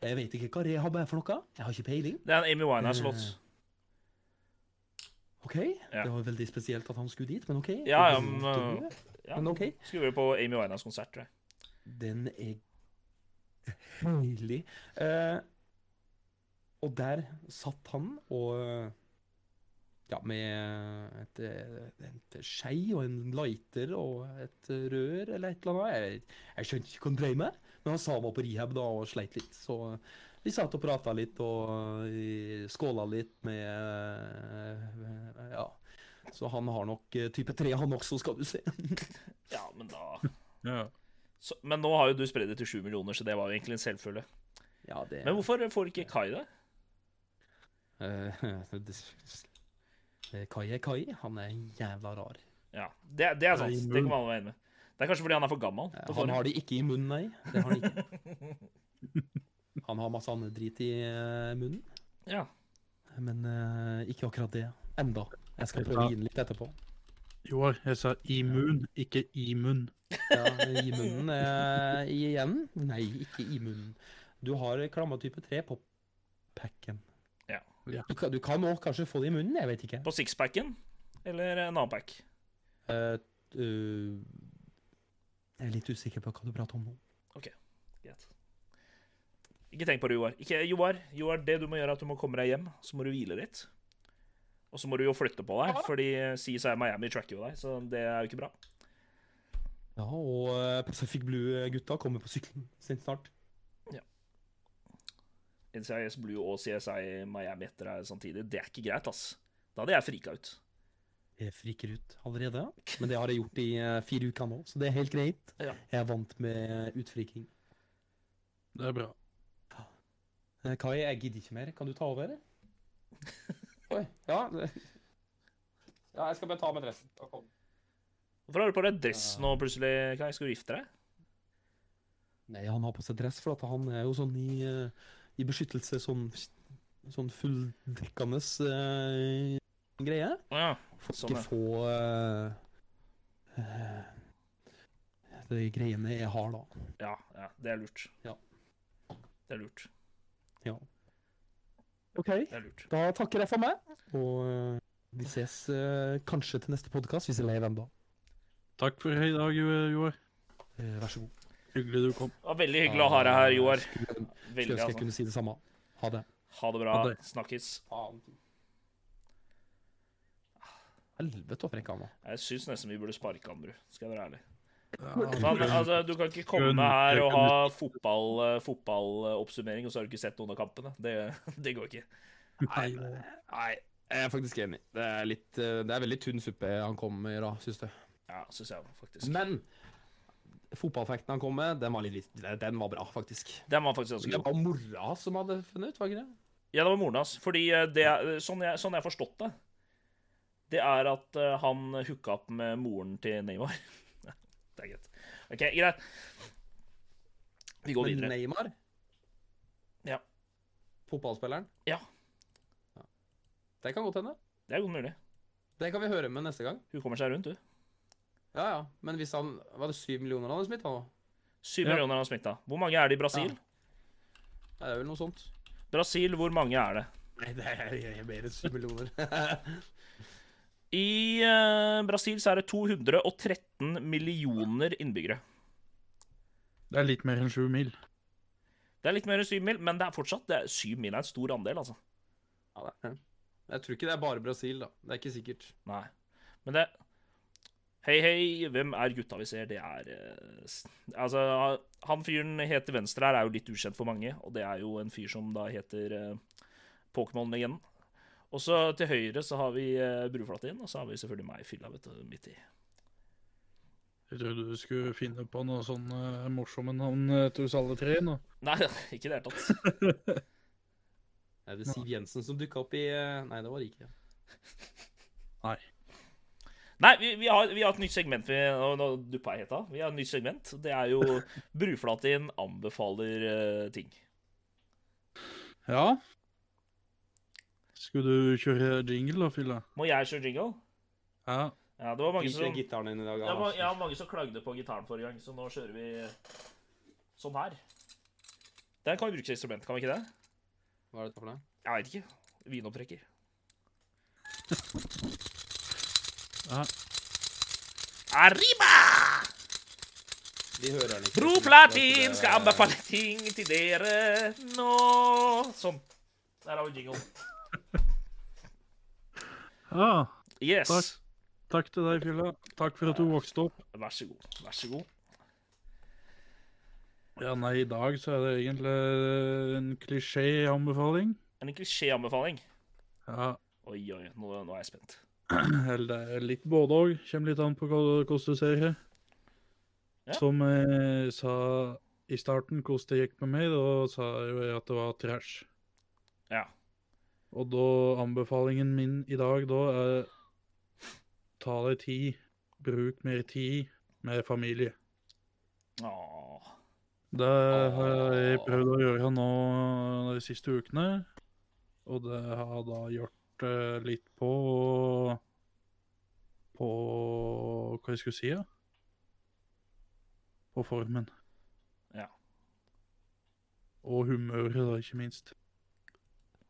Speaker 4: Jeg vet ikke hva rehab er for noe, jeg har ikke peiling.
Speaker 2: Det er en Amy Winehouse-låt.
Speaker 4: Eh. Ok, det var veldig spesielt at han skulle dit, men ok.
Speaker 2: Ja, ja,
Speaker 4: Det
Speaker 2: men, eh,
Speaker 4: måtte du,
Speaker 2: ja.
Speaker 4: Men ok.
Speaker 2: Skulle vært på Amy Winehouse-konsert, tror jeg.
Speaker 4: Den er deilig. Eh, og der satt han og Ja, med et, eh, et skei og en lighter og et rør eller et eller annet. Jeg, jeg skjønte ikke hva han drev med, men han sa han var på rehab da og sleit litt. Så vi satt og prata litt og eh, skåla litt med eh, Ja. Så han har nok eh, type 3, han også, skal du se.
Speaker 2: Ja, men da
Speaker 3: Ja.
Speaker 2: så, Men nå har jo du spredd det til sju millioner, så det var jo egentlig en selvfølge.
Speaker 4: Ja, det
Speaker 2: Men hvorfor får ikke Kai det?
Speaker 4: Eh, det- det- Kai er Kai. Han er jævla rar.
Speaker 2: Ja, Det, det er sant. Det kan man være enig med. Det er kanskje fordi han er for gammel.
Speaker 4: Eh, Han har det ikke i munnen, nei. Det har han ikke. Han har masse annen drit i eh, munnen,
Speaker 2: Ja.
Speaker 4: men eh, ikke akkurat det. Enda. Jeg skal
Speaker 3: Ja.
Speaker 4: prøve å gi den litt etterpå.
Speaker 3: Joar, jeg sa immun, ikke imun.
Speaker 4: Ja, I munnen eh, igjen? Nei, ikke i munnen. Du har klamma type 3 på packen.
Speaker 2: Ja.
Speaker 3: Ja.
Speaker 4: Du, kan- du kan òg kanskje få det i munnen, jeg vet ikke.
Speaker 2: På sixpacken eller en annen pack?
Speaker 4: Eh, t- eh, jeg er litt usikker på hva du prater om nå.
Speaker 2: Greit. Ikke tenk på det, Joar. Ikke, Joar, Joar, det du må gjøre, er at du må komme deg hjem. Så må du hvile litt. Og så må du jo flytte på deg, fordi CSI Miami tracker jo deg, så det er jo ikke bra.
Speaker 4: Ja, og eh, Pacific Blue-gutta kommer på sykkelen sin snart.
Speaker 2: NCIS Blue og CSI Miami etter deg samtidig. Det er ikke greit, ass. Da hadde jeg frika ut.
Speaker 4: Jeg friker ut allerede, men det har jeg gjort i eh, fire uker nå, så det er helt greit.
Speaker 2: Ja.
Speaker 4: Jeg er vant med eh, utfriking.
Speaker 3: Det er bra.
Speaker 4: Eh, Kai, jeg gidder ikke mer. Kan du ta over? eller? Oi, ja. det- Ja, jeg skal bare ta med dressen. Da kom den.
Speaker 2: Hvorfor har du på deg dress nå plutselig, Kai? Skal du gifte deg?
Speaker 4: Nei, han har på seg dress, for at han er jo sånn i, eh, i beskyttelse, sånn, sånn fulldekkende eh, greie.
Speaker 2: Å ja.
Speaker 4: For
Speaker 2: Sånn, ja.
Speaker 4: ikke få eh, eh, de greiene jeg har, da.
Speaker 2: ja. Ja, det er lurt.
Speaker 4: Ja.
Speaker 2: Det er lurt.
Speaker 4: OK,
Speaker 2: Det er lurt.
Speaker 4: da takker jeg for meg. Og eh, vi ses eh, kanskje til neste podkast, hvis jeg lever ennå.
Speaker 3: Takk for i dag, Jo- Joar.
Speaker 4: Eh, vær så god.
Speaker 3: Hyggelig du kom.
Speaker 2: Det var veldig hyggelig å ha deg her, Joar.
Speaker 4: Skulle
Speaker 2: Veldig,
Speaker 4: ønske jeg
Speaker 2: altså.
Speaker 4: kunne si det samme. Ha det.
Speaker 2: Ha det bra.
Speaker 3: Ha det.
Speaker 2: Snakkes.
Speaker 4: Helvete, hvor frekk han var.
Speaker 2: Jeg syns nesten vi burde sparke han, bru. Skal jeg være ærlig.
Speaker 3: Ja,
Speaker 2: Men, altså, du kan ikke komme
Speaker 3: Skjønn.
Speaker 2: her og
Speaker 3: Jeg kan
Speaker 2: ha fotballoppsummering, fotball eh, oppsummering, og så har du ikke sett noen av kampene. Det, det går ikke.
Speaker 3: nei,
Speaker 1: Nei, jeg er faktisk enig. Det er, litt, eh, det er veldig tynn suppe han kom med, da, syns jeg.
Speaker 2: Ja, syns jeg faktisk.
Speaker 4: Mm.
Speaker 1: Men fotballfekten han kom med, den var, litt, den var bra, faktisk.
Speaker 2: Den var faktisk ganske
Speaker 1: Det
Speaker 2: god.
Speaker 1: var mora som hadde funnet ut, var ikke det?
Speaker 2: Ja, det var moren hans. Fordi eh, det, er- sånn, jeg, sånn jeg har forstått det, det er at eh, han hooka opp med moren til Neymar. det er greit. OK, greit. Vi går
Speaker 1: Men
Speaker 2: videre.
Speaker 1: Neymar?
Speaker 2: Ja.
Speaker 1: Fotballspilleren?
Speaker 2: Ja.
Speaker 1: Ja. Det kan godt hende.
Speaker 2: Det er godt mulig.
Speaker 1: Det kan vi høre med neste gang.
Speaker 2: Hun kommer seg rundt, hun.
Speaker 1: Ja, ja. Men hvis han Var det syv millioner han hadde smitta nå?
Speaker 2: Syv
Speaker 3: Ja.
Speaker 2: millioner har smitta. Hvor mange er det i Brasil?
Speaker 1: Nei, Det er vel noe sånt?
Speaker 2: Brasil, hvor mange er det?
Speaker 1: Nei, det er mer enn syv millioner.
Speaker 2: I eh, Brasil så er det 213 millioner innbyggere.
Speaker 3: det er litt mer enn sju mil.
Speaker 2: Det er litt mer enn syv mil, men det er fortsatt det er, syv mil er en stor andel, altså.
Speaker 1: ja, det er. det. Jeg tror ikke det er bare Brasil, da. Det er ikke sikkert.
Speaker 2: Nei. Men det Hei, hei, hvem er gutta vi ser? Det er eh, s- Altså, han fyren helt til venstre her er jo litt ukjent for mange, og det er jo en fyr som da heter eh, Pokémon-legenden. Og så til høyre så har vi eh, Bruflatin, og så har vi selvfølgelig meg, fylla, vet du, midt i.
Speaker 3: Jeg trodde du skulle finne på noe sånn eh, morsomme navn eh, til oss alle tre nå.
Speaker 2: Nei, ikke i det hele tatt.
Speaker 1: Er det Siv Jensen som dukka opp i eh, Nei, det var det ikke.
Speaker 2: Nei, vi, vi, har, vi har et nytt segment. Vi, nå nå duppa jeg helt av. Vi har et nytt segment. Det er jo Bruflatin anbefaler eh, ting.
Speaker 3: Ja, Skulle du kjøre jingle, da, Fille?
Speaker 2: Må jeg kjøre jingle?
Speaker 3: Ja.
Speaker 2: Ja, det var mange
Speaker 4: Ikke
Speaker 2: som,
Speaker 4: gitaren din i dag,
Speaker 2: det var,
Speaker 4: Anders.
Speaker 2: ja, mange som klagde på gitaren forrige gang, så nå kjører vi eh, sånn her. Den kan vi bruke som instrument, kan vi ikke det?
Speaker 4: Hva er dette for noe?
Speaker 2: Jeg veit ikke. Vinopptrekker.
Speaker 3: ja.
Speaker 2: Arriba!
Speaker 4: De hører den ikke.
Speaker 2: Bro Platin skal anbefale ting til dere nå. Sånn. Der har vi jingle.
Speaker 3: Ah,
Speaker 2: Yes.
Speaker 3: Takk. takk til deg, Fille. Takk for at du vokste opp.
Speaker 2: Vær så god. Vær så god.
Speaker 3: Ja, nei, i dag så er det egentlig en klisjé-anbefaling.
Speaker 2: En klisjéanbefaling.
Speaker 3: Ja,
Speaker 2: Oi, oi, nå, nå er jeg spent.
Speaker 3: eller det er litt både òg. Kommer litt an på hva- hvordan du ser det.
Speaker 2: Ja.
Speaker 3: Som jeg sa i starten, hvordan det gikk med meg, da sa jeg jo at det var trash.
Speaker 2: Ja.
Speaker 3: Og da anbefalingen min i dag da er ta deg tid, bruk mer tid med familie.
Speaker 2: Åh.
Speaker 3: Det har jeg prøvd å gjøre nå eh, de siste ukene, og det har da gjort eh, litt på på hva jeg skulle si, ja? På formen.
Speaker 2: Ja.
Speaker 3: Og humøret, da, ikke minst.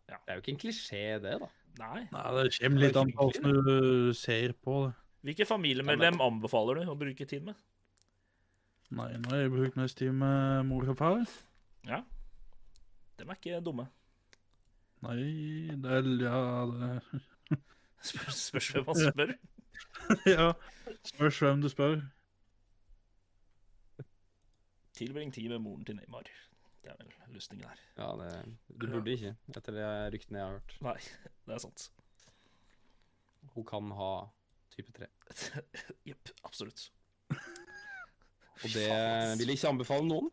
Speaker 4: Det er jo ikke en klisjé, det, da.
Speaker 2: Nei.
Speaker 3: Nei, det kommer litt an på hvordan du ser på det.
Speaker 2: Hvilke familiemedlem anbefaler du å bruke tid med?
Speaker 3: Nei, nå har jeg brukt mest tid med mor og far.
Speaker 2: Ja. Dem er ikke dumme.
Speaker 3: Nei, det er ja, det
Speaker 2: Spør- Spørs hvem man spør.
Speaker 3: Ja. Spørs hvem du spør.
Speaker 2: Tilbring tid med moren til Neymar. Det er vel løsningen her.
Speaker 4: Ja, det, Du burde ikke, etter det ryktene jeg har hørt.
Speaker 2: Nei, det er sant.
Speaker 4: Hun kan ha type 3.
Speaker 2: Jepp, absolutt.
Speaker 4: Og det vil jeg ikke anbefale noen.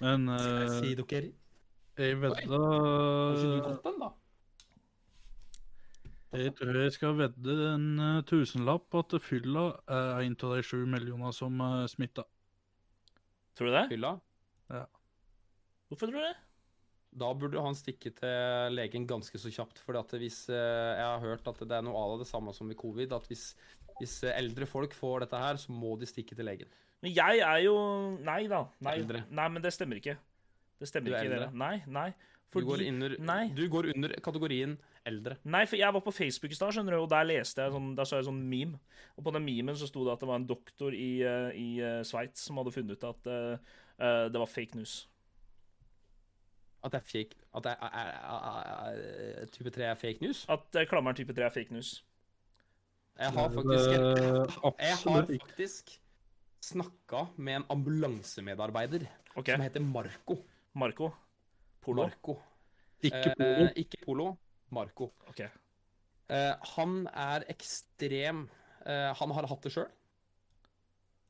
Speaker 3: Men eh,
Speaker 4: Si dere.
Speaker 3: jeg vedda
Speaker 4: Kanskje du fått den, da?
Speaker 3: Jeg tror jeg skal vedde en eh, tusenlapp på at fylla er en av de sju millioner som eh, er smitta.
Speaker 2: Tror du det?
Speaker 4: Fylla?
Speaker 2: Hvorfor tror du det?
Speaker 4: Da burde han stikke til legen ganske så kjapt. For at hvis, eh, jeg har hørt at det er noe av det samme som ved covid. At hvis, hvis eldre folk får dette her, så må de stikke til legen.
Speaker 2: Men jeg er jo Nei da. Nei,
Speaker 4: Eldre.
Speaker 2: nei men det stemmer ikke. Det stemmer
Speaker 4: Du er
Speaker 2: ikke. Dere.
Speaker 4: eldre.
Speaker 2: Nei, nei.
Speaker 4: Du, går,
Speaker 2: Fordi
Speaker 4: under,
Speaker 2: nei.
Speaker 4: du går under kategorien eldre.
Speaker 2: Nei, for jeg var på Facebook i stad, skjønner du, og der leste jeg sånn, der så jeg sånn meme. Og på den memen så sto det at det var en doktor i, eh, i eh, Sveits som hadde funnet ut at eh, eh, det var fake news.
Speaker 4: At det er fake At det er, er, er, er, type 3 er fake news?
Speaker 2: At eh, klammeren type 3 er fake news.
Speaker 4: Jeg har faktisk et Jeg har
Speaker 3: eh, Absolutt ikke.
Speaker 4: faktisk snakka med en ambulansemedarbeider
Speaker 2: OK.
Speaker 4: som heter Marco.
Speaker 2: Marco. Polo.
Speaker 4: Marco.
Speaker 3: Ikke
Speaker 4: Eh,
Speaker 3: polo.
Speaker 4: ikke Polo. Marco.
Speaker 2: OK.
Speaker 4: Eh, han er ekstrem eh, Han har hatt det sjøl.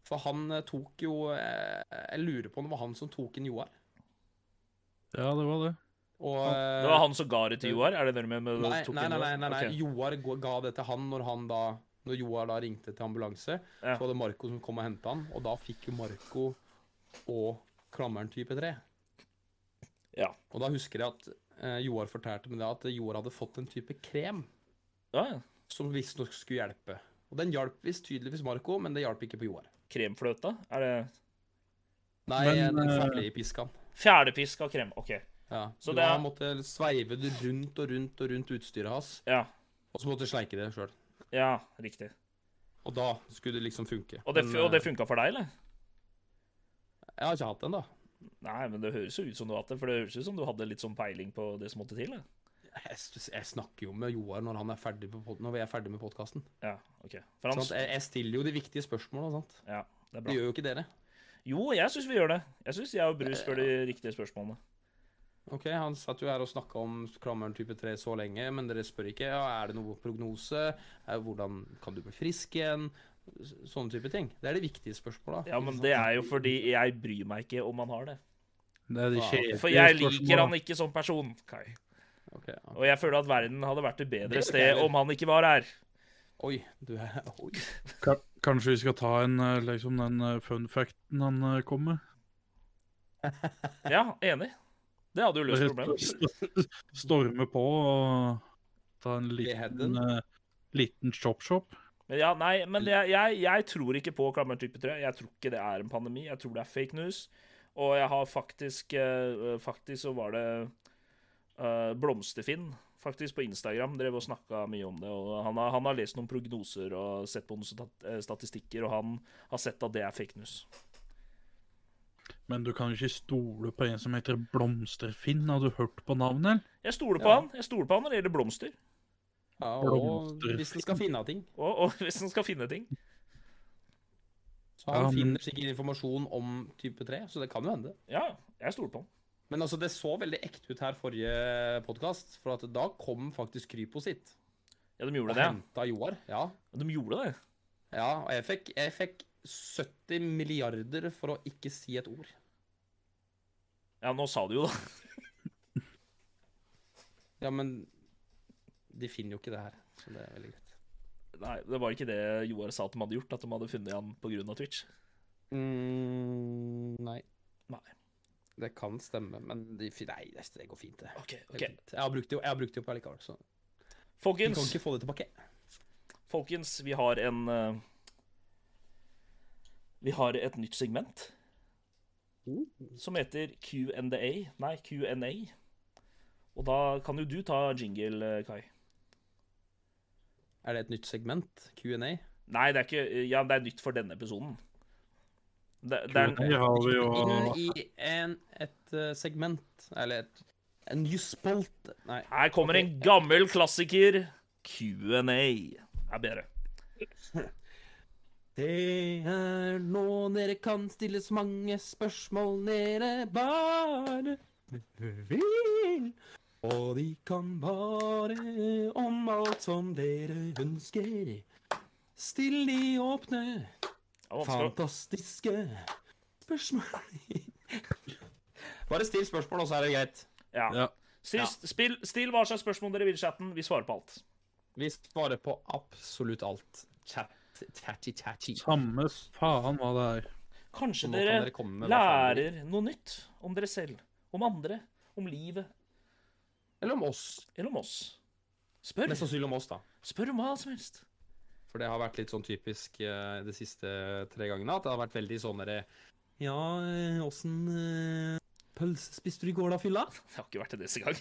Speaker 4: For han eh, tok jo eh, Jeg lurer på om det var han som tok en Joar.
Speaker 3: Ja, det var det.
Speaker 4: Og,
Speaker 2: Det var han som ga det til Joar? Er det det med, med
Speaker 4: eh, Nei,
Speaker 2: tok
Speaker 4: nei,
Speaker 2: inn
Speaker 4: nei,
Speaker 2: det?
Speaker 4: nei, nei, nei.
Speaker 2: Ok.
Speaker 4: Joar gå- ga det til han når han da Når Joar da ringte til ambulanse.
Speaker 2: Ja.
Speaker 4: Så var det Marco som kom og henta han, og da fikk jo Marco og klammeren type 3.
Speaker 2: Ja.
Speaker 4: Og da husker jeg at eh, Joar fortalte meg det at Joar hadde fått en type krem
Speaker 2: Ja, ja.
Speaker 4: som visstnok skulle hjelpe. Og den hjalp visst tydeligvis Marco, men det hjalp ikke på Joar.
Speaker 2: Kremfløta? Er det
Speaker 4: Nei,
Speaker 3: Men,
Speaker 4: den
Speaker 3: eh,
Speaker 4: ferdige piska.
Speaker 2: Fjerdepisk av krem? OK.
Speaker 4: Ja.
Speaker 2: så
Speaker 4: Så
Speaker 2: det
Speaker 4: det
Speaker 2: er-
Speaker 4: Han måtte sveive det rundt og rundt og rundt utstyret hans,
Speaker 2: Ja.
Speaker 4: og så måtte han sleike det sjøl.
Speaker 2: Ja, riktig.
Speaker 4: Og da skulle det liksom funke.
Speaker 2: Og det,
Speaker 4: Men,
Speaker 2: fu- og det
Speaker 4: eh,
Speaker 2: funka for deg, eller?
Speaker 4: Jeg har ikke hatt den, da.
Speaker 2: Nei, men det høres jo ut som du har hatt det, for det høres ut som du hadde litt sånn peiling på det som måtte til. eller?
Speaker 4: Jeg, s- jeg snakker jo med Joar når, han er ferdig på pod når vi er ferdig med podkasten.
Speaker 2: Ja, OK. For han,
Speaker 4: Jeg, jeg stiller jo de viktige spørsmålene. Sant?
Speaker 2: ja, det er
Speaker 4: Det
Speaker 2: bra.
Speaker 4: gjør jo ikke dere.
Speaker 2: Jo, jeg syns vi gjør det. Jeg syns jeg og Bru spør de riktige spørsmålene.
Speaker 4: Ok, Han satt jo her og snakka om klammeren type 3 så lenge, men dere spør ikke ja, er det noe prognose, Eh, hvordan kan du bli frisk igjen, S- sånne type ting. Det er de viktige spørsmåla.
Speaker 2: Ja, men det er jo fordi jeg bryr meg ikke om han har det.
Speaker 3: Det er de
Speaker 4: Ah,
Speaker 3: kjedelige
Speaker 2: For jeg liker
Speaker 3: spørsmålene.
Speaker 2: han ikke som person, Kai.
Speaker 4: ja.
Speaker 2: Og jeg føler at verden hadde vært et
Speaker 4: Det er
Speaker 2: bedre
Speaker 4: jo
Speaker 2: sted
Speaker 4: gærent.
Speaker 2: om han ikke var her.
Speaker 4: Oi, du er Oi.
Speaker 3: Ka- Kanskje vi skal ta en, eh, liksom, den eh, fun facten han eh, kom med?
Speaker 2: Ja, enig. Det hadde jo løst
Speaker 3: Bare
Speaker 2: problemet.
Speaker 3: st- storme på og ta en liten,
Speaker 1: Beheaded.
Speaker 3: eh, liten chop-chop.
Speaker 2: Men Ja, nei, men jeg, jeg, jeg tror ikke på klammertype 3. Jeg tror ikke det er en pandemi. Jeg tror det er fake news. Og jeg har faktisk eh, Faktisk så var det eh, Blomsterfinn faktisk på Instagram drev og snakka mye om det. og han har, han har lest noen prognoser og sett på noen stat- eh, statistikker, og han har sett at det er fake news.
Speaker 3: Men du kan jo ikke stole på en som heter Blomsterfinn. Har du hørt på navnet? eller?
Speaker 2: Jeg stoler på
Speaker 1: Ja.
Speaker 2: han Jeg stoler på han når det gjelder blomster,
Speaker 1: Ja, og hvis den skal finne av ting.
Speaker 2: og, og hvis han skal finne ting.
Speaker 1: Så han
Speaker 3: Ja, men-
Speaker 1: finner sikkert informasjon om type 3, så det kan jo hende.
Speaker 2: Ja, jeg stoler på han.
Speaker 1: Men altså, det så veldig ekte ut her forrige podkast, for at da kom faktisk Krypo sitt.
Speaker 2: Ja, de
Speaker 1: Og
Speaker 2: gjorde det. ja.
Speaker 1: henta Joar. Ja.
Speaker 2: De gjorde det.
Speaker 1: ja og jeg fikk, jeg fikk 70 milliarder for å ikke si et ord.
Speaker 2: Ja, nå sa du jo, da.
Speaker 1: Ja, men de finner jo ikke det her. Så det er veldig greit.
Speaker 2: Nei, det var ikke det Joar sa at de hadde gjort, at de hadde funnet han pga. Twitch.
Speaker 1: Mm, nei.
Speaker 2: Nei.
Speaker 1: Det kan stemme, men de, fin- nei, det det går fint, det.
Speaker 2: Ok,
Speaker 1: Det
Speaker 2: ok.
Speaker 1: går fint. Jeg har brukt det jo, jeg har brukt det jo på allikevel, så vi kan
Speaker 2: Folkens,
Speaker 1: ikke få det tilbake.
Speaker 2: folkens, vi har en eh, Vi har et nytt segment
Speaker 1: Oh.
Speaker 2: som heter Q&A. Nei, Q&A. Og da kan jo du ta jingle, eh, Kai.
Speaker 1: Er det et nytt segment? Q&A?
Speaker 2: Nei, det er ikke eh, Ja, det er nytt for denne episoden. Det, det er,
Speaker 3: Her har vi jo
Speaker 1: Inn i en, et eh, segment, eller et, en ny spalte Nei.
Speaker 2: her kommer en gammel klassiker. Q&A er bedre.
Speaker 1: Det er nå dere kan stilles mange spørsmål dere bare vil. Og de kan bare om alt som dere ønsker. Still de åpne,
Speaker 2: Det var vanskelig å-
Speaker 1: fantastiske spørsmål. bare still spørsmål, og så er det greit.
Speaker 2: Ja.
Speaker 3: ja.
Speaker 2: Still,
Speaker 1: Ja.
Speaker 2: spill, still hva slags spørsmål dere vil i chatten. Vi svarer på alt.
Speaker 1: Vi svarer på absolutt alt. Chat, chatty, chatty.
Speaker 3: Samme faen hva det er.
Speaker 2: Kanskje
Speaker 1: Og nå kan
Speaker 2: dere,
Speaker 1: dere komme med hva faen dere
Speaker 2: lærer noe nytt om dere selv, om andre, om livet
Speaker 1: Eller om oss.
Speaker 2: eller om oss. Spør,
Speaker 1: Mest sannsynlig om oss, da.
Speaker 2: spør om hva som helst.
Speaker 1: For det har vært litt sånn typisk eh, de siste tre gangene, at det har vært veldig sånn derre Ja, eh, åssen pølse spiste du i går, da, fylla?
Speaker 2: Det har ikke vært det disse gang.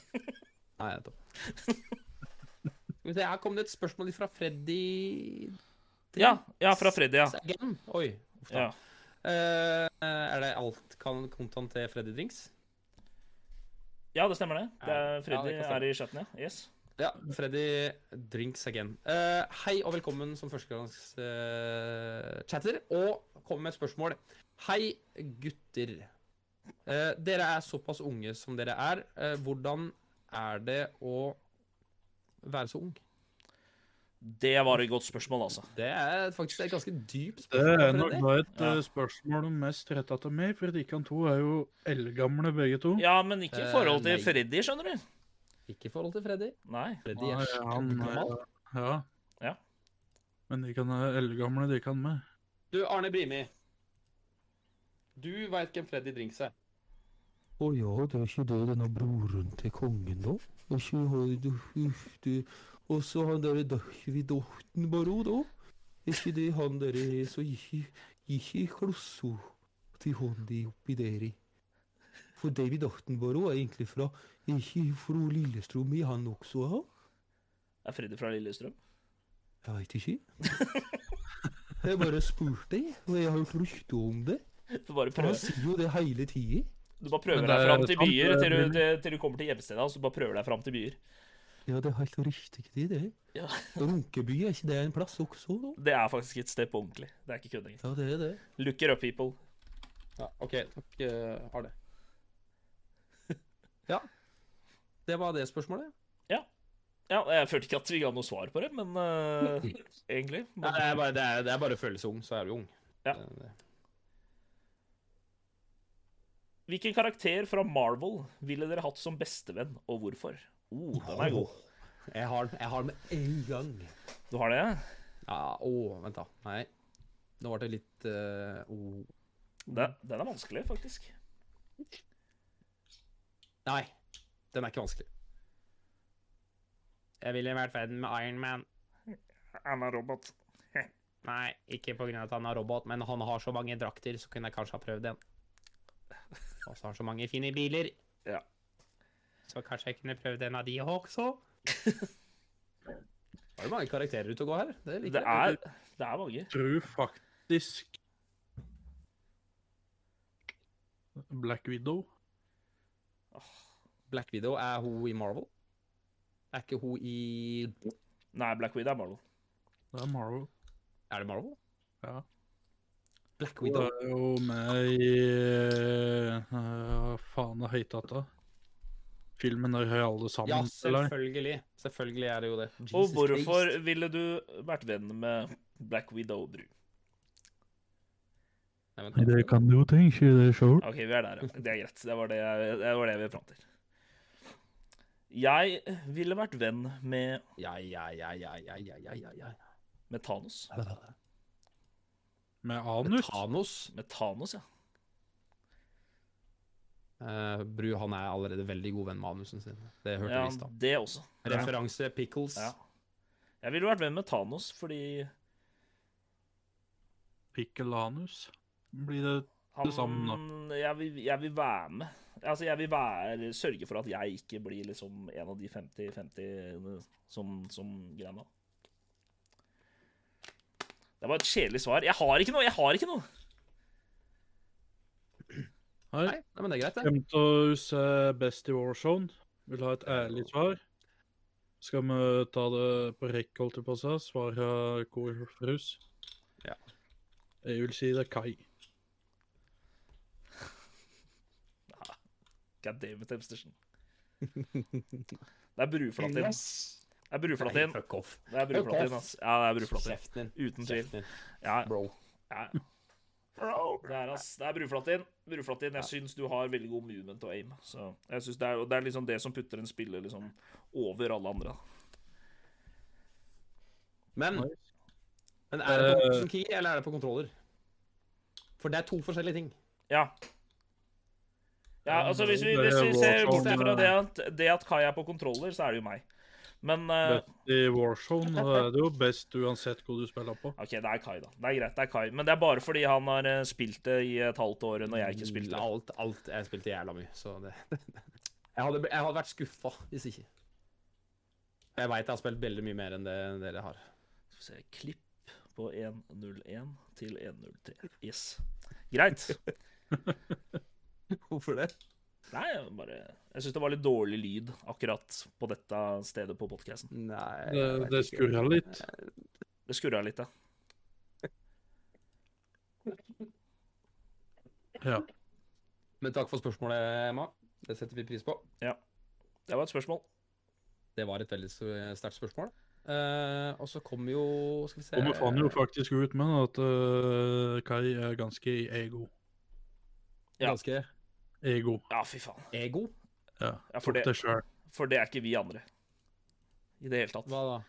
Speaker 1: Nei, nettopp. Skal vi se, her kom det et spørsmål fra Freddy
Speaker 2: Ja, ja, fra Freddy, ja.
Speaker 1: Sagen. Oi. Uff da.
Speaker 2: ja.
Speaker 1: Eh, er det alt kan kontant til Freddy Drinks?
Speaker 2: Ja, det stemmer det. det er
Speaker 1: Ja,
Speaker 2: Freddy
Speaker 1: det kan stemme.
Speaker 2: er i chatten, ja. Yes.
Speaker 1: Ja, Freddy Drinks again. Eh, hei og velkommen som førstegangschatter. og kom med et spørsmål. Hei, gutter. Eh, dere er såpass unge som dere er. Eh, hvordan er det å være så ung?
Speaker 2: Det var et godt spørsmål, altså.
Speaker 1: Det er faktisk et ganske dypt
Speaker 3: Det
Speaker 1: spørsmål.
Speaker 3: er nok
Speaker 1: Freddy.
Speaker 3: da et
Speaker 2: Ja.
Speaker 3: eh, spørsmål mest retta til meg, for de kan to er jo eldgamle begge to.
Speaker 2: Ja, men ikke i
Speaker 1: Eh,
Speaker 2: forhold til
Speaker 1: nei.
Speaker 2: Freddy, skjønner du.
Speaker 1: Ikke i forhold til Freddy.
Speaker 2: Nei.
Speaker 1: Freddy er
Speaker 3: Nei, han,
Speaker 1: gammel.
Speaker 3: eh, ja.
Speaker 2: Ja.
Speaker 3: Men de kan være eldgamle, de kan med.
Speaker 1: Du, Arne Brimi. Du veit hvem Freddy Drinks er.
Speaker 4: Å ja, det er ikke det denne broren til kongen, da? Det er ikke han du, uff, du. Og så han derre David Ottenbaro, da? Er ikke det han derre som gikk i- gikk i klossa til Hondi oppi der i? For David Ottenbaro er egentlig fra Er ikke fra Lillestrøm, er han også? Ha?
Speaker 2: Er Freddy fra Lillestrøm?
Speaker 4: Jeg veit ikke. Jeg bare spurte, jeg, og jeg har hørt rykte om det.
Speaker 2: Du bare,
Speaker 4: For han
Speaker 2: prøver,
Speaker 4: sier jo det hele tida.
Speaker 2: du bare prøver
Speaker 3: Men det
Speaker 2: deg
Speaker 3: er
Speaker 2: fram til
Speaker 3: sant,
Speaker 2: byer
Speaker 3: det er
Speaker 2: til du,
Speaker 3: mulig.
Speaker 2: til, til du kommer til hjemstedet hans. Du bare prøver deg fram til byer.
Speaker 4: Ja, det er helt riktig, det. det.
Speaker 2: Ja.
Speaker 4: Runkeby, er ikke det en plass også, da?
Speaker 2: Det er faktisk et step på ordentlig. Det er ikke kødding.
Speaker 4: Ja, det er det.
Speaker 2: Look it up, people.
Speaker 1: Ja, OK. Takk, eh, Arne. Ja. Det var det spørsmålet.
Speaker 2: Ja, jeg følte ikke at vi ga noe svar på det, men eh, egentlig.
Speaker 1: Nei, det
Speaker 2: Men,
Speaker 1: er bare, det er, det er bare å føle seg ung, så er du ung. Eh,
Speaker 2: Ja.
Speaker 1: Det- det-
Speaker 2: hvilken karakter fra Marvel ville dere hatt som bestevenn, og hvorfor? Oh, den er god.
Speaker 1: Jeg har den jeg har den med en gang.
Speaker 2: Du har det?
Speaker 1: Ja, å, vent da. Nei. Nå ble det litt eh, å.
Speaker 2: Den, den er vanskelig, faktisk.
Speaker 1: Nei, den er ikke vanskelig.
Speaker 4: Jeg ville vært verden med Iron Man.
Speaker 2: Han er robot.
Speaker 4: Nei, ikke pga. at han er robot, men han har så mange drakter, så kunne jeg kanskje ha prøvd en. Og så har han så mange fine biler.
Speaker 2: Ja.
Speaker 4: Så kanskje jeg kunne prøvd en av de også.
Speaker 1: Da er det mange karakterer ute og går her. Det liker
Speaker 2: Det er, det er mange.
Speaker 3: tror faktisk Black Widow.
Speaker 1: jeg. Black Widow er hun i Marvel. Er ikke hun i
Speaker 2: Nei, Black Widow er Marvel.
Speaker 3: Det er Marvel.
Speaker 1: Er det Marvel?
Speaker 3: Ja.
Speaker 1: Black
Speaker 3: Hun
Speaker 1: Widow.
Speaker 3: er jo med i eh, Hva faen er høytata? Filmen der hører alle sammen.
Speaker 1: Ja,
Speaker 3: eller?
Speaker 1: selvfølgelig. Selvfølgelig er det jo det.
Speaker 2: Og
Speaker 1: Jesus
Speaker 2: hvorfor
Speaker 1: Christ.
Speaker 2: ville du vært venn med Black Widow, Bru?
Speaker 1: Nei, men-
Speaker 3: Det kan du jo tenke deg sjøl.
Speaker 2: OK, vi er der, ja. Det er greit. Det var det, jeg, det, var det vi fram til. Jeg ville vært venn med,
Speaker 1: Ja, ja, ja, ja, ja, ja, ja, ja, ja.
Speaker 2: med Thanos.
Speaker 3: Med anus?
Speaker 1: Thanos.
Speaker 2: Med Thanos, ja.
Speaker 1: Eh, Bru han er allerede veldig god venn med anusen sin. Det hørte
Speaker 2: ja
Speaker 1: vi i stad.
Speaker 2: det også.
Speaker 1: Referanse Pickles.
Speaker 2: Ja. Jeg ville vært venn med Thanos fordi
Speaker 3: Pikkelanus? Blir det
Speaker 2: han
Speaker 3: Det samme,
Speaker 2: jeg vil, jeg vil være med. Altså, jeg vil være, sørge for at jeg ikke blir liksom en av de 50-50 som, som greier nå. Det var et kjedelig svar. Jeg har ikke noe! Jeg har ikke noe!
Speaker 3: Nei.
Speaker 1: Nei, nei, men det er greit, det.
Speaker 3: Femtaus er eh, best i Warzone. Vil ha et ærlig svar. Skal vi ta det på rekk, holdt jeg på å si? Svare hvor frus?
Speaker 1: Ja.
Speaker 3: Jeg vil si det er Kai.
Speaker 2: God damn it, Hemstersen. Det er bruflatin.
Speaker 1: Yes.
Speaker 2: Det er
Speaker 1: Nei,
Speaker 2: bruflatin.
Speaker 1: fuck off.
Speaker 2: Det er bruflatin,
Speaker 1: Fuck off.
Speaker 2: ass. Ja, det er bruflatin.
Speaker 1: Kjeften din.
Speaker 2: Uten tvil.
Speaker 1: Kjeften din,
Speaker 2: Ja,
Speaker 1: bro.
Speaker 2: ja. Det er, ass, det er bruflatin. Bruflatin, jeg syns du har veldig god movement og aim. Så jeg synes det, er, og det er liksom det som putter en spiller liksom over alle andre.
Speaker 1: Men, men er det på Option Key, eller er det på kontroller? For det er to forskjellige ting.
Speaker 2: Ja. ja altså, hvis vi, hvis vi ser bort fra det at, det at Kai er på kontroller, så er det jo meg. Men eh,
Speaker 3: Best i Warzone da er det jo best uansett hvor du spiller på.
Speaker 2: OK, det er Kai, da. Det er greit, det er Kai. Men det er bare fordi han har eh, spilt det i et halvt år når jeg ikke spilte. det.
Speaker 1: Alt, alt jeg spilte jævla mye, så det Jeg hadde, jeg hadde vært skuffa hvis ikke. Jeg veit jeg har spilt veldig mye mer enn det dere har.
Speaker 2: Skal vi se, klipp på 1.01 til 1.03. Yes. Greit.
Speaker 1: Hvorfor det?
Speaker 2: Nei, jeg bare Jeg syns det var litt dårlig lyd akkurat på dette stedet på podkasten.
Speaker 1: Nei
Speaker 3: Det, det skurrer litt.
Speaker 2: Det skurra litt, ja.
Speaker 3: Ja.
Speaker 1: Men takk for spørsmålet, Emma. Det setter vi pris på.
Speaker 2: Det var et spørsmål.
Speaker 1: Det var et veldig s- sterkt spørsmål. Eh, og så kom jo Skal vi se
Speaker 3: Og vi fant jo faktisk ut med at eh, Kai er ganske i ego.
Speaker 2: Ja.
Speaker 1: Ganske
Speaker 3: Ego.
Speaker 2: Ja, fy faen.
Speaker 1: ego.
Speaker 3: Ja.
Speaker 2: Ja, for
Speaker 3: Tok
Speaker 2: det-
Speaker 3: det sjøl.
Speaker 2: For det er ikke vi andre. I det hele tatt.
Speaker 1: Hva da?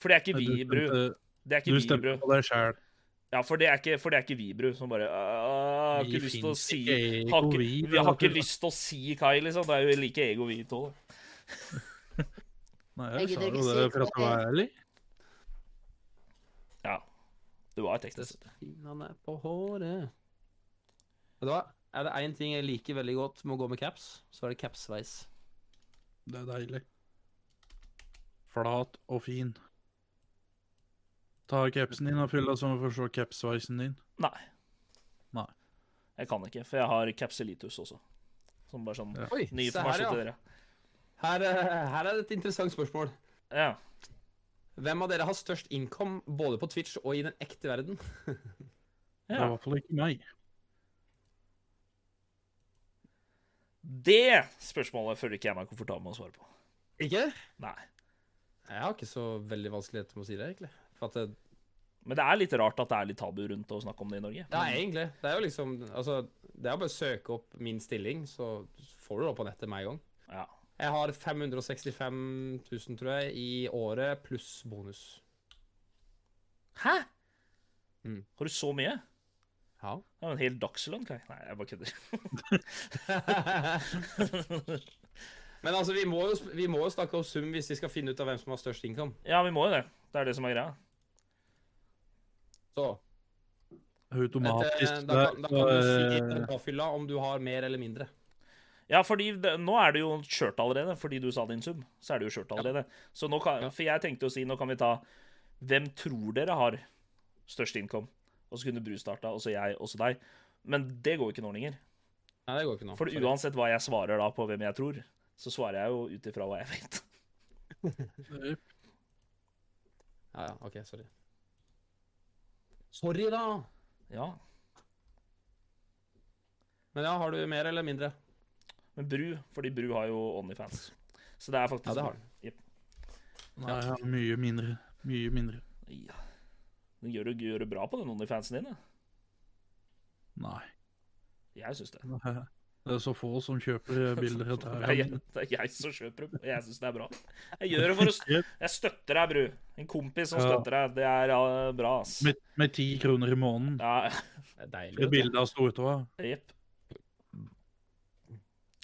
Speaker 2: For det er ikke vi, Bru. Det er
Speaker 3: Du
Speaker 2: ikke vi,
Speaker 3: stemte
Speaker 2: Bru.
Speaker 3: på deg sjøl.
Speaker 2: Ja, for det er ikke, for det er ikke vi, Bru, som bare «Ah, Har
Speaker 3: Vi
Speaker 2: ikke lyst til å
Speaker 3: finnes
Speaker 2: si
Speaker 3: ikke
Speaker 2: har
Speaker 3: ego,
Speaker 2: ikke,
Speaker 3: vi,
Speaker 2: Vi har
Speaker 3: da,
Speaker 2: ikke
Speaker 3: Bru.
Speaker 2: lyst til å si Kai, liksom. Det er jo like ego, vi to.
Speaker 3: Nei, jeg
Speaker 5: Jeg
Speaker 3: sa
Speaker 5: gidder
Speaker 3: jo
Speaker 5: ikke si
Speaker 3: det for at
Speaker 5: hva
Speaker 3: jeg var ærlig.
Speaker 2: Ja. Du var
Speaker 1: Det
Speaker 2: teknisk.
Speaker 1: Fingrene på håret. Vet du hva? Er det én ting jeg liker veldig godt med å gå med caps, så er det capsveis.
Speaker 3: Det er deilig. Flat og fin. Ta capsen din og fyll deg, så vi får se capsveisen din.
Speaker 2: Nei.
Speaker 3: Nei.
Speaker 2: Jeg kan ikke, for jeg har capsulitus også. Som bare sånn
Speaker 3: Ja.
Speaker 1: Oi,
Speaker 2: ny
Speaker 1: se her,
Speaker 2: informasjon
Speaker 1: ja.
Speaker 2: til dere.
Speaker 1: Her, eh, her er det et interessant spørsmål.
Speaker 2: Ja.
Speaker 1: Hvem av dere har størst income både på Twitch og i den ekte verden?
Speaker 3: Det er i
Speaker 2: ja.
Speaker 3: hvert fall ikke meg.
Speaker 2: Det spørsmålet føler ikke jeg meg komfortabel med å svare på.
Speaker 1: Ikke?
Speaker 2: Nei.
Speaker 1: Jeg har ikke så veldig vanskeligheter med å si det, egentlig. For at det,
Speaker 2: Men det er litt rart at det er litt tabu rundt å snakke om det i Norge.
Speaker 1: ja, egentlig. Det er jo liksom Altså, det er jo bare å søke opp min stilling, så får du det opp på nettet med en gang.
Speaker 2: Ja.
Speaker 1: Jeg har 565 000, tror jeg, i året, pluss bonus.
Speaker 2: Hæ?
Speaker 1: Mm.
Speaker 2: Har du så mye?
Speaker 1: Ja.
Speaker 2: Det er jo en hel dagslønn. Kai. Nei, jeg bare kødder.
Speaker 1: Men altså, vi må, jo, sp- vi må jo snakke om sum hvis vi skal finne ut av hvem som har størst income.
Speaker 2: Ja, vi må jo det. Det er det som er greia.
Speaker 1: Så
Speaker 3: Automatisk eh,
Speaker 1: dette- da kan, da kan du si
Speaker 3: der,
Speaker 1: i påfylla om du har mer eller mindre.
Speaker 2: Ja, fordi det, nå er det jo skjørt allerede, fordi du sa din sum. Så er det jo skjørt allerede. Så nå kan,
Speaker 1: Ja.
Speaker 2: For jeg tenkte å si, nå kan vi ta Hvem tror dere har størst income? Og så kunne Bru starta, og så jeg, og så deg. Men det går jo ikke nå lenger.
Speaker 1: Nei, det går ikke nå.
Speaker 2: For
Speaker 1: Sorry.
Speaker 2: uansett hva jeg svarer da på hvem jeg tror, så svarer jeg jo ut ifra hva jeg vet.
Speaker 3: eh,
Speaker 1: Ja, ja, ok, sorry. Sorry, da!
Speaker 2: Ja.
Speaker 1: Men ja, har du mer eller mindre?
Speaker 2: Men Bru, fordi Bru har jo Onlyfans. Så det er
Speaker 1: Ja,
Speaker 2: faktisk
Speaker 1: det har den.
Speaker 3: Nei, jeg har mye mindre. Mye mindre.
Speaker 2: Ja. Du gjør, det- gjør det bra på den Onlyfansen din, da.
Speaker 3: Nei.
Speaker 2: Jeg syns det.
Speaker 3: Det er så få som kjøper eh, bilder
Speaker 2: Det
Speaker 3: der.
Speaker 2: er, jeg, det er jeg som kjøper dem. Jeg syns det er bra. Jeg gjør det for å st- Jeg støtter deg, Bru. En kompis som
Speaker 3: Ja.
Speaker 2: støtter deg, det er ja, bra, ass.
Speaker 3: Med, med 10 kroner i måneden.
Speaker 2: Ja,
Speaker 1: Det er deilig. vet du.
Speaker 3: Det bildet av stortåa.
Speaker 2: jepp.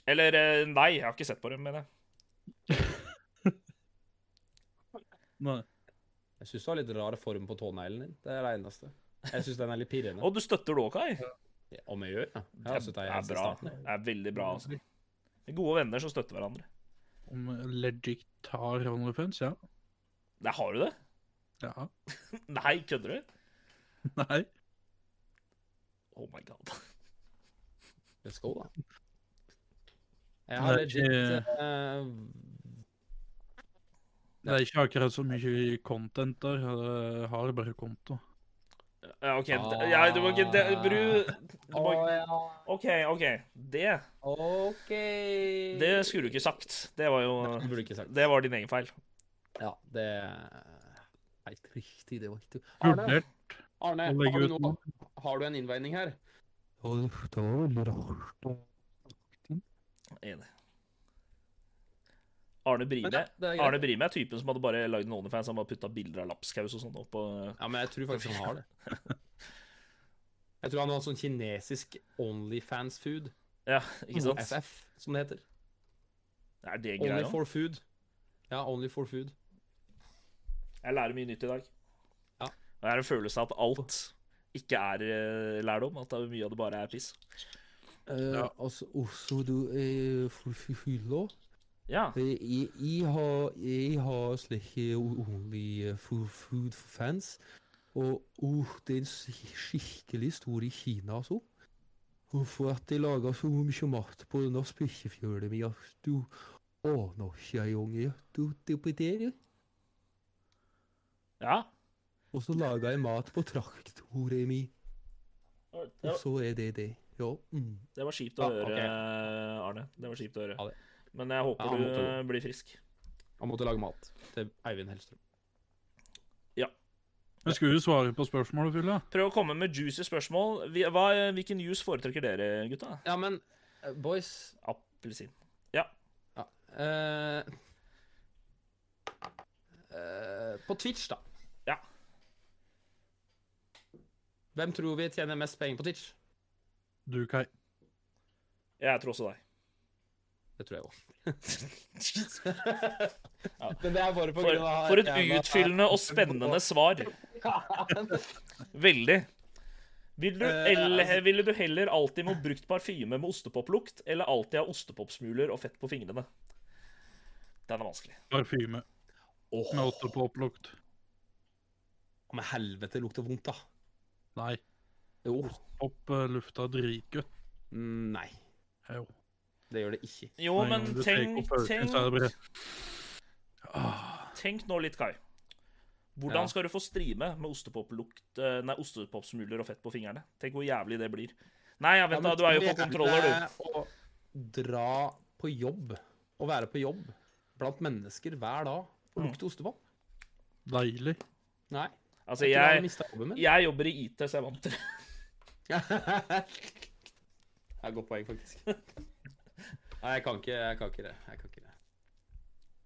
Speaker 2: Eller eh, nei, jeg har ikke sett på dem, mener jeg.
Speaker 3: Nei.
Speaker 1: Jeg syns du har litt rar form på tåneglen din. Det er det eneste. Jeg syns den er litt pirrende.
Speaker 2: Og du støtter det òg, Kai?
Speaker 1: Ja, Om jeg gjør, ja. Jeg har
Speaker 2: Det
Speaker 1: støtta
Speaker 2: er,
Speaker 1: jeg siden
Speaker 2: bra.
Speaker 1: starten.
Speaker 2: Det er veldig bra, altså. Det er Gode venner som støtter hverandre.
Speaker 3: Om Legic tar OnlyFans, ja.
Speaker 2: Nei, har du det?
Speaker 3: Ja.
Speaker 2: Nei, kødder du?
Speaker 3: Nei.
Speaker 2: Oh my god.
Speaker 1: Let's go, da. Jeg har
Speaker 3: Nei,
Speaker 1: legit
Speaker 3: eh,
Speaker 1: eh,
Speaker 3: Det er ikke akkurat så mye content der. Jeg har bare konto.
Speaker 2: Ja, OK.
Speaker 1: Ah.
Speaker 2: d- Ja, du må ikke det, Bru du
Speaker 1: Å
Speaker 2: må,
Speaker 1: ja,
Speaker 2: OK, OK. Det
Speaker 1: OK
Speaker 2: Det skulle du ikke sagt. Det var
Speaker 1: Nei, det
Speaker 2: jo
Speaker 1: burde sånn du ikke sagt.
Speaker 2: Det var din egen feil.
Speaker 1: Ja, det er helt riktig. Det var ikke Arne,
Speaker 3: Vurdert
Speaker 1: Arne
Speaker 3: å
Speaker 1: har, du
Speaker 3: legge ut
Speaker 1: noe,
Speaker 3: noe.
Speaker 1: har du en innvending her?
Speaker 4: Det var veldig rart.
Speaker 2: Enig. Arne
Speaker 1: Men
Speaker 2: Brime
Speaker 1: ja, det er greit.
Speaker 2: Arne Brime er typen som hadde bare lagd en Onlyfans. Han bare putta bilder av lapskaus og sånn opp på
Speaker 1: Ja, men jeg tror faktisk han har det. Jeg tror han har sånn kinesisk Onlyfans-food.
Speaker 2: Ja,
Speaker 1: Mm,
Speaker 2: ikke sant?
Speaker 1: OFF, som det heter.
Speaker 2: Er det
Speaker 1: Only
Speaker 2: greia?
Speaker 1: for food. Ja, only for food.
Speaker 2: Jeg lærer mye nytt i dag.
Speaker 1: Ja.
Speaker 2: Og jeg har en følelse av at alt ikke er eh, lærdom. At det er mye av det bare er piss.
Speaker 4: Eh, altså, også du er fulfylla.
Speaker 2: Ja.
Speaker 4: Jeg, jeg, har, jeg har slike ordentlige food fans. Og uh, det er en sk- skikkelig stor i Kina, altså. Og For at de lager så mye mat på denne spikkefjølen min at du aner ikke engang at du det er på der, ja.
Speaker 2: ja.
Speaker 4: Og så lager jeg mat på traktoren min, og så er det det. Ja. Mm.
Speaker 2: Det var kjipt å
Speaker 1: Ja,
Speaker 2: høre, eh,
Speaker 1: ok.
Speaker 2: Arne. Det var kjipt å
Speaker 1: Ja,
Speaker 2: høre.
Speaker 1: det-
Speaker 2: Men jeg
Speaker 1: Ja,
Speaker 2: håper
Speaker 1: han
Speaker 2: du
Speaker 1: måtte
Speaker 2: eh, blir frisk.
Speaker 1: Han måtte lage mat til Eivind Hellstrøm.
Speaker 3: Men skulle du svare på spørsmålet, Fylla?
Speaker 2: Prøv å komme med juicy spørsmål. Vi- Hva, hvilken juice foretrekker dere, gutta?
Speaker 1: Ja, men eh, boys
Speaker 2: Appelsin.
Speaker 1: eh, eh, På Twitch, da.
Speaker 2: Ja.
Speaker 1: Hvem tror vi tjener mest penger på Twitch?
Speaker 3: Du, Kai.
Speaker 2: Jeg tror også deg.
Speaker 1: Det tror jeg òg.
Speaker 2: For,
Speaker 1: Men det er bare på grunn av
Speaker 2: for et utfyllende og spennende svar. Veldig. Vil du,
Speaker 1: Eh,
Speaker 2: eller,
Speaker 1: altså-
Speaker 2: ville du heller alltid må brukt parfyme med ostepoplukt, eller alltid ha ostepopsmuler og fett på fingrene? Den er vanskelig.
Speaker 3: Parfyme.
Speaker 1: Åh.
Speaker 3: Med åtte på opplukt.
Speaker 1: Men helvete, det lukter vondt, da.
Speaker 3: Nei.
Speaker 1: Jo.
Speaker 3: Opp eh, lufta dritgodt.
Speaker 1: Mm, Nei,
Speaker 3: Jo.
Speaker 1: det gjør det ikke.
Speaker 2: Jo,
Speaker 3: Nei,
Speaker 2: men
Speaker 3: når du
Speaker 2: tenk,
Speaker 3: tenker på parfyme, så
Speaker 2: tenk,
Speaker 3: er det bare- Ah,
Speaker 2: tenk nå litt, Kai.
Speaker 1: Ja.
Speaker 2: Hvordan skal du få strime med ostepoplukt eh, Nei, ostepopsmuler og fett på fingrene? Tenk hvor jævlig det blir. Nei, ja, vent, da. Du er jo på kontroller, du.
Speaker 1: Å dra på jobb, å være på jobb blant mennesker hver dag og lukte ostepop?
Speaker 3: deilig.
Speaker 1: Nei.
Speaker 2: Altså,
Speaker 1: tror jeg har
Speaker 2: jeg,
Speaker 1: mistet jobben min.
Speaker 2: jeg jobber i IT, så jeg er vant til det.
Speaker 1: Det er et godt poeng, faktisk. Nei, jeg kan ikke, jeg kan ikke det. Jeg kan ikke det.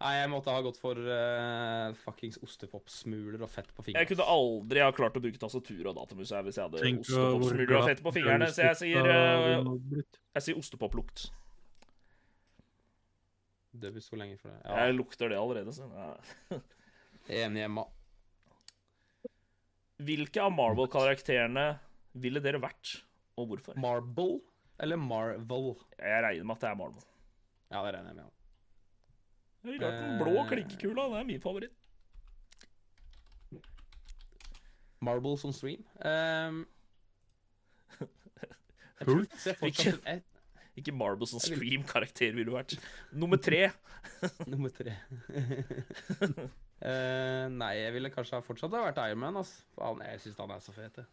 Speaker 1: Nei, jeg måtte ha gått for eh, fuckings ostepopsmuler og fett på
Speaker 2: Jeg
Speaker 1: fingeren.
Speaker 2: kunne aldri ha klart å bruke tastatur og datamus her hvis jeg hadde
Speaker 3: Tenk hvor
Speaker 2: ostepopsmuler og
Speaker 3: glatt
Speaker 2: fett på fingrene, så jeg sier,
Speaker 3: brødstukka
Speaker 2: eh,
Speaker 3: må ha blitt.
Speaker 2: jeg sier ostepoplukt.
Speaker 1: Det blir så lenge for det.
Speaker 2: Jeg
Speaker 1: Ja,
Speaker 2: lukter det allerede. Så. ja.
Speaker 1: enig hjemme.
Speaker 2: Hvilke av Marvel-karakterene ville dere vært, og hvorfor?
Speaker 1: Marble eller Marvel?
Speaker 2: Jeg regner med at det er Marvel.
Speaker 1: Ja, det regner jeg med.
Speaker 2: Jeg ville vært den blå klinkekula, det er min favoritt.
Speaker 1: Marble som stream. Um, jeg
Speaker 3: Hulk?
Speaker 1: tror- ser fortsatt ut- jeg-
Speaker 2: Ikke Marvel som stream-karakter ville du vært. Nummer tre.
Speaker 1: Nummer tre. Eh, nei, jeg ville kanskje ha fortsatt ha vært Iron Man. ass. Faen, jeg syns han er så fet. jeg.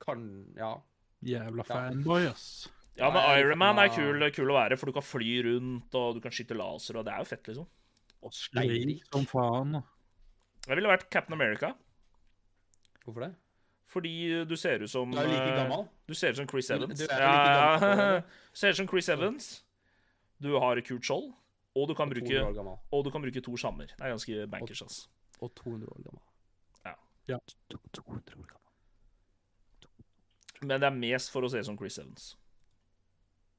Speaker 1: Kan Ja.
Speaker 3: Jævla fanboy, ass.
Speaker 2: Ja, men
Speaker 1: Nei,
Speaker 2: Iron Man er
Speaker 1: faen,
Speaker 2: kul, kul å være, for du kan fly rundt, og du kan skyte laser, og det er jo fett, liksom.
Speaker 1: Og
Speaker 3: Greit som faen. da.
Speaker 2: Jeg ville vært Captain America,
Speaker 1: Hvorfor det?
Speaker 2: fordi du ser ut som
Speaker 1: Du er jo like
Speaker 2: eh,
Speaker 1: gammel.
Speaker 2: Du ser ut som Chris
Speaker 1: Du- du
Speaker 2: Evans.
Speaker 1: er jo like gammel
Speaker 2: ja, ja,
Speaker 1: som
Speaker 2: ja. Ser ut som Chris Evans. Du har et kult skjold, og du kan
Speaker 1: 200 år
Speaker 2: bruke,
Speaker 1: gammel.
Speaker 2: og du kan bruke to skjammer. Det er ganske bankers, ass.
Speaker 1: Og 200 år gammel.
Speaker 2: Ja.
Speaker 3: Ja.
Speaker 1: To- 200 år gammel.
Speaker 2: Men det er mest for å se ut som Chris Evans.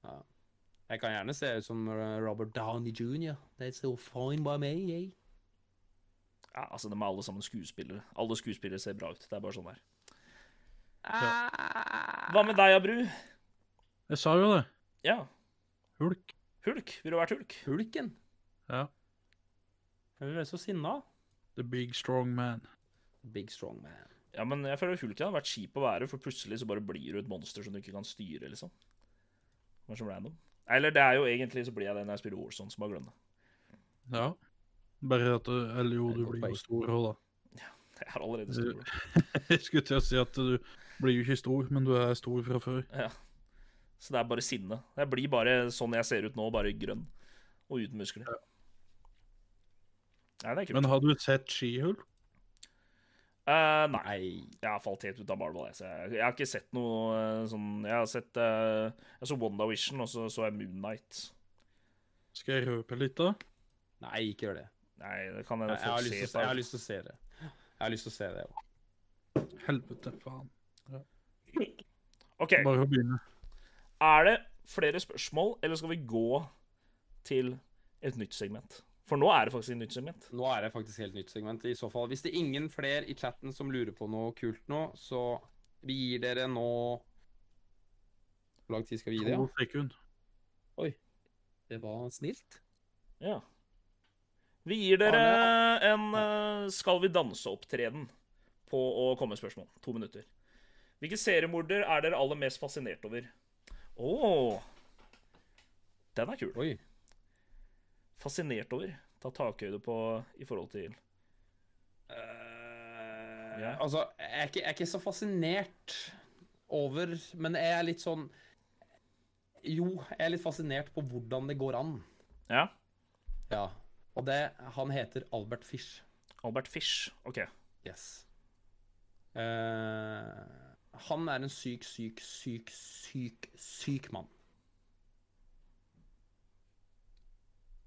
Speaker 1: Ja. Jeg kan gjerne se ut som eh, Robert Downey jr. That's all fine by me. eh.
Speaker 2: Ja, altså, De er alle sammen skuespillere. Alle skuespillere ser bra ut. Det er bare sånn der.
Speaker 1: Ah,
Speaker 2: Hva med deg, Abru?
Speaker 3: Jeg sa jo det.
Speaker 2: Ja,
Speaker 3: Hulk.
Speaker 2: Hulk. Ville du vært Hulk?
Speaker 1: Hulken.
Speaker 3: Ja.
Speaker 1: Hun er så sinna.
Speaker 3: The big strong man.
Speaker 1: Big strong man.
Speaker 2: Ja, men jeg føler Hulken hadde vært kjip å være, for plutselig så bare blir du et monster som du ikke kan styre, liksom. Bare som random. Eller det er jo egentlig så blir jeg det når jeg spiller Warzone, som bare glem det.
Speaker 3: Ja. Bare at du Eller jo,
Speaker 1: Det er
Speaker 3: du
Speaker 1: godt
Speaker 3: blir
Speaker 1: poeng.
Speaker 3: jo stor òg, da.
Speaker 2: Jeg er allerede stor.
Speaker 3: Jeg skulle til å si at du blir jo ikke stor, men du er stor fra før.
Speaker 2: Så det er bare sinne. Jeg blir bare sånn jeg ser ut nå, bare grønn. Og uten muskler. Nei, det er kult.
Speaker 3: Men har du sett Skihulk?
Speaker 2: Eh, nei,
Speaker 1: Nei.
Speaker 2: jeg har falt helt ut av Marvel. Jeg, så jeg, jeg har ikke sett noe eh, sånn Jeg har sett eh, Jeg så WandaVision, og så så jeg Moonnight.
Speaker 3: Skal jeg røpe litt, da?
Speaker 1: Nei, ikke gjør det.
Speaker 2: Nei, det kan
Speaker 1: Jeg,
Speaker 2: hende
Speaker 1: jeg, har,
Speaker 2: folk
Speaker 1: lyst til, å
Speaker 2: ser
Speaker 1: se- jeg har
Speaker 2: på.
Speaker 1: lyst til å se det. Jeg har lyst til å se det. også.
Speaker 3: Helvete, faen.
Speaker 2: OK,
Speaker 3: Bare å begynne.
Speaker 2: er det flere spørsmål, eller skal vi gå til et nytt segment? For nå er det faktisk et nytt segment.
Speaker 1: Nå er det faktisk helt nytt segment. I så fall, hvis det er ingen flere i chatten som lurer på noe kult nå, så vi gir dere nå Hvor lang tid skal vi gi det?
Speaker 3: To sekunder.
Speaker 1: Det var snilt.
Speaker 2: Ja. Vi gir dere en eh, Skal vi danse-opptreden på å komme med spørsmål. To minutter. Hvilken seriemorder er dere aller mest fascinert over? Å Den er kul.
Speaker 1: Oi.
Speaker 2: Fascinert over. Ta takhøyde på i forhold til
Speaker 1: Eh,
Speaker 2: Ja.
Speaker 1: Altså, jeg er, ikke, jeg er ikke så fascinert over Men jeg er litt sånn Jo, jeg er litt fascinert på hvordan det går an.
Speaker 2: Ja.
Speaker 1: Ja. Og det Han heter Albert Fish.
Speaker 2: Albert Fish. OK.
Speaker 1: Yes. Eh, han er en syk, syk, syk, syk, syk mann.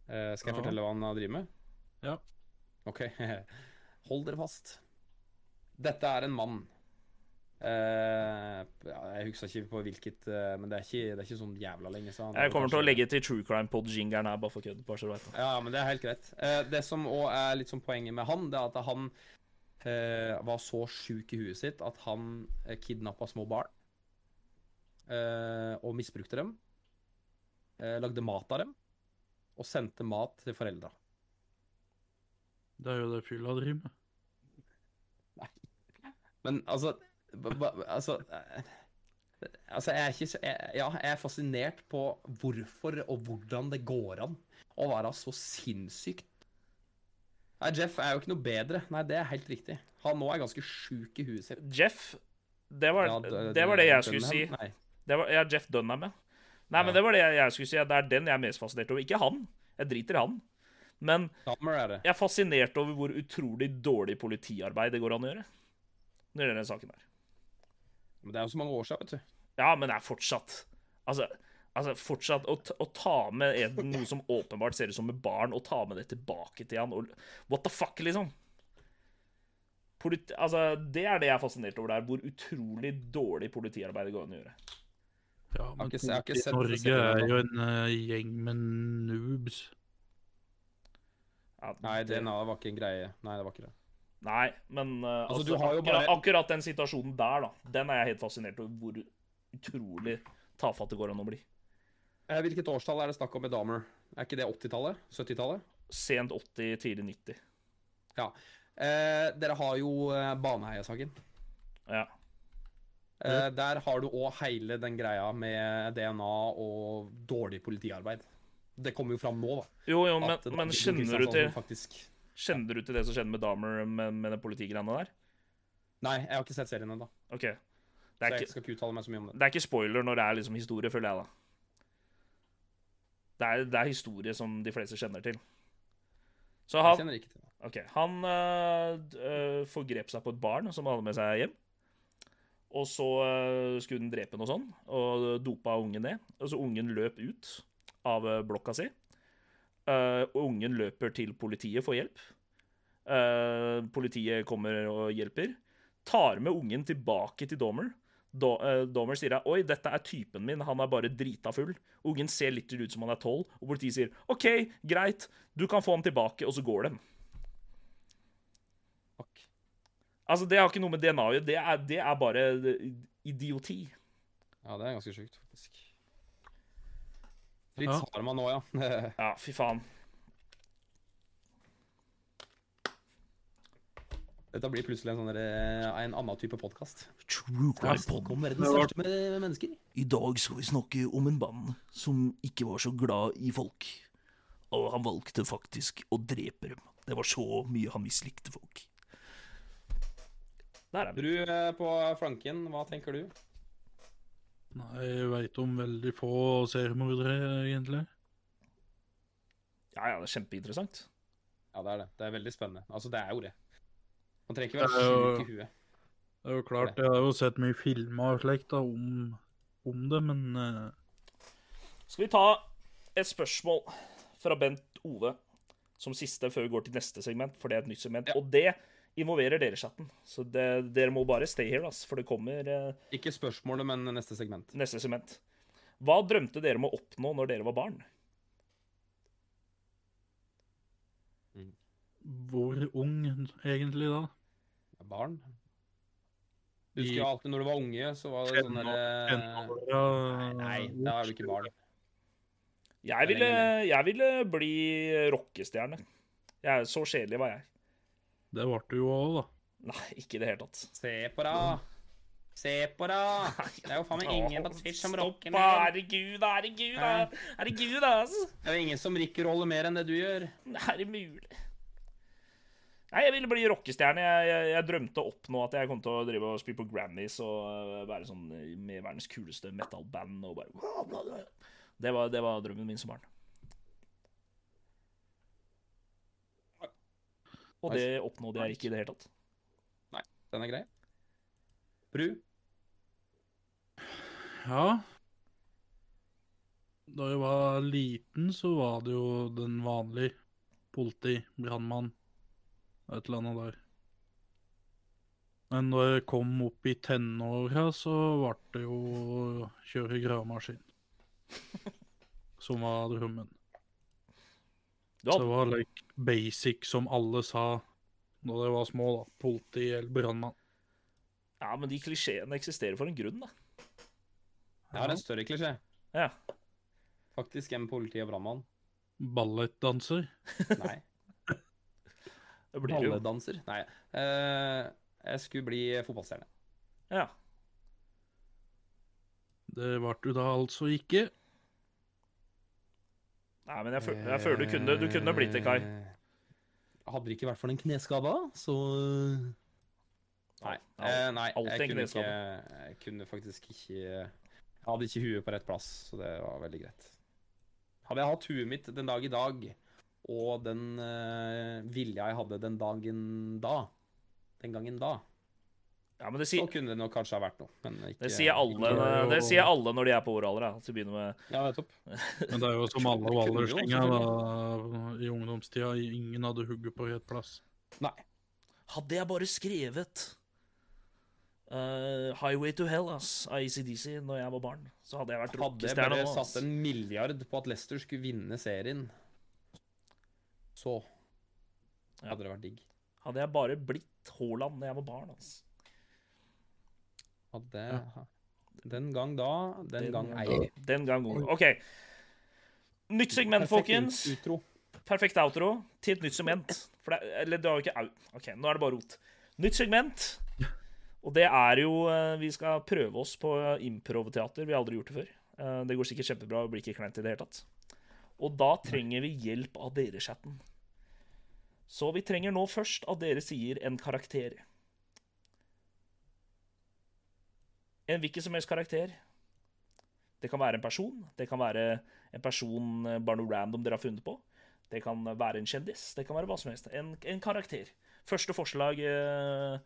Speaker 1: Eh, skal jeg
Speaker 3: Ja.
Speaker 1: fortelle hva han driver med?
Speaker 3: Ja.
Speaker 1: OK. Hold dere fast. Dette er en mann. Eh, ja, jeg husker ikke på hvilket, eh, men det er ikke, det er ikke sånn jævla lenge siden.
Speaker 2: Jeg kommer til å legge til True Crime Pod-jingeren her, bare for kødd. Bare så du vet det.
Speaker 1: Ja, men det er helt greit. Eh, det som òg er litt sånn poenget med han, det er at han eh, var så sjuk i huet sitt at han eh, kidnappa små barn. Eh, og misbrukte dem. Eh, lagde mat av dem. Og sendte mat til foreldra.
Speaker 3: Det er jo det fylla driver med.
Speaker 1: Men altså ba- ba- Altså, eh, altså jeg, er ikke, så- jeg, ja, jeg er fascinert på hvorfor og hvordan det går an å være så sinnssykt Nei, Jeff er jo ikke noe bedre. Nei, det er helt riktig. Han nå er ganske sjuk i huet sitt.
Speaker 2: Jeff, det var,
Speaker 1: Ja,
Speaker 2: det,
Speaker 1: d-
Speaker 2: var det jeg skulle si.
Speaker 1: Dunham? Nei.
Speaker 2: Det var, ja, Jeff Dunham, ja. Nei, men det var det jeg, jeg skulle si. at Det er den jeg er mest fascinert over. Ikke han. Jeg driter i han. Men
Speaker 1: Dahmer er det.
Speaker 2: jeg er fascinert over hvor utrolig dårlig politiarbeid det går an å gjøre. Når det gjelder den saken her.
Speaker 1: Men det er jo så mange år siden, vet du.
Speaker 2: Ja, men det er fortsatt Altså, Altså, fortsatt å, t- å ta med en, noe som åpenbart ser ut som et barn, og ta med det tilbake til han og What the fuck, liksom? Polit, altså, det er det jeg er fascinert over der, hvor utrolig dårlig politiarbeid det går an å gjøre.
Speaker 3: Ja, men
Speaker 1: ikke se- jeg har ikke
Speaker 3: politiet i
Speaker 1: sett- sett
Speaker 3: Norge
Speaker 1: det
Speaker 3: er
Speaker 1: ennå.
Speaker 3: jo en eh, gjeng med noobs.
Speaker 2: Ja,
Speaker 1: Nei, det nei, det var ikke en greie. Nei, det var ikke det.
Speaker 2: Nei, men eh,
Speaker 1: Altså,
Speaker 2: altså,
Speaker 1: du har jo
Speaker 2: akkurat,
Speaker 1: bare-
Speaker 2: akkurat den situasjonen der, da, den er jeg helt fascinert over hvor utrolig tafatt det går an å bli.
Speaker 1: Eh, Hvilket årstall er det snakk om med Dahmer? Er ikke det 80-tallet? 70-tallet?
Speaker 2: Sent 80, tidlig 90.
Speaker 1: Ja. Eh, dere har jo eh, Baneheia-saken.
Speaker 2: Ja.
Speaker 1: Eh, der har du òg hele den greia med DNA og dårlig politiarbeid. Det kommer jo fram nå, da.
Speaker 2: Jo, jo, men,
Speaker 1: at det-
Speaker 2: men
Speaker 1: det-
Speaker 2: kjenner, du
Speaker 1: Kristiansand
Speaker 2: til,
Speaker 1: Faktisk...
Speaker 2: kjenner du til det som skjedde med Dahmer med, med den politigreiene der?
Speaker 1: Nei, jeg har ikke sett serien ennå.
Speaker 2: OK. Det
Speaker 1: Så
Speaker 2: er,
Speaker 1: jeg
Speaker 2: ikke,
Speaker 1: skal ikke uttale meg så mye om det.
Speaker 2: det er ikke spoiler når det er liksom historie, føler jeg, da. Det er, det er historie som de fleste kjenner til. Så
Speaker 1: Jeg
Speaker 2: han,
Speaker 1: kjenner ikke til det.
Speaker 2: ok, han øh, d- øh, forgrep seg på et barn som han hadde med seg hjem. Og så øh, skulle den drepe noe sånn, og dopa ungen ned. Og så ungen løp ut av øh, blokka si. Eh, og ungen løper til politiet for hjelp. Eh, politiet kommer og hjelper. Tar med ungen tilbake til Dahmer. Da, eh, Dahmer sier at 'oi, dette er typen min, han er bare drita full'. Ungen ser litt ut som han er tolv, og politiet sier 'OK, greit, du kan få han tilbake', og så går de.
Speaker 1: Fuck.
Speaker 2: Altså, det har ikke noe med DNA å gjøre, det er, det er bare idioti.
Speaker 1: Ja, det er ganske sjukt, faktisk. Fritz
Speaker 3: Ja.
Speaker 1: har man nå, ja.
Speaker 2: Ja, fy faen.
Speaker 1: Dette blir plutselig en sånn der, eh, en annen type podkast.
Speaker 2: True
Speaker 1: Snakk om verdens største med mennesker.
Speaker 2: I dag skal vi snakke om en mann som ikke var så glad i folk. Og han valgte faktisk å drepe dem. Det var så mye han mislikte folk. Der er vi.
Speaker 1: Du eh, på flanken, hva tenker du?
Speaker 3: Nei, jeg veit om veldig få seriemordere, egentlig.
Speaker 2: Ja, ja, det er kjempeinteressant.
Speaker 1: Ja, det er det. Det er veldig spennende. Altså, det er jo det. Man trenger ikke
Speaker 3: Det
Speaker 1: være
Speaker 3: er jo-
Speaker 1: sjuk i huet.
Speaker 3: Det er jo klart, jeg har jo sett mye filmer og slikt da, om, om det, men eh,
Speaker 2: Skal vi ta et spørsmål fra Bent Ove som siste før vi går til neste segment, for det er et nytt segment. Og det involverer dere, chatten. Så det, dere må bare stay here, ass, for det kommer eh,
Speaker 1: Ikke spørsmålet, men neste segment.
Speaker 2: neste segment. Hva drømte dere om å oppnå når dere var barn?
Speaker 3: hvor ung egentlig da?
Speaker 1: Barn? Du
Speaker 3: I
Speaker 1: husker jo alltid når du var unge, så var det sånn derre
Speaker 3: Tenåra
Speaker 1: Nei, da er du ikke barn.
Speaker 2: Jeg
Speaker 1: Det er
Speaker 2: ville,
Speaker 1: lenge
Speaker 2: jeg ville bli rockestjerne. Jeg er så kjedelig var jeg.
Speaker 3: Det ble du jo òg, da.
Speaker 2: Nei, ikke i det hele tatt.
Speaker 1: Se på da! Se på da! Det er jo faen meg ingen på Twitch som rocker
Speaker 2: Stopp,
Speaker 1: mer.
Speaker 2: Herregud, herregud,
Speaker 1: Hæ?
Speaker 2: da. herregud, da, altså.
Speaker 1: Det er jo ingen som rockroller mer enn det du gjør.
Speaker 2: Er det mulig? Nei, jeg ville bli rockestjerne. Jeg, jeg, jeg drømte opp nå at jeg kom til å drive og spille på Grammys og øh, være sånn med verdens kuleste metalband og bare Det var, det var drømmen min som barn. Og det oppnådde jeg ikke i det hele tatt.
Speaker 1: Den er grei. Bru?
Speaker 3: Ja. Da jeg var liten, så var det jo den vanlige politi, brannmann, et eller annet der. Men da jeg kom opp i tenåra, så ble det jo å kjøre gravemaskin. Som var drømmen.
Speaker 2: Du
Speaker 3: Så
Speaker 2: hadde
Speaker 3: det var like basic, som alle sa da de var små, da. Politi eller brannmann.
Speaker 2: Ja, men de klisjeene eksisterer for en grunn, da.
Speaker 1: Jeg har en større klisjé.
Speaker 2: Ja.
Speaker 1: Faktisk en politi og brannmann.
Speaker 3: Ballettdanser.
Speaker 1: Nei.
Speaker 2: Det blir jo.
Speaker 1: Balledanser? Nei. Eh, jeg skulle bli fotballstjerne.
Speaker 2: Ja.
Speaker 3: Det ble du da altså ikke.
Speaker 2: Nei, men jeg, føl jeg føler du kunne, du kunne blitt det, Kai.
Speaker 1: Eh, Hadde det ikke vært for den kneskada, så eh, Nei.
Speaker 2: Ja,
Speaker 1: eh, nei
Speaker 2: alltid
Speaker 1: jeg,
Speaker 2: en
Speaker 1: kunne ikke,
Speaker 2: kneskade.
Speaker 1: jeg kunne faktisk ikke Jeg hadde ikke huet på rett plass, så det var veldig greit. Hadde jeg hatt huet mitt den dag i dag, og den eh, vilja jeg hadde den dagen da Den gangen da,
Speaker 2: Ja, men det
Speaker 1: Så
Speaker 2: sier,
Speaker 1: kunne det nok kanskje ha vært noe, men ikke
Speaker 2: det sier alle,
Speaker 3: ikke-
Speaker 2: det sier alle når de er på vår alder. da, Til å begynne med
Speaker 1: Ja, nettopp.
Speaker 3: Men det er jo som alle
Speaker 1: Det kunne jo
Speaker 3: Wallerstinger
Speaker 1: også
Speaker 3: da, i ungdomstida. Ingen hadde hugget på rett plass.
Speaker 2: Hadde jeg bare skrevet eh, 'Highway to Hell' ass, av ACDC når jeg var barn, så hadde jeg vært
Speaker 1: Hadde jeg
Speaker 2: rockestjerne
Speaker 1: bare
Speaker 2: nå. ass.
Speaker 1: satt en milliard på at Leicester skulle vinne serien, så
Speaker 2: Ja.
Speaker 1: hadde det vært digg.
Speaker 2: Hadde jeg bare blitt Haaland når jeg var barn. ass.
Speaker 1: Hadde Den gang da, den, gang ei.
Speaker 2: Den gang god. OK. Nytt segment,
Speaker 1: Perfekt
Speaker 2: folkens.
Speaker 1: Utro.
Speaker 2: Perfekt outro til et nytt segment. For det, eller det var jo ikke au. OK, nå er det bare rot. Nytt segment. Og det er jo eh, Vi skal prøve oss på eh, improvteater. Vi har aldri gjort det før. Eh, Det går sikkert kjempebra og blir ikke kleint i det hele tatt. Og da trenger vi hjelp av dere, chatten. Så vi trenger nå først at dere sier en karakter. En hvilken som helst karakter. Det kan være en person. Det kan være en person eh, bare noe random dere har funnet på. Det kan være en kjendis. Det kan være hva som helst. En, en karakter. Første forslag eh,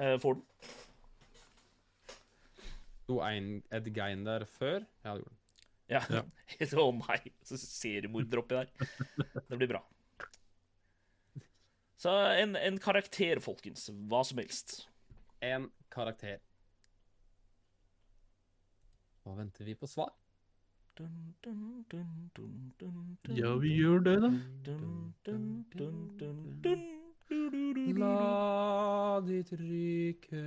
Speaker 2: eh, får den.
Speaker 1: Sto ein Ed Gein der før? Ja, det gjorde den.
Speaker 2: Ja.
Speaker 3: Ja.
Speaker 2: Å nei, så seriemorder oppi der. Det blir bra. Så en, en karakter, folkens. Hva som helst.
Speaker 1: En karakter. Nå venter vi på svar.
Speaker 2: Dun, dun, dun, dun, dun,
Speaker 1: Mm.
Speaker 2: dun,
Speaker 3: Ja, vi gjør det, da.
Speaker 2: dun, dun, dun, dun, dun.
Speaker 4: La ditt rike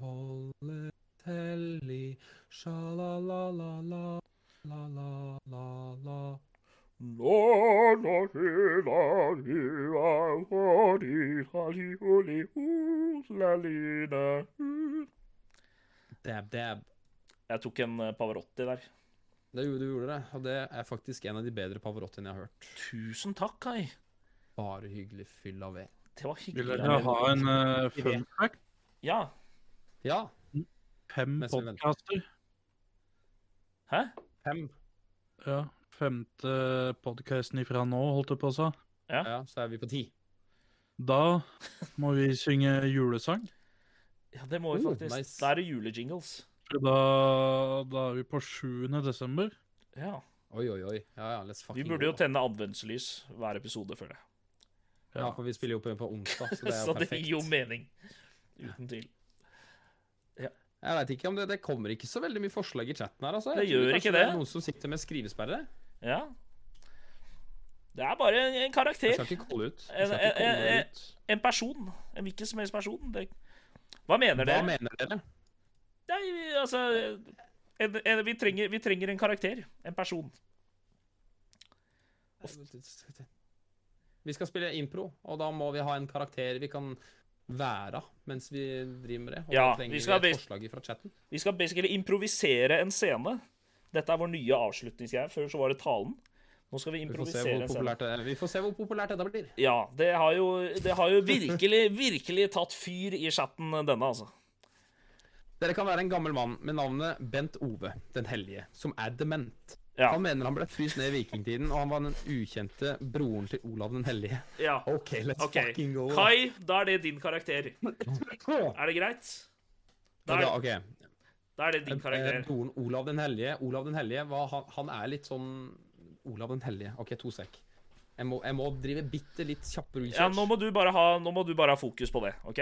Speaker 4: holde til i sjalalala la-la-la-la.
Speaker 2: La, la, la, la, la, la, li, la, li, o, li, o, la, li, la, u.
Speaker 1: Dab, dab.
Speaker 2: Jeg tok en eh, Pavarotti der.
Speaker 1: Det gjorde du gjorde det, og det er faktisk en av de bedre Pavarottiene jeg har hørt.
Speaker 2: Tusen takk, Kai.
Speaker 1: Bare hyggelig fyll av ved.
Speaker 2: Det var
Speaker 3: Vil
Speaker 2: hyggelig.
Speaker 3: dere ha en eh, fun fact?
Speaker 2: Ja.
Speaker 1: Ja,
Speaker 3: Fem
Speaker 1: Mens vi venter.
Speaker 3: podkaster.
Speaker 2: Hæ?
Speaker 1: fem.
Speaker 3: Ja. Femte podkasten ifra nå, holdt jeg på å si.
Speaker 1: Ja, så er vi på ti.
Speaker 3: Da må vi synge julesang.
Speaker 2: Ja, det må vi
Speaker 1: Oh,
Speaker 2: faktisk.
Speaker 1: nice.
Speaker 2: Da er det julejingles.
Speaker 3: For da, da er vi på 7. desember.
Speaker 2: Ja.
Speaker 1: Oi, oi, oi. Ja, ja, let's
Speaker 2: Vi
Speaker 1: fucking
Speaker 2: burde jo
Speaker 1: go.
Speaker 2: tenne adventslys hver episode, føler jeg.
Speaker 1: Ja, for vi spiller jo på, på onsdag, så det er
Speaker 2: Så
Speaker 1: jo
Speaker 2: det
Speaker 1: perfekt.
Speaker 2: gir jo mening. Uten tvil.
Speaker 1: Jeg vet ikke om det, det kommer ikke så veldig mye forslag i chatten her, altså. Jeg
Speaker 2: Det
Speaker 1: tror
Speaker 2: gjør
Speaker 1: kanskje
Speaker 2: ikke
Speaker 1: Det
Speaker 2: det. Eh,
Speaker 1: er noen som sitter med skrivesperre.
Speaker 2: Ja. Det er bare en, en karakter.
Speaker 1: Jeg skal ikke kolle ut. Jeg
Speaker 2: En-
Speaker 1: skal ikke
Speaker 2: en-
Speaker 1: kolle
Speaker 2: en-
Speaker 1: ut.
Speaker 2: En person. En hvilken som helst person. Det... Hva mener
Speaker 1: Hva
Speaker 2: dere?
Speaker 1: mener dere?
Speaker 2: Nei, vi, altså en, en, vi, trenger, vi trenger en karakter. En person.
Speaker 1: Vi skal spille impro, og da må vi ha en karakter vi kan være mens vi driver med det. Og
Speaker 2: Ja,
Speaker 1: da trenger
Speaker 2: vi
Speaker 1: vi,
Speaker 2: skal bli-
Speaker 1: et forslag fra chatten.
Speaker 2: Vi skal basically improvisere en scene. Dette er vår nye avslutningsgreie. Før så var det talen. Nå skal vi
Speaker 1: Vi får se
Speaker 2: improvisere
Speaker 1: hvor
Speaker 2: en scene.
Speaker 1: populært, det, vi får se hvor populært dette blir.
Speaker 2: Ja, det har jo, det har jo virkelig, virkelig tatt fyr i chatten, denne, altså.
Speaker 1: Dere kan være en gammel mann med navnet Bent Ove den hellige, som er dement.
Speaker 2: Ja.
Speaker 1: Han mener han ble fryst ned i vikingtiden, og han var den ukjente broren til Olav den hellige.
Speaker 2: ja.
Speaker 1: OK, let's
Speaker 2: OK.
Speaker 1: fucking go. da.
Speaker 2: Kai, da er det din karakter.
Speaker 1: Åh.
Speaker 2: Er det greit? Da
Speaker 1: Ja,
Speaker 2: er,
Speaker 1: da, ok.
Speaker 2: da er det din
Speaker 1: Eh,
Speaker 2: karakter.
Speaker 1: Broren Olav den hellige. Olav den hellige var, han, han er litt sånn Olav den hellige. OK, to sek. Jeg må, jeg må drive bitte litt kjapp research.
Speaker 2: Ja, nå må du bare ha, nå må du bare ha fokus på det, OK?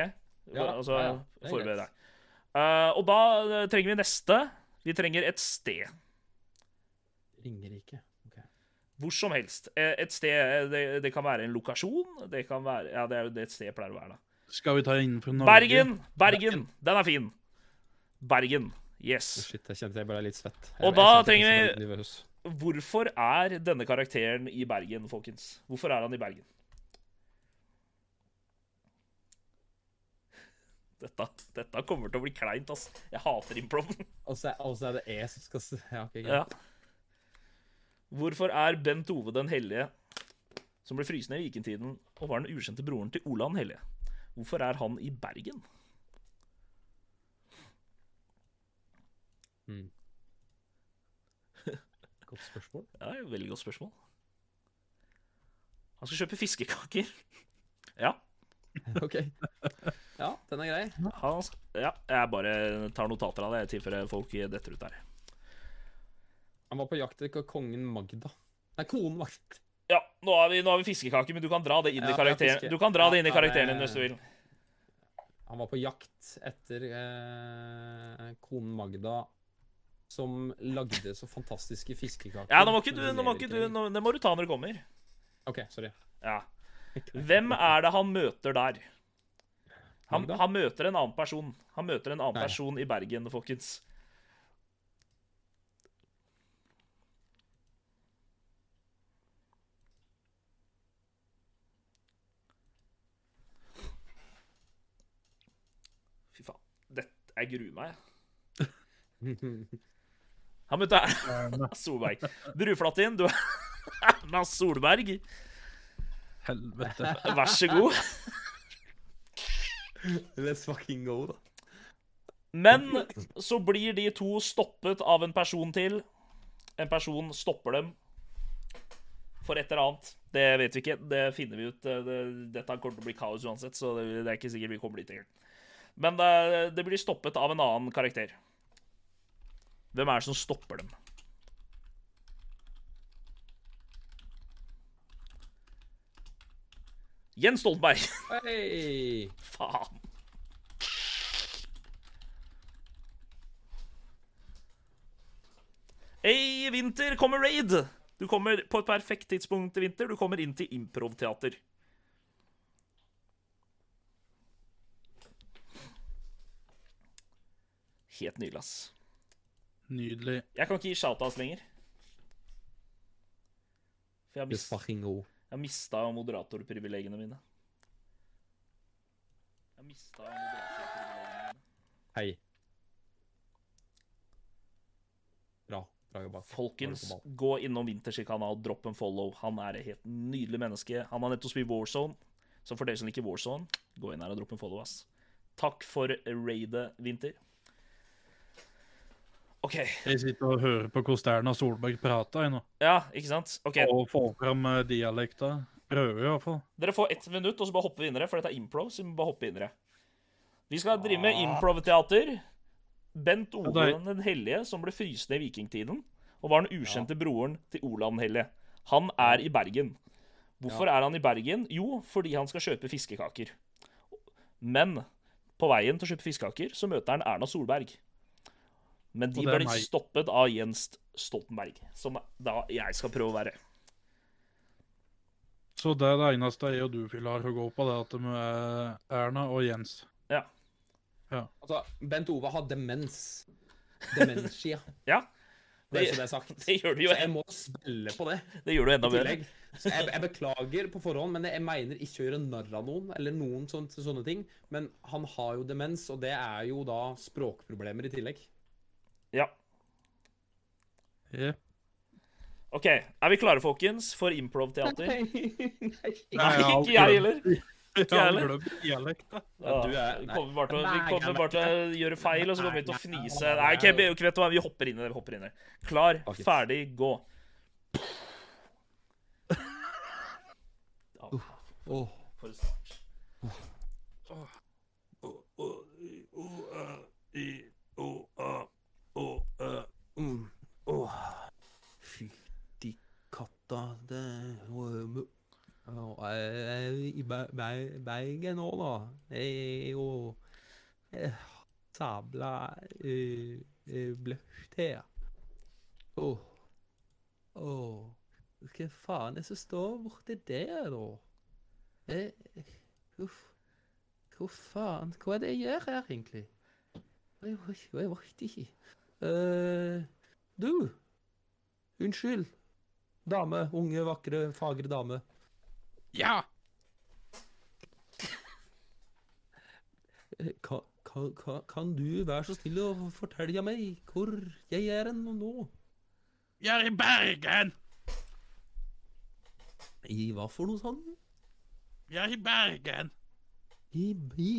Speaker 1: Ja,
Speaker 2: altså,
Speaker 1: ja, ja, det er
Speaker 2: forbered
Speaker 1: greit.
Speaker 2: deg. Eh, og da eh, trenger vi neste. Vi trenger et sted.
Speaker 1: Ringerike. ok.
Speaker 2: Hvor som helst. Eh, Et sted eh, Det, det kan være en lokasjon. Det kan være Ja, det er jo det et sted pleier å være, da.
Speaker 3: Skal vi ta innenfor Norge?
Speaker 2: Bergen! Bergen! Den er fin. Bergen. Yes.
Speaker 1: Shit, jeg kjente jeg ble litt svett. Jeg,
Speaker 2: Og
Speaker 1: jeg
Speaker 2: da
Speaker 1: kjente jeg
Speaker 2: trenger
Speaker 1: ble nervøs.
Speaker 2: Hvorfor er denne karakteren i Bergen, folkens? Hvorfor er han i Bergen? Dette, dette kommer til å bli kleint, ass. Jeg hater improv.
Speaker 1: Og så er- og så er det jeg som skal s- Ja, OK, greit.
Speaker 2: Ja. Hvorfor er Bent Ove den hellige, som ble fryst ned i vikingtiden, og var den ukjente broren til Olav den hellige? Hvorfor er han i Bergen?
Speaker 1: Hmm. Godt spørsmål.
Speaker 2: Ja, det er et veldig godt spørsmål. Han skal kjøpe fiskekaker. Ja,
Speaker 1: Ok. Ja, den er grei.
Speaker 2: Han, sk- ja, jeg bare tar notater av det, i tilfelle folk detter ut der.
Speaker 1: Han var på jakt etter kongen Magda. Nei, konen Magda.
Speaker 2: Ja, nå har vi, nå har vi fiskekake, men du kan dra det inn
Speaker 1: Ja,
Speaker 2: i
Speaker 1: det er
Speaker 2: karakteren
Speaker 1: fiske.
Speaker 2: Du kan dra
Speaker 1: Ja,
Speaker 2: det inn i
Speaker 1: ja,
Speaker 2: karakteren
Speaker 1: det-
Speaker 2: din hvis du vil.
Speaker 1: Han var på jakt etter eh, konen Magda, som lagde så fantastiske fiskekaker.
Speaker 2: Ja, nå må ikke du,
Speaker 1: men hun
Speaker 2: nå må
Speaker 1: lever
Speaker 2: ikke du
Speaker 1: lenger.
Speaker 2: nå, Det må du ta når du kommer.
Speaker 1: OK, sorry.
Speaker 2: Ja. Hvem er det han møter der? Han,
Speaker 1: Magda?
Speaker 2: han møter en annen person. Han møter en annen
Speaker 1: Nei.
Speaker 2: person i Bergen, folkens. Fy faen. Dette, jeg gruer meg. jeg. Han møtte Erna Solberg. Bruflatin, du er Erna Solberg.
Speaker 3: Helvete.
Speaker 2: Vær så god.
Speaker 1: Let's fucking go, da.
Speaker 2: Men så blir de to stoppet av en person til. En person stopper dem for et eller annet. Det vet vi ikke. Det finner vi ut. Det- det- Dette kommer til å bli kaos uansett, så det det er ikke sikkert vi kommer dit engang. Men det, det blir stoppet av en annen karakter. Hvem er det som stopper dem? Jens Stoltenberg.
Speaker 1: Hei!
Speaker 2: Faen. Ei, vinter kommer raid! Du kommer på et perfekt tidspunkt i vinter. Du kommer inn til improvteater. Helt nydelig, ass.
Speaker 3: Nydelig.
Speaker 2: Jeg kan ikke gi shoutouts lenger. For jeg har
Speaker 1: Let's
Speaker 2: mist-
Speaker 1: fucking go.
Speaker 2: jeg har mista moderatorprivilegiene mine. Jeg har mista moderatorprivilegiene mine.
Speaker 1: Hei. Bra. Bra jobba.
Speaker 2: Folkens,
Speaker 1: Har du på
Speaker 2: gå innom Winters kanal, dropp en follow. Han er et helt nydelig menneske. Han har nettopp spilt Warzone, så for dere som liker Warzone, gå inn her og dropp en follow, ass. Takk for raidet, Winter. OK.
Speaker 3: Jeg sitter og hører på hvordan Erna Solberg prater jeg nå.
Speaker 2: Ja, ikke sant? Ok,
Speaker 3: Og får fram eh, dialekta. Prøver i hvert fall.
Speaker 2: Dere får ett minutt, og så bare hopper vi inn i det, for dette er improv. så Vi må bare hoppe inn i det. Vi skal drive
Speaker 1: Ah.
Speaker 2: med improv-teater. Bent Olav den hellige, som ble fryst ned i vikingtiden, og var den ukjente broren til Olav den hellige. Han er i Bergen. Hvorfor er han i Bergen? Jo, fordi han skal kjøpe fiskekaker. Men på veien til å kjøpe fiskekaker så møter han Erna Solberg. Men de
Speaker 3: Og det er
Speaker 2: blir
Speaker 3: meg.
Speaker 2: stoppet av Jens Stoltenberg, som da jeg skal prøve å være.
Speaker 3: Så det er det eneste jeg og du, Phil, har å gå på, det er at vi er Erna og Jens.
Speaker 2: Ja.
Speaker 1: Altså, Bent Ove har demens. Demensia,
Speaker 2: ja
Speaker 1: bare så det er sagt.
Speaker 2: det gjør de
Speaker 1: Så
Speaker 2: jo
Speaker 1: jeg må spille på det
Speaker 2: Det gjør du
Speaker 1: i
Speaker 2: enda bedre.
Speaker 1: tillegg. Så jeg, jeg beklager på forhånd, men jeg mener ikke å gjøre narr av noen. eller noen sånt, sånne ting. Men han har jo demens, og det er jo da språkproblemer i tillegg.
Speaker 2: Ja.
Speaker 3: Jepp.
Speaker 2: OK, er vi klare, folkens, for improvteater?
Speaker 1: Nei.
Speaker 2: Nei,
Speaker 3: jeg har
Speaker 2: ikke jeg
Speaker 3: aldri-
Speaker 2: heller.
Speaker 3: Jeg har
Speaker 2: heller.
Speaker 3: glemt dialekta.
Speaker 1: Ja, du er-
Speaker 2: Vi
Speaker 1: nei.
Speaker 2: kommer bare til, å- vi kommer bare til å gjøre feil, og så kommer vi til å fnise. Nei, ok, vi- ok, vet du hva, vi hopper inn i det. vi hopper inn i det. Klar,
Speaker 1: Ok.
Speaker 2: ferdig, gå. Ja,
Speaker 1: Åh.
Speaker 2: for en start.
Speaker 1: Mm. Åh. Fy de katta det Åh, Jeg er i Be- Be- Bergen nå, da. Jeg er jo eh, sabla eh, eh, bløtt her. Åh. Åh. Hva faen er det som står borti der, da? Eh, Uff. Hva faen? Hva er det jeg gjør her, egentlig? Jeg, vet- jeg vet ikke. Eh, du. Unnskyld. Dame. Unge, vakre, fagre dame.
Speaker 3: Ja!
Speaker 1: Eh, Ka, ka, ka, kan du være så snill å fortelle meg hvor jeg er hen nå?
Speaker 3: Jeg er i Bergen!
Speaker 1: I hva for noe sånn?
Speaker 3: Jeg er i Bergen!
Speaker 1: I, i,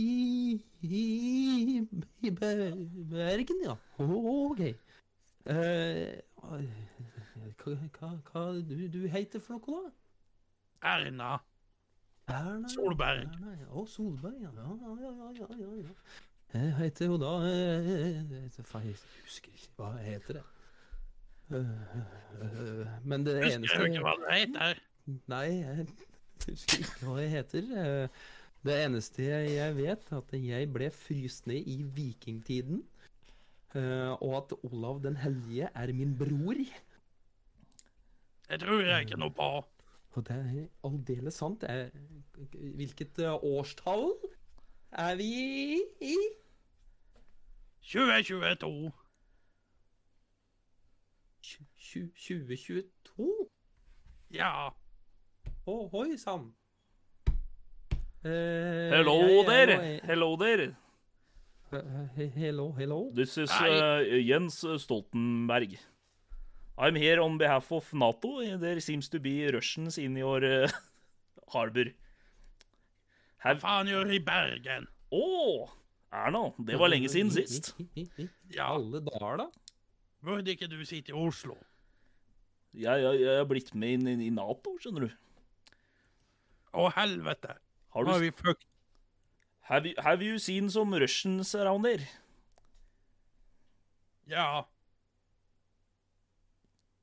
Speaker 1: i, i Be- Bergen, ja. Å, OK. Eh, hva hva, hva du, du heter for noe, da?
Speaker 3: Erna.
Speaker 4: Erna, ja.
Speaker 3: Solberg.
Speaker 4: Erna, ja. Å, Solberg, ja. Ja, ja, ja, ja, ja, ja. Jeg heter jo da eh, eh, eh, Faen, jeg husker ikke. Hva heter det? Eh, eh, Men det
Speaker 3: Husker
Speaker 4: eneste
Speaker 3: jo ikke hva det heter.
Speaker 4: Nei, jeg husker ikke hva jeg heter. Eh, Det eneste jeg vet, er at jeg ble fryst ned i vikingtiden. eh, Og at Olav den hellige er min bror.
Speaker 3: Det tror jeg ikke noe på.
Speaker 4: Og det er aldeles sant. Er, hvilket eh, årstall er vi i?
Speaker 3: 2022.
Speaker 4: Tju- tju- 2022?
Speaker 3: Ja.
Speaker 4: Ohoi sann! Eh,
Speaker 2: Hello
Speaker 4: jeg er
Speaker 2: there!
Speaker 4: nå-
Speaker 2: Hello there!
Speaker 4: Eh, he- Hello, hello.
Speaker 2: This is
Speaker 3: Nei.
Speaker 2: uh, Jens Stoltenberg. I'm here on behalf of NATO. There seems to be Russians in your uh, harbor.
Speaker 3: Hva
Speaker 2: Have...
Speaker 3: faen gjør i Bergen?
Speaker 2: Å! Erna, det var lenge siden sist.
Speaker 3: Ja,
Speaker 4: Alle dager, da.
Speaker 3: burde ikke du sitte i Oslo?
Speaker 2: Jeg, jeg, jeg har blitt med inn i- i Nato, skjønner du.
Speaker 3: Å, helvete.
Speaker 2: Har
Speaker 3: Nå er
Speaker 2: du
Speaker 3: vi fucked.
Speaker 2: have, you, have you seen some Russians around there?
Speaker 3: Ja.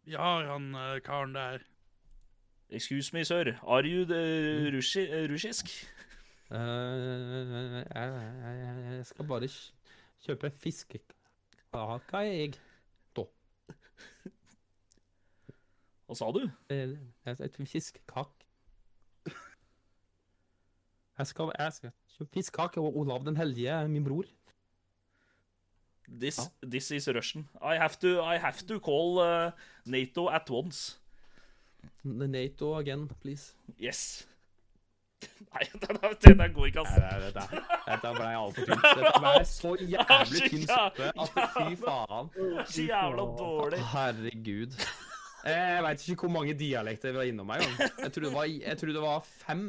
Speaker 3: Vi har han eh, karen der.
Speaker 2: Excuse me, sir. Are you the
Speaker 3: Mm.
Speaker 2: russi, eh, russisk?
Speaker 4: Eh, jeg, jeg, jeg skal bare kj- kjøpe fiskekake, jeg.
Speaker 2: Hva sa du?
Speaker 4: Eh, Et, et fiskekak. Jeg skal, jeg skal kjøpe fiskekake, og Olav den hellige er min bror.
Speaker 2: This,
Speaker 4: Ja.
Speaker 2: this is Russian. I have to, I have to call uh, NATO at once.
Speaker 4: N- Nato again, please.
Speaker 2: Yes. Nei, den, er- den der går ikke, ass.
Speaker 1: Nei, nei, dette, dette ble altfor tynt. Dette ble så jævlig tynn suppe at fy faen.
Speaker 2: Den er Så jævla dårlig.
Speaker 1: Herregud. Eh, Jeg veit ikke hvor mange dialekter vi var innom her. Jeg, jeg, tror det var- jeg tror det var fem.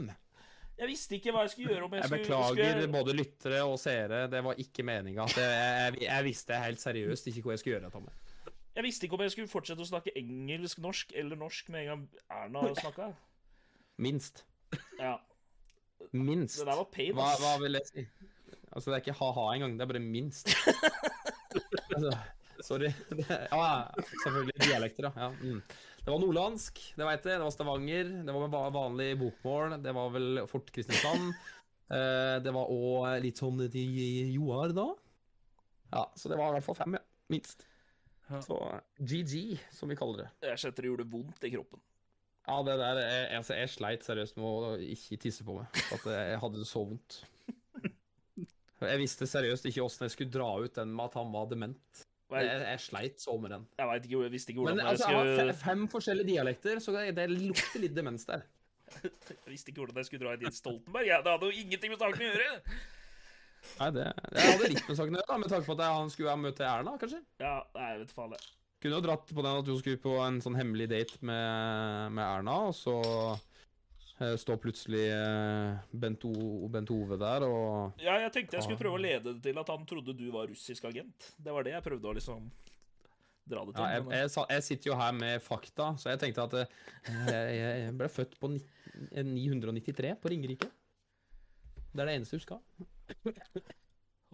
Speaker 2: Jeg visste ikke hva jeg skulle gjøre om jeg
Speaker 1: Jeg
Speaker 2: skulle
Speaker 1: beklager
Speaker 2: skulle...
Speaker 1: både lyttere og seere. Det var ikke meninga. Jeg, jeg, jeg visste helt seriøst ikke hva jeg skulle gjøre. Tommy.
Speaker 2: Jeg visste ikke om jeg skulle fortsette å snakke engelsk, norsk eller norsk med en gang Erna snakka.
Speaker 1: Minst.
Speaker 2: Ja,
Speaker 1: Minst.
Speaker 2: det der var pain,
Speaker 1: Hva,
Speaker 2: ass.
Speaker 1: hva vil jeg si? Altså, det er ikke ha-ha engang, det er bare minst. altså, sorry. Det, ja, selvfølgelig dialekter, da. Ja. Mm. Det var nordlandsk, det veit jeg. Det var Stavanger. Det var med va- vanlig bokmål. Det var vel Fort Kristiansand. Eh, det var òg litt sånn til Joar, da. Ja, så det var i hvert fall fem, ja. Minst.
Speaker 3: Ja.
Speaker 1: Så GG, som vi kaller det.
Speaker 2: Jeg skjønte det gjorde vondt i kroppen.
Speaker 1: Ja, det der jeg, altså, jeg sleit seriøst med å ikke tisse på meg. For at jeg jeg hadde det så vondt. Jeg visste seriøst ikke åssen jeg skulle dra ut den med at han var dement. Jeg,
Speaker 2: Jeg,
Speaker 1: jeg sleit så med den.
Speaker 2: jeg, vet ikke, jeg visste ikke hvordan
Speaker 1: Men altså, jeg har
Speaker 2: jeg
Speaker 1: fe- fem forskjellige dialekter, så det, det lukter litt demens der.
Speaker 2: skulle Jeg visste ikke hvordan jeg skulle dra i din Stoltenberg. Jeg, det hadde jo ingenting med saken å gjøre.
Speaker 1: Nei, det, Jeg hadde litt med saken å gjøre, da, med tanke på at jeg, han skulle ha møte Erna, kanskje.
Speaker 2: Ja, nei, jeg vet faen det.
Speaker 1: Kunne jo dratt på den at du skulle på en sånn hemmelig date med, med Erna, og så eh, står plutselig eh, Bent, o, Bent Ove der og
Speaker 2: Ja, jeg tenkte jeg skulle prøve å lede det til at han trodde du var russisk agent. Det var det jeg prøvde å liksom dra det til.
Speaker 1: Ja, jeg,
Speaker 2: men-
Speaker 1: jeg, sa- jeg sitter jo her med fakta, så jeg tenkte at eh, jeg, jeg ble født på 19 eh, 993 på Ringerike. Det er det eneste jeg husker.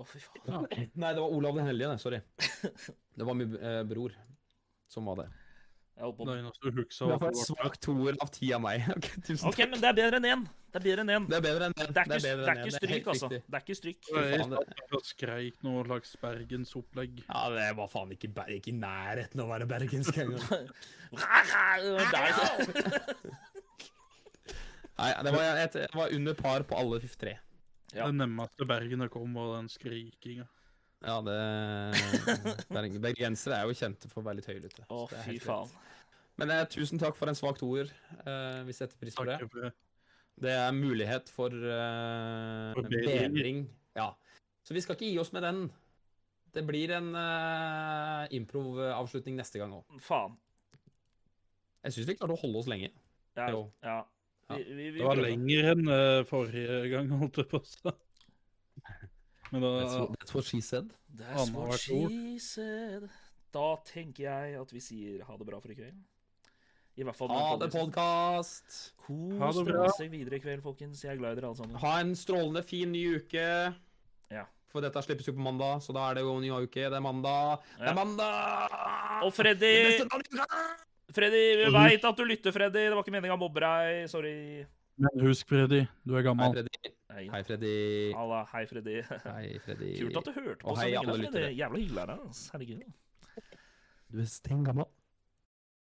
Speaker 2: Å, fy faen.
Speaker 1: Nei, det var Olav den hellige, det. Sorry. Det var min eh, bror som var der.
Speaker 2: Jeg holdt på
Speaker 3: Det
Speaker 2: med
Speaker 3: eneste hun husker
Speaker 1: Det
Speaker 3: var
Speaker 1: var
Speaker 3: at
Speaker 1: en
Speaker 3: det var
Speaker 1: svak toer av ti av meg. Ok, tusen
Speaker 2: OK,
Speaker 1: takk.
Speaker 2: men det er bedre enn én. Det er bedre enn én.
Speaker 1: Det er bedre enn det.
Speaker 2: Det er ikke, det
Speaker 1: bedre
Speaker 2: er
Speaker 1: enn det. Det er
Speaker 2: ikke
Speaker 1: helt
Speaker 2: stryk, altså.
Speaker 1: riktig.
Speaker 2: Det er ikke stryk.
Speaker 1: Fy
Speaker 3: Jeg
Speaker 1: faen, det-
Speaker 3: satt og skreik noe slags bergensopplegg.
Speaker 1: Ja, det var faen ikke, Ber- ikke i nærheten av å være bergensk engang.
Speaker 2: Der.
Speaker 1: Nei, det var, jeg, jeg var under par på alle tre.
Speaker 2: Ja.
Speaker 3: Det nærmeste Bergen jeg kom, var den skrikinga.
Speaker 1: Ja, det Berg- Bergensere er jo kjente for å være litt høylytte. så
Speaker 2: Å,
Speaker 1: det er
Speaker 2: fy
Speaker 1: helt greit.
Speaker 2: faen.
Speaker 1: Men eh, tusen takk for en svak toer. Eh, vi setter pris på det.
Speaker 3: Takker for det.
Speaker 1: Det er mulighet for eh,
Speaker 3: Forbedring.
Speaker 1: bedring. Ja. Så vi skal ikke gi oss med den. Det blir en eh, improv-avslutning neste gang òg.
Speaker 2: Faen.
Speaker 1: Jeg syns vi klarte å holde oss lenge.
Speaker 2: Ja.
Speaker 1: Jo.
Speaker 2: ja.
Speaker 1: Ja.
Speaker 2: Vi, vi, vi
Speaker 3: Det var
Speaker 2: prøver.
Speaker 3: lenger enn eh, forrige gang, holdt jeg på å si. Men da
Speaker 1: That's what- that's what she said.
Speaker 2: That's
Speaker 3: Anna
Speaker 2: what
Speaker 3: har vært ord.
Speaker 2: she said. Da tenker jeg at vi sier ha det bra for i kveld. I hvert fall med
Speaker 1: Ha
Speaker 2: en
Speaker 1: det,
Speaker 2: podkast.
Speaker 1: podkast!
Speaker 3: Ha
Speaker 2: Kos
Speaker 3: det bra.
Speaker 2: dere videre i kveld, folkens. Jeg er glad i dere alle sammen.
Speaker 1: Ha en strålende fin ny uke.
Speaker 2: Ja.
Speaker 1: For dette slippes jo på mandag, så da er det jo ny uke. Det er mandag. Det
Speaker 2: Ja.
Speaker 1: er mandag!
Speaker 2: Og Freddy,
Speaker 1: Det beste navnet du kan!
Speaker 2: Freddy, vi veit at du lytter, Freddy. Det var ikke meninga å mobbe deg. Sorry.
Speaker 3: Men husk, Freddy, du er
Speaker 1: Hei,
Speaker 3: gammel.
Speaker 1: Freddy.
Speaker 2: Nei.
Speaker 1: Hei, Freddy.
Speaker 2: Halla, hei, Freddy.
Speaker 1: Hei, Freddy.
Speaker 2: Kult at du hørte på.
Speaker 1: Og hei,
Speaker 2: sendingen,
Speaker 1: alle
Speaker 2: Freddy.
Speaker 1: lyttere.
Speaker 2: Jævla hyggelig av deg. ass. Herregud.
Speaker 1: Du er steingammal.